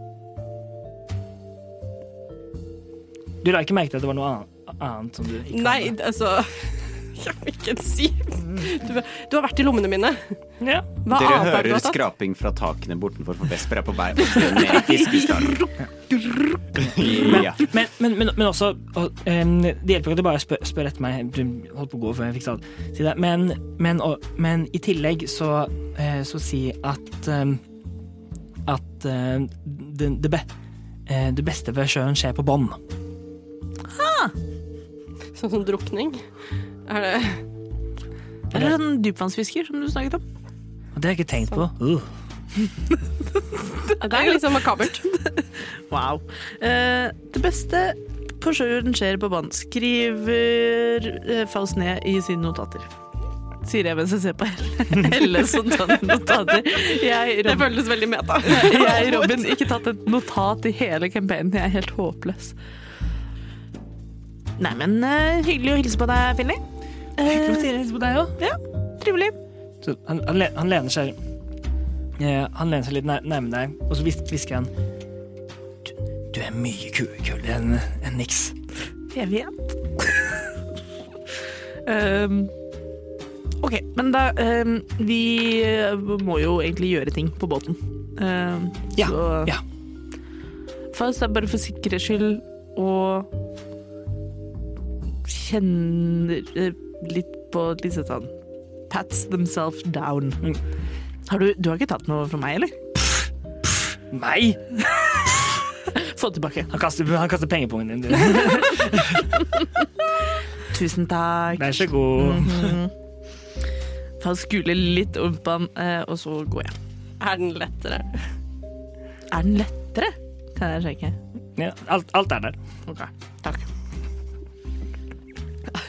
S3: Du la ikke merke til at det var noe annet, annet som du ikke
S2: Nei, altså Jeg fikk en syv. Du, du har vært i lommene mine.
S3: hadde. Ja.
S2: Hva
S5: Dere
S2: annet har du
S5: hører
S2: tatt?
S5: skraping fra takene bortenfor, for Vesper er på vei opp ned i fiskestallen. Ja.
S3: Men, men, men, men også og, em, Det hjelper ikke at du bare spør, spør etter meg. Du holdt på å gå før jeg fikk sagt- si det. Men, men, og, men i tillegg så, eh, så si at em, At eh, det, det, be, eh, det beste ved sjøen skjer på bånn.
S2: Sånn som drukning? Er det
S1: Eller sånn dypvannsfisker som du snakket om.
S3: Og det har jeg ikke tenkt på. Uh.
S2: Det er liksom makabert.
S1: Wow. Eh, det beste på sjøen skjer på bånd, skriver eh, Faust ned i sine notater. Sier jeg mens jeg ser på Helle- Helle som tar notater. Jeg,
S2: Det
S1: Robin,
S2: føles veldig meta.
S1: jeg, Robin, ikke tatt et notat i hele campaignen. Jeg er helt håpløs. Nei, men eh, hyggelig å hilse på deg, Finni.
S3: Hyggelig å
S1: Eh,
S3: hilse på deg også.
S1: ja, trivelig.
S3: Så han, han, le- han lener seg eh, Han lener seg litt nær- nærme deg, og så hvis- hvisker han du, du er mye ku- kulere enn enn Nix.
S1: Jeg vet. Ehm, ok, men da ehm, Vi eh, må jo egentlig gjøre ting på båten. Ehm,
S3: Ja,
S1: så
S3: ja.
S1: Faust er bare for sikkerhets skyld og kjenner eh, litt på liksom sånn Pats themselves down.
S3: Mm.
S1: Har du, du har ikke tatt noe fra meg, eller?
S3: Nei!
S1: Få det tilbake.
S3: Han kaster, han kaster pengepungen din. Vær
S1: Tusen takk.
S3: så god.
S1: Faust skuler litt opp på han, eh, og så går jeg.
S2: Er den lettere?
S1: Er den lettere? Kan jeg sjekke.
S3: Ja, alt, alt er der.
S1: Ok, takk.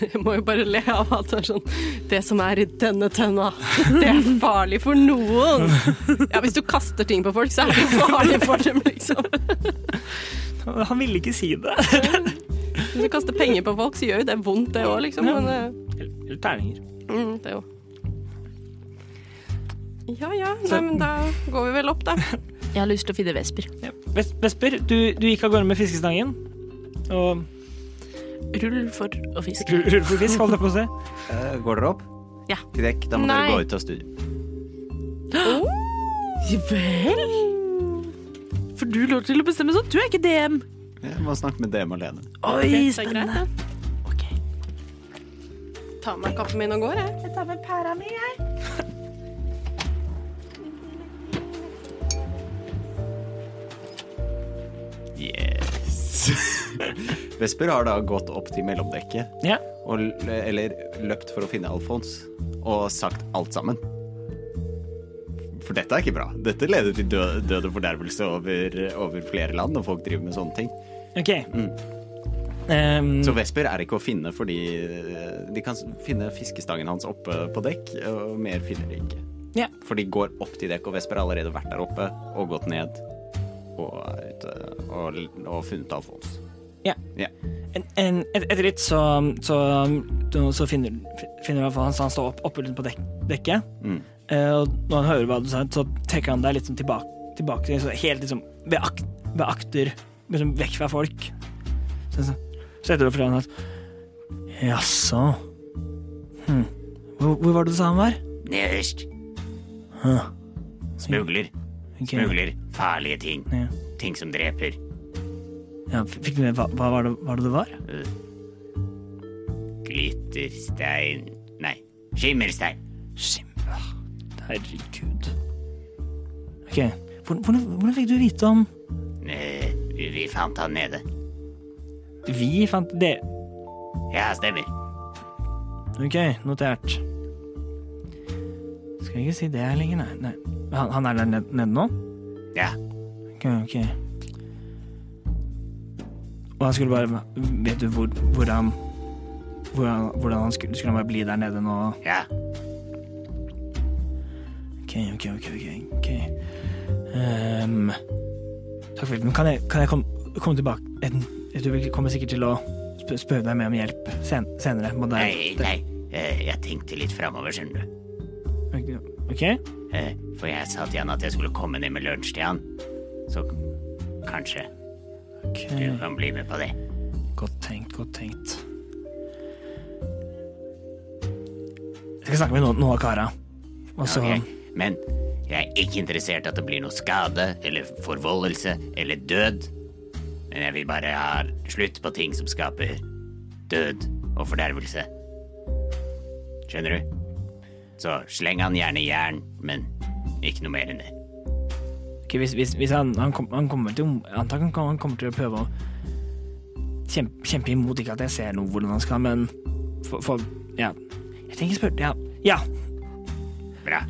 S2: Jeg må jo bare le av at det er sånn Det som er i denne tønna, det er farlig for noen. Ja, hvis du kaster ting på folk, så er det farlig for dem, liksom.
S3: Han ville ikke si det.
S2: Hvis du kaster penger på folk, så gjør jo det vondt, det òg, liksom. Men, eh,
S3: Eller eller terninger.
S2: mm, det jo. Ja ja, nei, men da går vi vel opp, da.
S1: Jeg har lyst til å finne vesper.
S3: Ja. Ves- Vesper, du, du gikk av gårde med fiskestangen. Og
S1: Rull for å fiske.
S3: rull rull for fisk, holdt jeg på å si.
S5: Eh, går dere opp?
S1: Ja.
S5: Til dekk. Da må
S2: Nei.
S5: dere gå ut av studio.
S1: Vel? For du lå til å bestemme sånn. Du er ikke DM.
S5: Jeg må snakke med dem alene.
S1: Oi,
S2: Det er greit,
S1: spennende.
S2: det.
S1: Ok.
S2: Tar med meg kaffen min og går, jeg.
S6: Jeg tar med pæra mi, jeg.
S5: Yes. Vesper har da gått opp til mellomdekket
S3: Ja.
S5: og, l- eller løpt for å finne Alfons og sagt alt sammen. For dette er ikke bra. Dette leder til død, død og fordervelse over, over flere land, og folk driver med sånne ting.
S3: OK. Ehm,
S5: Så Vesper er ikke å finne fordi eh, de kan s- finne fiskestangen hans oppe på dekk, og mer finner de ikke.
S3: Ja.
S5: For de går opp til dekk, og Vesper har allerede vært der oppe og gått ned og, er ute, og, l- og funnet Alfons.
S3: Ja.
S5: Ja.
S3: en, en, et, etter litt så, så, så finner, finner han, han, han står opp, oppe rundt på dek, dekket.
S5: Mm.
S3: Eh, og når han hører hva du sa, så trekker han deg litt sånn tilbake, tilbake til- så helt liksom ved, ak, ved akter, liksom vekk fra folk. Så, så, så etter det forteller han at Jaså. Hm. Hvor, hvor var det du sa han var?
S7: Nederst.
S3: Huh.
S7: Smugler.
S3: Ok.
S7: Smugler farlige ting.
S3: Ja.
S7: Ting som dreper.
S3: Ja, fikk du med hva, hva var det, var det det var?
S7: Glitterstein Nei, skimmerstein.
S3: Skimba. Herregud. Ok, hvordan, hvordan, hvordan fikk du vite om
S7: Eh, vi vi fant han nede.
S3: Vi fant det
S7: Ja, stemmer.
S3: Ok, notert. Skal ikke si det her lenger, nei. nei. Han, han er der ned- nede nå?
S7: Ja.
S3: Ok, ok. Og han skulle bare Vet du hvor, hvor han hvordan, hvordan han skulle, skulle han bare bli der nede nå?
S7: Ja.
S3: Ok, ok, ok. ok, ok. Ehm, takk for hjelpen. Kan jeg, kan jeg kom, komme tilbake? En, jeg tror vi kommer sikkert til å sp- spørre deg mer om hjelp sen, senere. Må det-
S7: Nei, nei. Eh, jeg tenkte litt framover, skjønner du.
S3: Ok?
S7: Eh, for jeg sa til han at jeg skulle komme ned med lunsj til han. Så kanskje du
S3: ok.
S7: kan bli med på det.
S3: Godt tenkt, godt tenkt. Jeg skal snakke med noen, noen av kara. Og så
S7: Ok, Men jeg er ikke interessert at det blir noe skade eller forvoldelse eller død. Men jeg vil bare ha slutt på ting som skaper død og fordervelse. Skjønner du? Så sleng han gjerne i jern, men ikke noe mer enn det.
S3: Ok, Hvis, hvis, hvis han, han, kom, han kommer til Antakelig han kommer til å prøve å kjempe, kjempe imot. Ikke at jeg ser noe hvordan han skal, men for, for Ja. Jeg tenker spør... Ja. ja.
S7: Bra.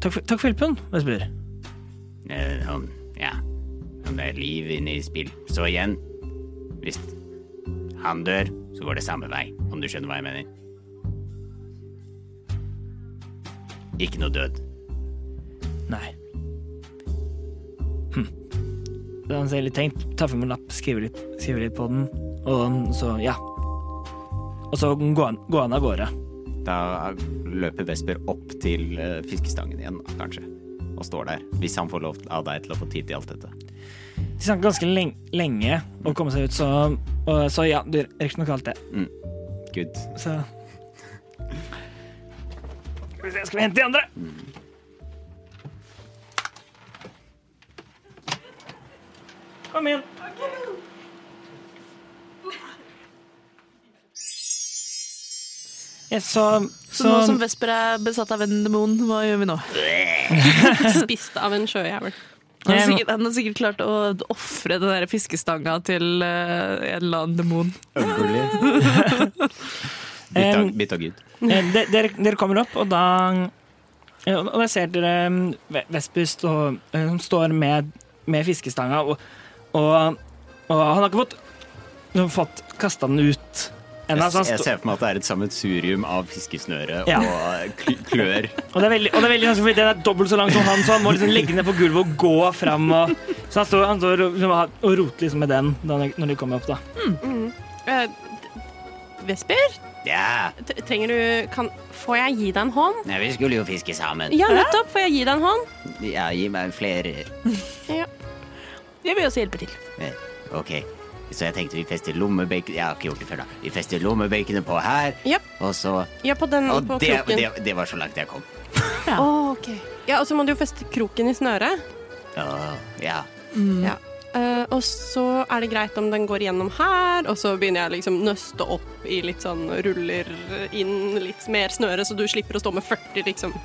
S3: Takk for, takk for hjelpen, Vesper.
S7: Eh, om, ja, om det er liv inne i spill. Så igjen, hvis han dør, så går det samme vei, om du skjønner hva jeg mener. Ikke noe død.
S3: Nei. Hm. Han ser litt tenkt, tar frem en lapp, skriver litt, skriver litt på den, og så ja. Og så går han, går han av gårde.
S5: Da løper Vesper opp til eh, fiskestangen igjen, da, kanskje. Og står der. Hvis han får lov til- av deg til å få tid til alt dette.
S3: De snakket ganske leng lenge å komme seg ut, så, og, så ja, du rekker nok alt det.
S5: Good.
S3: Så Skal vi se, skal vi hente de andre? Kom inn. Ja, så,
S1: Så nå
S3: Sånn.
S1: som Vesper er besatt av en demon, hva gjør vi nå?
S2: Spist av en sjøjævel.
S1: Han har sikkert, han har sikkert klart å ofre den der fiskestanga til eh, en eller annen demon.
S5: Ugly. Bit av- Bit av good.
S3: Eh, de- dere, dere kommer opp, og da eh, Og da ser dere mm, Ve- Vesper stå, eh, som står med, med fiskestanga, og, og, og han har ikke fått, fått kasta den ut ennå.
S5: Jeg,
S3: så han
S5: jeg
S3: stå-
S5: ser for meg at det er et sammensurium av fiskesnøre
S3: altså- Ja.
S5: og eh, kl- klør.
S3: Og det er veldig, og det er veldig vanskelig, fordi den er dobbelt så lang som han, så han må liksom legge den ned på gulvet og gå fram. Og, så han står, han står og, liksom har- og roter liksom med den da, når de kommer opp, da.
S2: Eh, d- Vesper,
S7: Ja,
S2: t- trenger du kan, Får jeg gi deg en hånd?
S7: nei, vi skulle jo fiske sammen.
S2: Ja, nettopp! Får jeg gi deg en hånd?
S7: Ja, gi meg flere.
S1: Jeg vil også hjelpe til.
S7: Eh, Ok, så jeg tenkte vi fester lommebacon. Jeg har ikke gjort det før da. Vi fester lommebaconet på her,
S2: Japp.
S7: og så...
S2: Ja, på den
S7: Og
S2: på
S7: det,
S2: kroken.
S7: det, det var så langt jeg kom.
S2: Å, ok. Ja, og så må du jo feste kroken i snøret.
S7: Åh, ja.
S2: Ja. Eh, og så er det greit om den går gjennom her, og så begynner jeg liksom nøste opp i litt sånn ruller inn litt mer snøre, så du slipper å stå med 40 liksom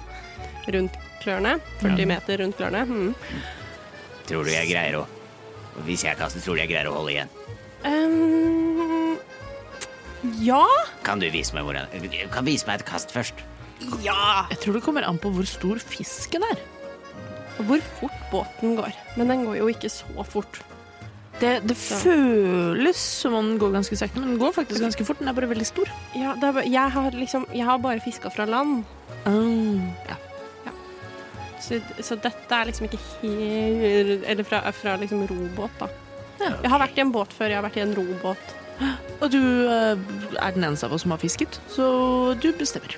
S2: rundt klørne. 40 meter rundt klørne. Mm.
S7: Tror du jeg greier å... Hvis jeg kaster, tror du jeg greier å holde igjen?
S2: Ehm, ja.
S7: Kan du vise meg hvordan... Du kan vise meg et kast først.
S2: Ja.
S1: Jeg tror det kommer an på hvor stor fisken er.
S2: Hvor fort båten går. Men den går jo ikke så fort.
S1: Det, det føles som om den går ganske sakte, men den går faktisk ganske fort. Den er bare veldig stor.
S2: Ja, det er, bare- jeg har liksom Jeg har bare fiska fra land,
S1: Oh.
S2: så, så dette er liksom ikke helt Eller fra, fra liksom robåt, da. Jeg har vært i en båt før. Jeg har vært i en robåt.
S1: Og du eh, er den eneste av oss som har fisket, så du bestemmer.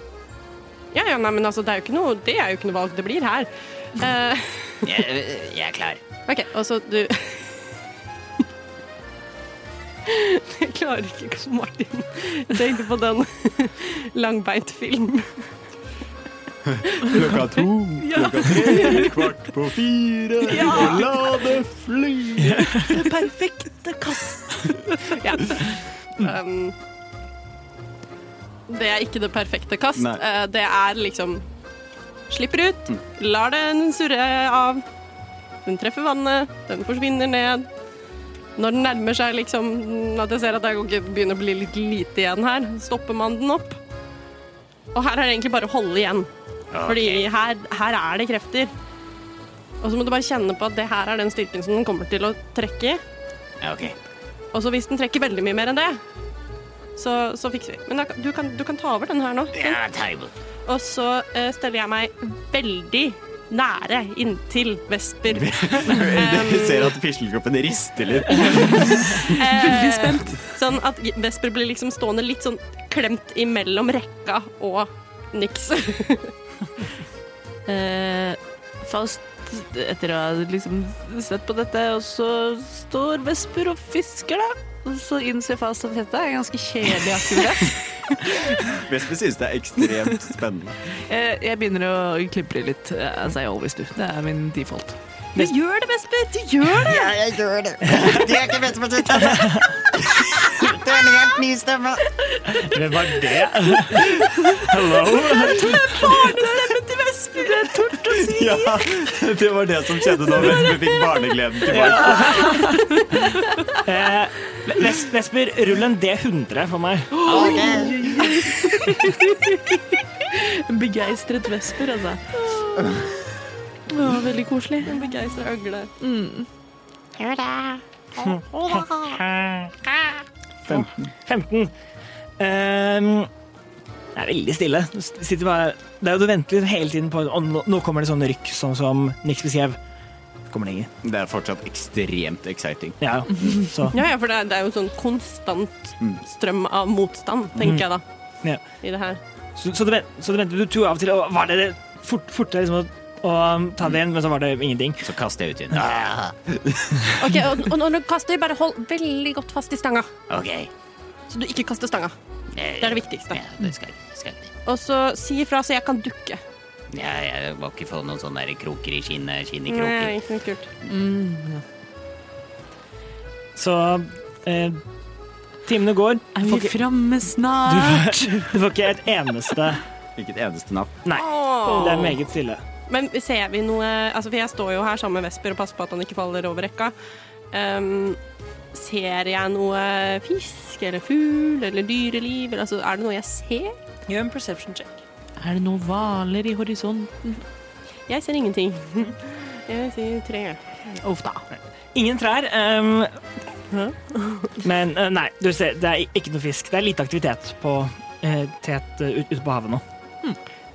S2: Ja, ja, nei, men altså, det er jo ikke noe Det er jo ikke noe valg det blir her. Eh,
S7: Jeg, jeg er klar.
S2: OK, og så du Jeg klarer ikke, Karl Martin. Jeg tenkte på den langbeintfilmen.
S5: Klokka to, klokka tre, kvart på fire, og la det fly.
S1: Perfekte kast.
S2: Ja. Um, det er ikke det perfekte kast.
S5: Nei.
S2: Eh, det er liksom Slipper ut, lar den surre av. Den treffer vannet, den forsvinner ned. Når den nærmer seg liksom at jeg ser at det ikke begynner å bli litt lite igjen her, stopper man den opp. Og her er det egentlig bare å holde igjen, fordi her, her er det krefter. Og så må du bare kjenne på at det her er den styrken som den kommer til å trekke i.
S7: Ok,
S2: Og så hvis den trekker veldig mye mer enn det, så, så fikser vi. Men da, kan- du, kan, du kan ta over den her nå. Finn.
S7: ja, ta imot.
S2: Og så eh, steller jeg meg veldig nære inntil Vesper.
S5: Du ser at fiskelkroppen rister litt.
S2: Veldig spent. Sånn at Vesper blir liksom stående litt sånn klemt imellom rekka og niks.
S1: Eh, Faust, etter å ha liksom sett på dette, og så står Vesper og fisker, da. Og så innser Faust at dette er ganske kjedelig aktivitet.
S5: Vesper synes det er ekstremt spennende.
S1: Eh, jeg begynner å klimpre litt. eh, As I always do. Det er min default.
S2: Du gjør det, Vesper! Du gjør det!
S8: Ja, jeg gjør det. Det er ikke best for sitt stemme. Det er en helt ny stemme.
S3: Hvem var det? Hello?
S5: Ja, det var det som skjedde da Vesper fikk barnegleden tilbake.
S3: Eh, Ves- Vesper, rull en D100 for meg.
S8: Ok.
S1: En begeistret vesper, altså. Det var veldig koselig.
S2: En begeistra øgle.
S3: Femten. 15. Ehm, det er veldig stille. Du sitter bare, det er jo du venter liksom hele tiden på og nå, nå kommer det sånn rykk, sånn som Nix beskrev. Så Kommer det ingen.
S7: Det er fortsatt ekstremt exciting.
S3: Ja, ja. Så,
S2: Ja, ja, for det er, det er jo en sånn konstant strøm av motstand, tenker jeg da,
S3: ja.
S2: i det her.
S3: så, så, du, ven- så du venter. Du tror av og til og var det det fort, fortere liksom, å, å ta det igjen, men så var det ingenting.
S7: Så kaster jeg ut igjen. Ah,
S2: Ok, og, og når du kaster, bare hold veldig godt fast i stanga,
S7: Ah, OK. Eh,
S2: så du ikke kaster stanga. Det er det viktigste.
S7: Ja, det skal, skal. jeg.
S2: Og så si ifra så jeg kan dukke.
S7: Ja, jeg må ikke få noen sånne der kroker i skinnet. Skinn i kroker.
S2: Nei, ikke noe kult.
S3: Så eh, timene går. Du
S1: Er
S3: får,
S1: vi
S3: ikke,
S1: framme snart?
S3: du får ikke et eneste
S7: Ikke et eneste napp.
S3: Nei. Det er meget stille.
S2: Men ser vi noe altså For jeg står jo her sammen med Vesper og passer på at han ikke faller over rekka. Ehm, ser jeg noe fisk eller fugl eller dyreliv? Eller, altså, er det noe jeg ser?
S3: Gjør en perception check.
S1: Er det noen hvaler i horisonten?
S2: Jeg ser ingenting. Jeg sier tre.
S1: Uff da.
S3: Ingen trær. ehm, men eh, nei, du ser, det er ikke noe fisk. Det er lite aktivitet på eh, tet eh, ut, ute på havet nå.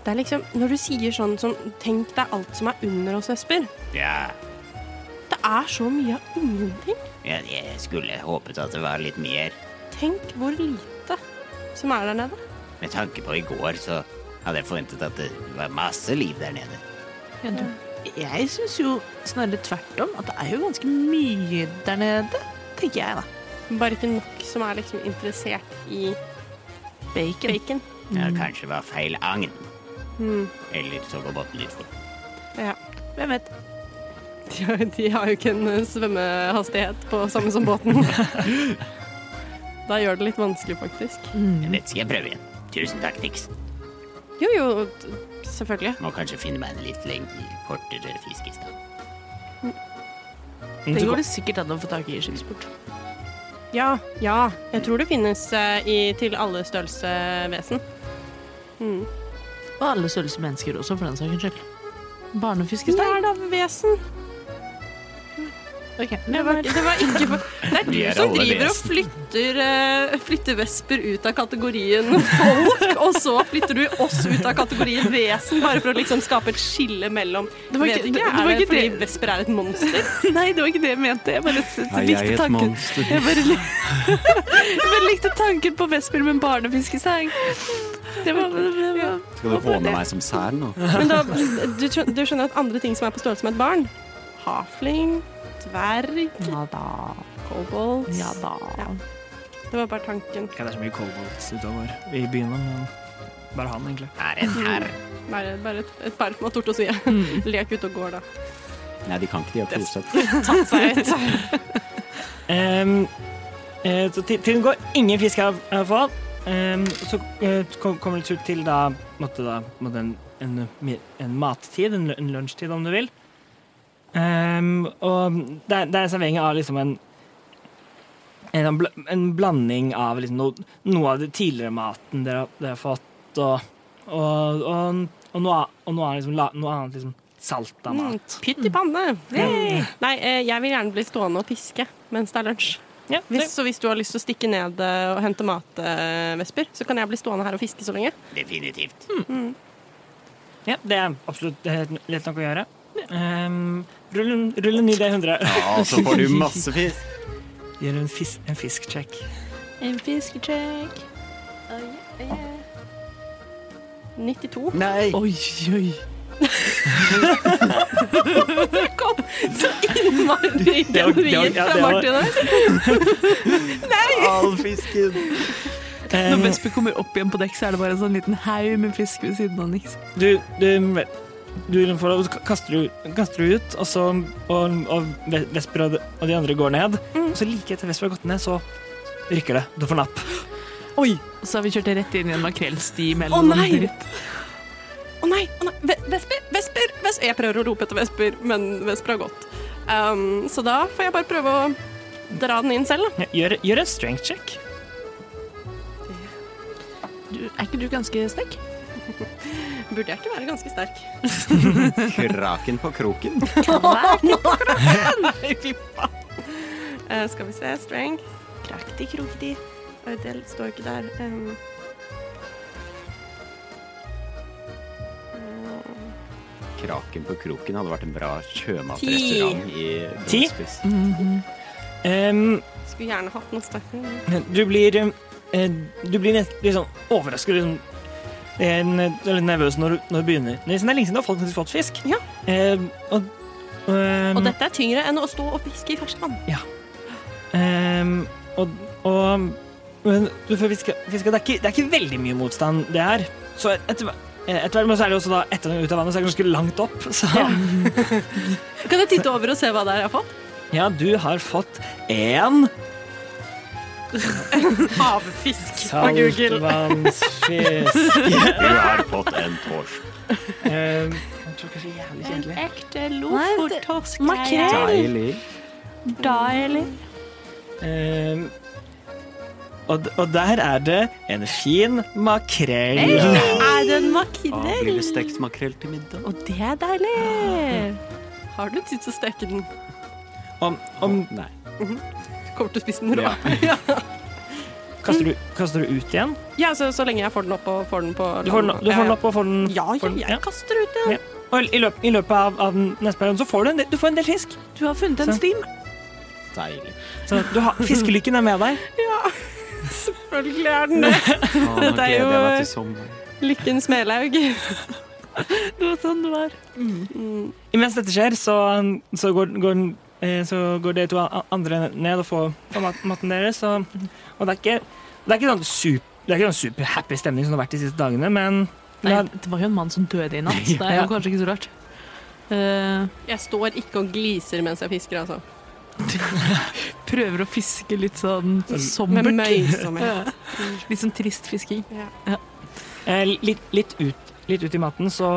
S2: Det er liksom, Når du sier sånn som Tenk deg alt som er under oss, Vesper.
S7: Ja,
S2: Det er så mye av ingenting.
S7: jeg, jeg skulle håpet at det var litt mer.
S2: Tenk hvor lite som er der nede.
S7: Med tanke på i går, så hadde jeg forventet at det var masse liv der nede.
S1: Jeg syns jo snarere tvert om at det er jo ganske mye der nede, tenker jeg da.
S2: Bare ikke nok som er liksom interessert i
S1: Bacon.
S2: bacon.
S7: Ja, kanskje det var feil agn.
S2: Mm.
S7: Eller så går båten litt fort.
S2: Ja.
S1: Hvem vet?
S2: De har, de har jo ikke en eh, svømmehastighet på samme som båten. da gjør det litt vanskelig, faktisk.
S7: Men dette skal jeg prøve igjen. Tusen takk, Nix.
S2: Jo, jo, t- selvfølgelig.
S7: Må kanskje finne meg en litt lengre, kortere fisk i stedet.
S3: Men
S1: Det
S3: så
S1: går
S3: kom-
S1: det sikkert an å få tak i i skipsport.
S2: Ja, ja. Jeg tror det finnes eh, i, til alle størrelse vesen. Mm.
S1: Og alle størrelser mennesker også, for den sakens skyld.
S2: Det
S1: Barnefiskestang.
S2: er da vesen.
S1: Ok,
S2: Det var, det var ikke for... Det er du
S7: Vi er
S2: som
S7: alle
S2: driver og
S7: vesen.
S2: flytter, eh, flytter vesper ut av kategorien folk, og så flytter du oss ut av kategorien vesen, bare for å liksom skape et skille mellom
S1: Det var
S2: Vet
S1: ikke-
S2: ikke,
S1: det- det
S2: er
S1: var
S2: det,
S1: ikke
S2: fordi
S1: det-
S2: vesper er et monster?
S1: Nei, det var ikke det jeg mente. Jeg bare s- likte tanken.
S5: monster?
S1: Jeg bare, lik- jeg bare likte tanken på vesper med en barnefiskestang. Det var, det var
S5: Skal du håne meg som sel nå?
S2: Men da, du, skjø- du skjønner at andre ting som er på størrelse med et barn Hafling, dverg,
S1: Ja da.
S2: kobolt
S1: Ja da.
S2: Ja. Det var bare tanken.
S3: Ja, det er så mye kobolts utover i byen, men bare han, egentlig.
S7: Her en her.
S2: Bare, bare et, et par som har tort å si
S1: Mm.
S2: Lek ute og går, da.
S5: Nei, de kan ikke, de har koset.
S2: Tatt seg ut.
S3: Ehm, eh, så ti- tiden går. Ingen fisk her, iallfall. Um, så eh, kom- kommer det ut til da, måtte da måtte en, en, mi- en mattid, en, lu- en lunsjtid om du vil. Ehm, og det er, det er servering av liksom en en, sånn bl- en blanding av liksom no, noe av det tidligere maten dere, har- dere har fått, og, og, og, og noe, a- og noe, annet liksom, la- noe annet liksom salta mat.
S2: Mm, Pytt i panne. Nei, eh, jeg vil gjerne bli stående og fiske mens det er lunsj.
S3: Ja,
S2: Hvis, så hvis du har lyst til å stikke ned eh, og hente mat, eh, Vesper, så kan jeg bli stående her og fiske så lenge.
S7: Definitivt.
S3: det, ja, det er absolutt eh, lett nok å gjøre. Ehm, rull, en- rull en ny D100.
S5: Ja, Ah, så får du masse fisk.
S3: Gjør en, fis, en fisk-check.
S1: En fiskecheck.
S2: 92.
S5: Nei!
S1: Oi, oi.
S2: kom så innmari genuint
S3: ja,
S2: fra
S3: det var-
S2: Martin her.
S5: All fisken!
S1: Når
S3: Ehm,
S1: Vesper kommer opp igjen på dekk, så er det bare en sånn liten haug med fisk ved siden av Nix.
S3: du, du, du får, og så kaster, du, kaster du ut, og så og, og Ve- Vesper og de, og de andre går ned. Og så like etter Vesper har gått ned, så rykker det. Du får napp.
S1: Oi! Og så har vi kjørt det rett inn i en makrellsti
S2: Å,
S1: mellom
S2: nei! Å nei, å nei. Ve- Vesper, Vesper, Vesper. Jeg prøver å rope etter Vesper, men Vesper har gått. Um, så da får jeg bare prøve å dra den inn selv, da.
S3: Gjør, gjør en strength check.
S1: du, er ikke du ganske sterk?
S2: Burde jeg ikke være ganske sterk?
S5: Kraken på kroken.
S2: Nei, fy faen. Eh, skal vi se. Strength. Krakti, krokti. Eh, Det står jo ikke der. Um.
S5: Kraken på kroken hadde vært en bra
S2: sjømatrestaurant
S5: sjømatrestaurant i
S3: Ti? Um,
S2: Skulle gjerne hatt noe sterkere.
S3: du blir um, eh, Du blir nesten litt sånn overrasket. Liksom. Eh, ne- du er litt nervøs når du, når du begynner. liksom, Det er lenge siden du har fått- fått fisk.
S2: Ja.
S3: Eh, og, um,
S2: Og dette er tyngre enn å stå og fiske i ferskvann.
S3: Ehm, og, og men, du får fiske, fiske. Det, er ikke, det er ikke veldig mye motstand, det her. Så etter, hver- eh, etter hvert, men så er det også da, etter den ut av vannet, så er det ganske langt opp. Så ja,
S2: Kan jeg titte over og se hva det er jeg har fått?
S3: du har fått én
S2: Havfisk på Google.
S3: saltvannsfisk.
S5: Du har fått en torsk.
S3: Ehm,
S1: En ekte
S9: lofottorsk,
S5: Deilig.
S9: Deilig.
S3: ehm, og, d- og der er det en fin makrell.
S9: Er det en
S5: Da
S9: makrell?
S5: blir det stekt makrell til middag.
S9: Og det er deilig.
S2: Har du tid til å steke den?
S3: Om, om,
S5: Nei.
S2: Du kommer til å spise den rå.
S5: Ja.
S2: Ja.
S3: kaster, du, kaster du ut igjen?
S2: ja, så, så lenge jeg får den opp og får den på
S3: Du får den, du får den opp og får den
S2: Ja,
S3: får
S2: ja,
S3: den-
S2: jeg kaster ut den.
S3: Ja. Og i løpet, i løpet av, av den neste perioden så får du en del, du får en del fisk.
S1: Du har funnet en
S3: Så.
S1: stim.
S5: Deilig.
S3: Så du har, fiskelykken er med deg.
S2: Selvfølgelig er den det.
S5: Å, nå
S2: Dette er jo-
S5: gleder jeg meg til sommeren.
S2: Lykken Smelaug.
S1: Det var sånn det var.
S2: Mm.
S3: Mens dette skjer, så, så, går, går, den- eh, så går de to a- andre ned og får, får mat, maten deres. Og, og det er ikke, det er ikke sånn super, det er ikke sånn superhappy stemning som det har vært de siste dagene, men
S1: Nei,
S3: men
S1: det var jo en mann som døde i natt, så det
S3: Ja.
S1: er jo kanskje ikke så rart. Eh,
S2: Jeg står ikke og gliser mens jeg fisker, altså.
S1: prøver å fiske litt sånn
S2: Med
S1: sommert.
S2: møysomhet.
S1: Ja. Litt sånn trist fisking.
S3: eh, litt, litt, ut, litt ut i maten så,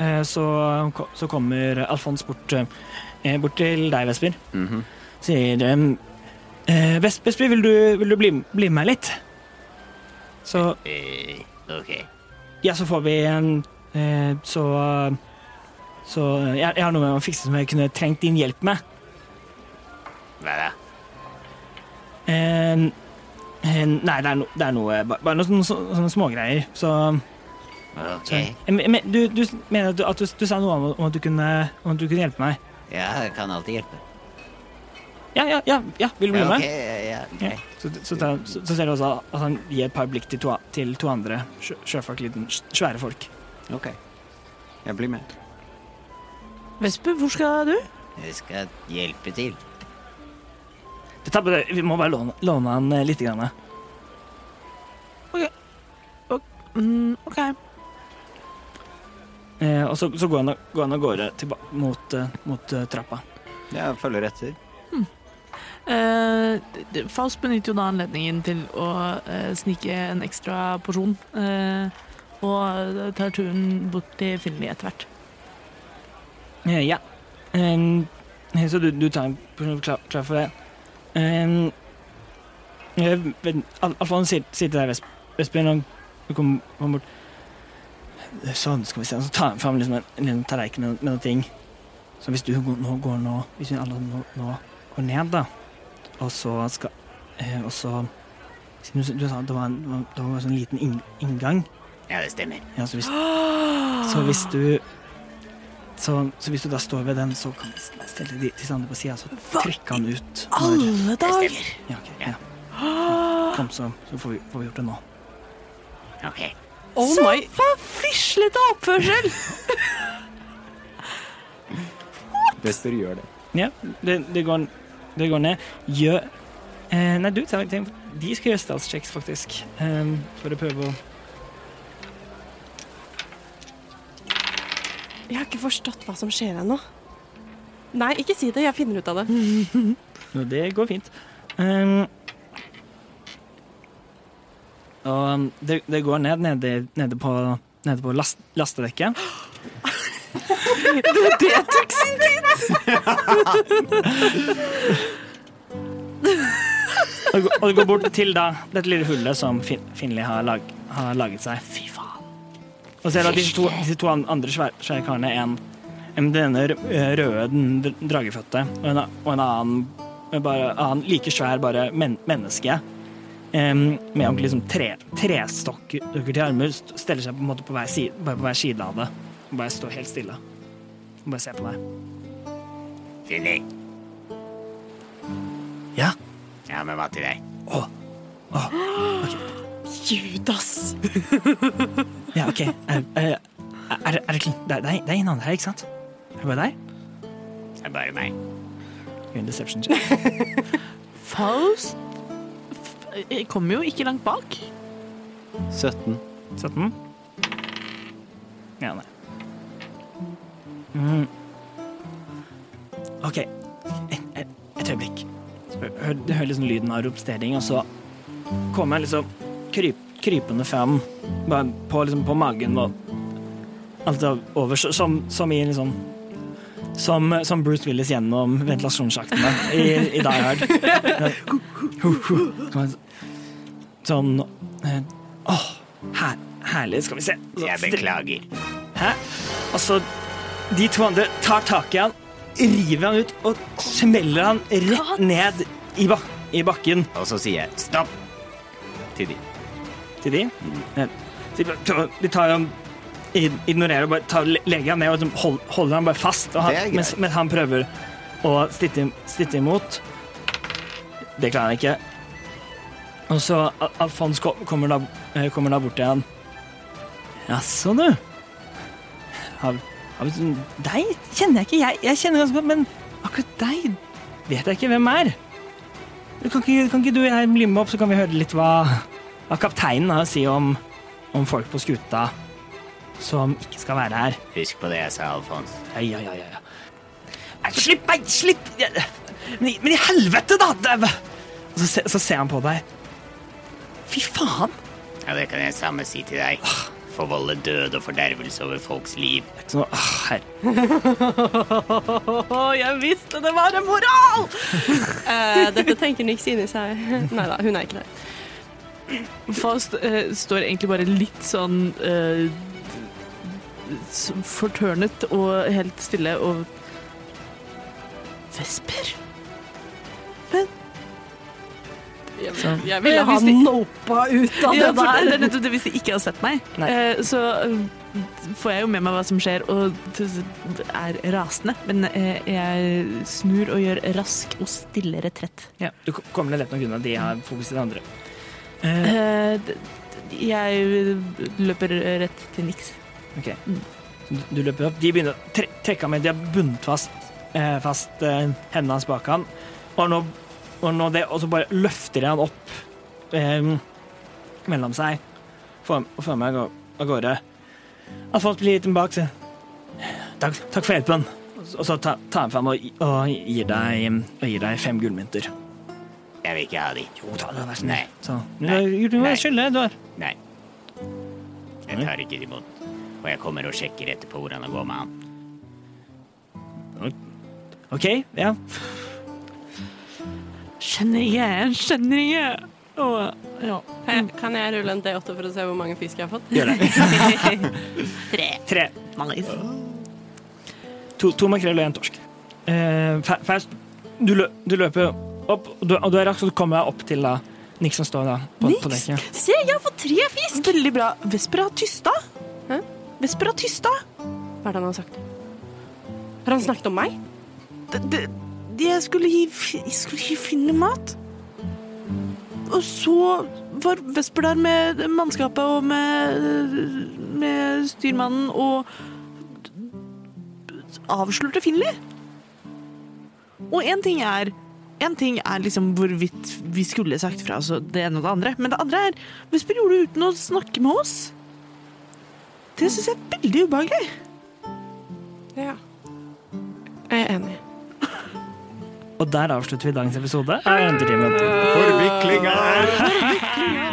S3: eh, så, ko- så kommer Alfons bort, eh, bort til deg, Vesper.
S5: Mhm.
S3: Sier um, eh, Ves- Vesper, vil du, vil du bli, bli med meg litt? Så
S7: Eh, ok.
S3: Ja, så får vi en eh, Så Så eh, jeg, jeg har noe med å fikse som jeg kunne trengt din hjelp med.
S7: Hva da?
S3: Eh, eh, nei, det er, no, det er noe ba- Bare noen sånne, sånne smågreier. Så
S7: Ok.
S3: Eh, men- men du, du mener at, du, at du, du sa noe om, om, at du kunne, om at du kunne hjelpe meg?
S7: Ja, jeg kan alltid hjelpe.
S3: Ja, ja, ja, ja vil du bli
S7: Ja, ok,
S3: med?
S7: ja,
S3: Ja.
S7: ok.
S3: Så, så, tar- så, så ser du også at han gir et par blikk til to, a- til to andre sjø- sjøfolk, litt svære folk.
S5: OK. Jeg blir med.
S1: Vesper, hvor skal du?
S7: Jeg skal hjelpe til.
S3: Dette er bare- vi må bare låne, låne han eh, litt. Grann.
S1: Mm, ok.
S3: Eh, og så, så går han av- går han av gårde tilba- mot, eh, mot eh, trappa.
S5: Jeg følger etter.
S1: Eh, d- Faust benytter jo da anledningen til å eh, snike en ekstra porsjon. eh, og eh, tar turen bort til Finli etter hvert.
S3: Eh, ja. Em, eh, så du, du tar en person klar, klar for det. Um, Alfons sier sier til deg, Vesp- Vespin, og du kommer kom bort. Sånn, skal vi se. Så tar han fram liksom en, en liten tallerken med, med noen ting. Så hvis du går, nå går nå Hvis vi alle nå, nå går ned, da, og så skal eh, Og så Siden du, du sa det var en, det var- det var en sånn liten inn, inngang
S7: Ja, det stemmer.
S3: ja, så hvis, så hvis du så, så hvis du da står ved den, så kan vi stelle de, disse andre på sida, så trekke han ut. Når,
S1: Alle dager!
S3: ja, ok, ja. Kom, så, så får, vi, får vi gjort det nå.
S7: Ok.
S2: Oh my
S1: Fislete oppførsel!
S5: Bester gjør det.
S3: Ja, det, det, går, det går ned. Gjør eh, Nei, du, tenk, tenk, de skal gjøre statschecks, faktisk. Um, for å prøve å
S2: Jeg har ikke forstått hva som skjer ennå. Nei, ikke si det. Jeg finner ut av det.
S3: Jo, det går fint. Ehm, og um, det, det går ned nede, nede på, nede på last, lastedekket. det er det teksten din! og det går bort til da, dette lille hullet som fin Finli har lag, har laget seg. Fy faen. Og ser at disse to, disse to an- andre svære, svære karene, en, en denne rø- eh, røde den dr- dragefødte og en, a- og en annen, bare, annen like svær bare men, menneske, em, med ordentlig liksom, tre, trestokker til armer, st- steller seg på, en måte på, hver side, bare på hver side av det. Og bare står helt stille. Og bare ser på deg.
S7: Fylling.
S3: Ja.
S7: Ja, men hva til deg?
S3: Å. Å.
S9: Judas!
S3: Ja, OK. Er, er, er, er det, klin- det, er- det er det er en annen her, ikke sant? Er det bare deg?
S7: Det er bare meg.
S3: Gjør en deception check.
S1: Faust f- kommer jo ikke langt bak.
S5: 17.
S3: 17? Ja, nei. Mm. OK. Et, et, et øyeblikk. Så hø- Hør, du hører liksom lyden av ropstering, og så kommer han liksom kryp, krypende fram bare på, liksom, på magen og alt er over, så- som, som i liksom som, som Bruce Willis gjennom ventilasjonssjaktene i, i Die Hard. Sånn eh, Åh, her, herlig. Skal vi se. Så
S7: Jeg
S3: stri-
S7: beklager.
S3: Hæ? Og så Altså, De to andre tar tak i han, river han ut og smeller han rett ned i, bak i bakken
S7: Og så sier jeg stopp til de.
S3: til de. Eh, så De bare tar- de tar han ig- Ignorerer og bare tar, le- legger han ned og liksom hold, holder han bare fast. Og
S7: Det er
S3: han,
S7: greit.
S3: mens, mens han prøver å stritte, im- stritte imot. Det klarer han ikke. Og så Al- Alfons ko- kommer da, eh, kommer da bort til han. Jaså, du. Har, har vi, sånn- deg kjenner jeg ikke. Jeg, jeg kjenner ganske godt, men akkurat deg vet jeg ikke hvem er. Kan ikke, kan ikke du og jeg bli med opp, så kan vi høre litt hva hva kapteinen har å si om, om folk på skuta som ikke skal være her.
S7: Husk på det jeg sa, Alfons.
S3: Ja, ja, ja, ja, ja. Nei, Slipp meg! Slipp! Ja, Men, i- men i helvete, da! Det er- Og så, se- så ser han på deg. Fy faen!
S7: Ja, det kan jeg samme si til deg. Forvolde død og fordervelse over folks liv.
S3: Det er ikke sånn, åh, her.
S1: Å, jeg visste det var en moral!
S2: Eh, dette tenker Nix inni seg. Nei da, hun er ikke det.
S1: Faust eh, står egentlig bare litt sånn eh, s- fortørnet og helt stille og Vesper?
S2: Jeg, jeg ville
S1: Eh,
S2: ha
S1: Hvis de-
S2: nopa ut av
S1: Ja,
S2: det
S1: for det,
S2: der.
S1: det er nettopp det hvis de ikke har sett meg.
S3: Nei.
S1: Eh, så eh, får jeg jo med meg hva som skjer, og t- er rasende. Men eh, jeg snur og gjør rask og stille retrett.
S3: Ja, du ko- kommer deg lett nok unna. De har fokus til det andre. Eh,
S1: Eh, d- d- jeg løper rett til niks.
S3: Ok. Du- Du løper opp. De begynner å tre trekke ham med. De har bundet fast, eh, fast eh, hendene hans bak han. Og, nå, og, nå det, og så bare løfter de han opp eh, mellom seg for, og får meg av gå- av gårde. Alfons blir litt bak. sier, Takk, takk for hjelpen. Og så- Og så tar tar han fram og, gi- og, gir deg, og gir deg fem gullmynter.
S7: Jeg vil ikke ha de.
S3: Jo, ta det, vær så
S7: Nei.
S3: snill. Så,
S7: Nei.
S3: Du, du må
S7: Nei.
S3: skylde, du har.
S7: Nei. Jeg tar ikke de imot. Og jeg kommer og sjekker etterpå hvordan det går med han.
S3: OK, ja.
S1: Skjønner ikke, jeg skjønner ikke. Og, ja.
S2: Kan jeg- Kan jeg rulle en D8 for å se hvor mange fisk jeg har fått?
S3: Gjør det. Tre.
S1: Nice.
S3: To, to makrell og en torsk. Eh, Fa- Faust, du, lø, du løper opp, og du, og du er rask, og du kommer deg opp til da, Nick som står da på, på
S1: Niks?
S3: dekket.
S1: Se, jeg har fått tre fisk! Veldig bra. Vesper har tysta. Vesper har tysta.
S2: Hva er det han har sagt? Har han snakket om meg?
S1: Det, det, jeg, skulle gi, fi- jeg skulle gi Finni mat. Og så var Vesper der med mannskapet og med, med styrmannen og avslørte Finli. Og én ting er en ting er liksom hvorvidt vi skulle sagt fra så det ene og det andre. Men det andre er Vesper gjorde det uten å snakke med oss. Det syns jeg er veldig ubehagelig.
S2: Ja. Jeg er enig.
S3: Og der avslutter vi dagens episode av Eventyrtimen.
S7: Forviklinga!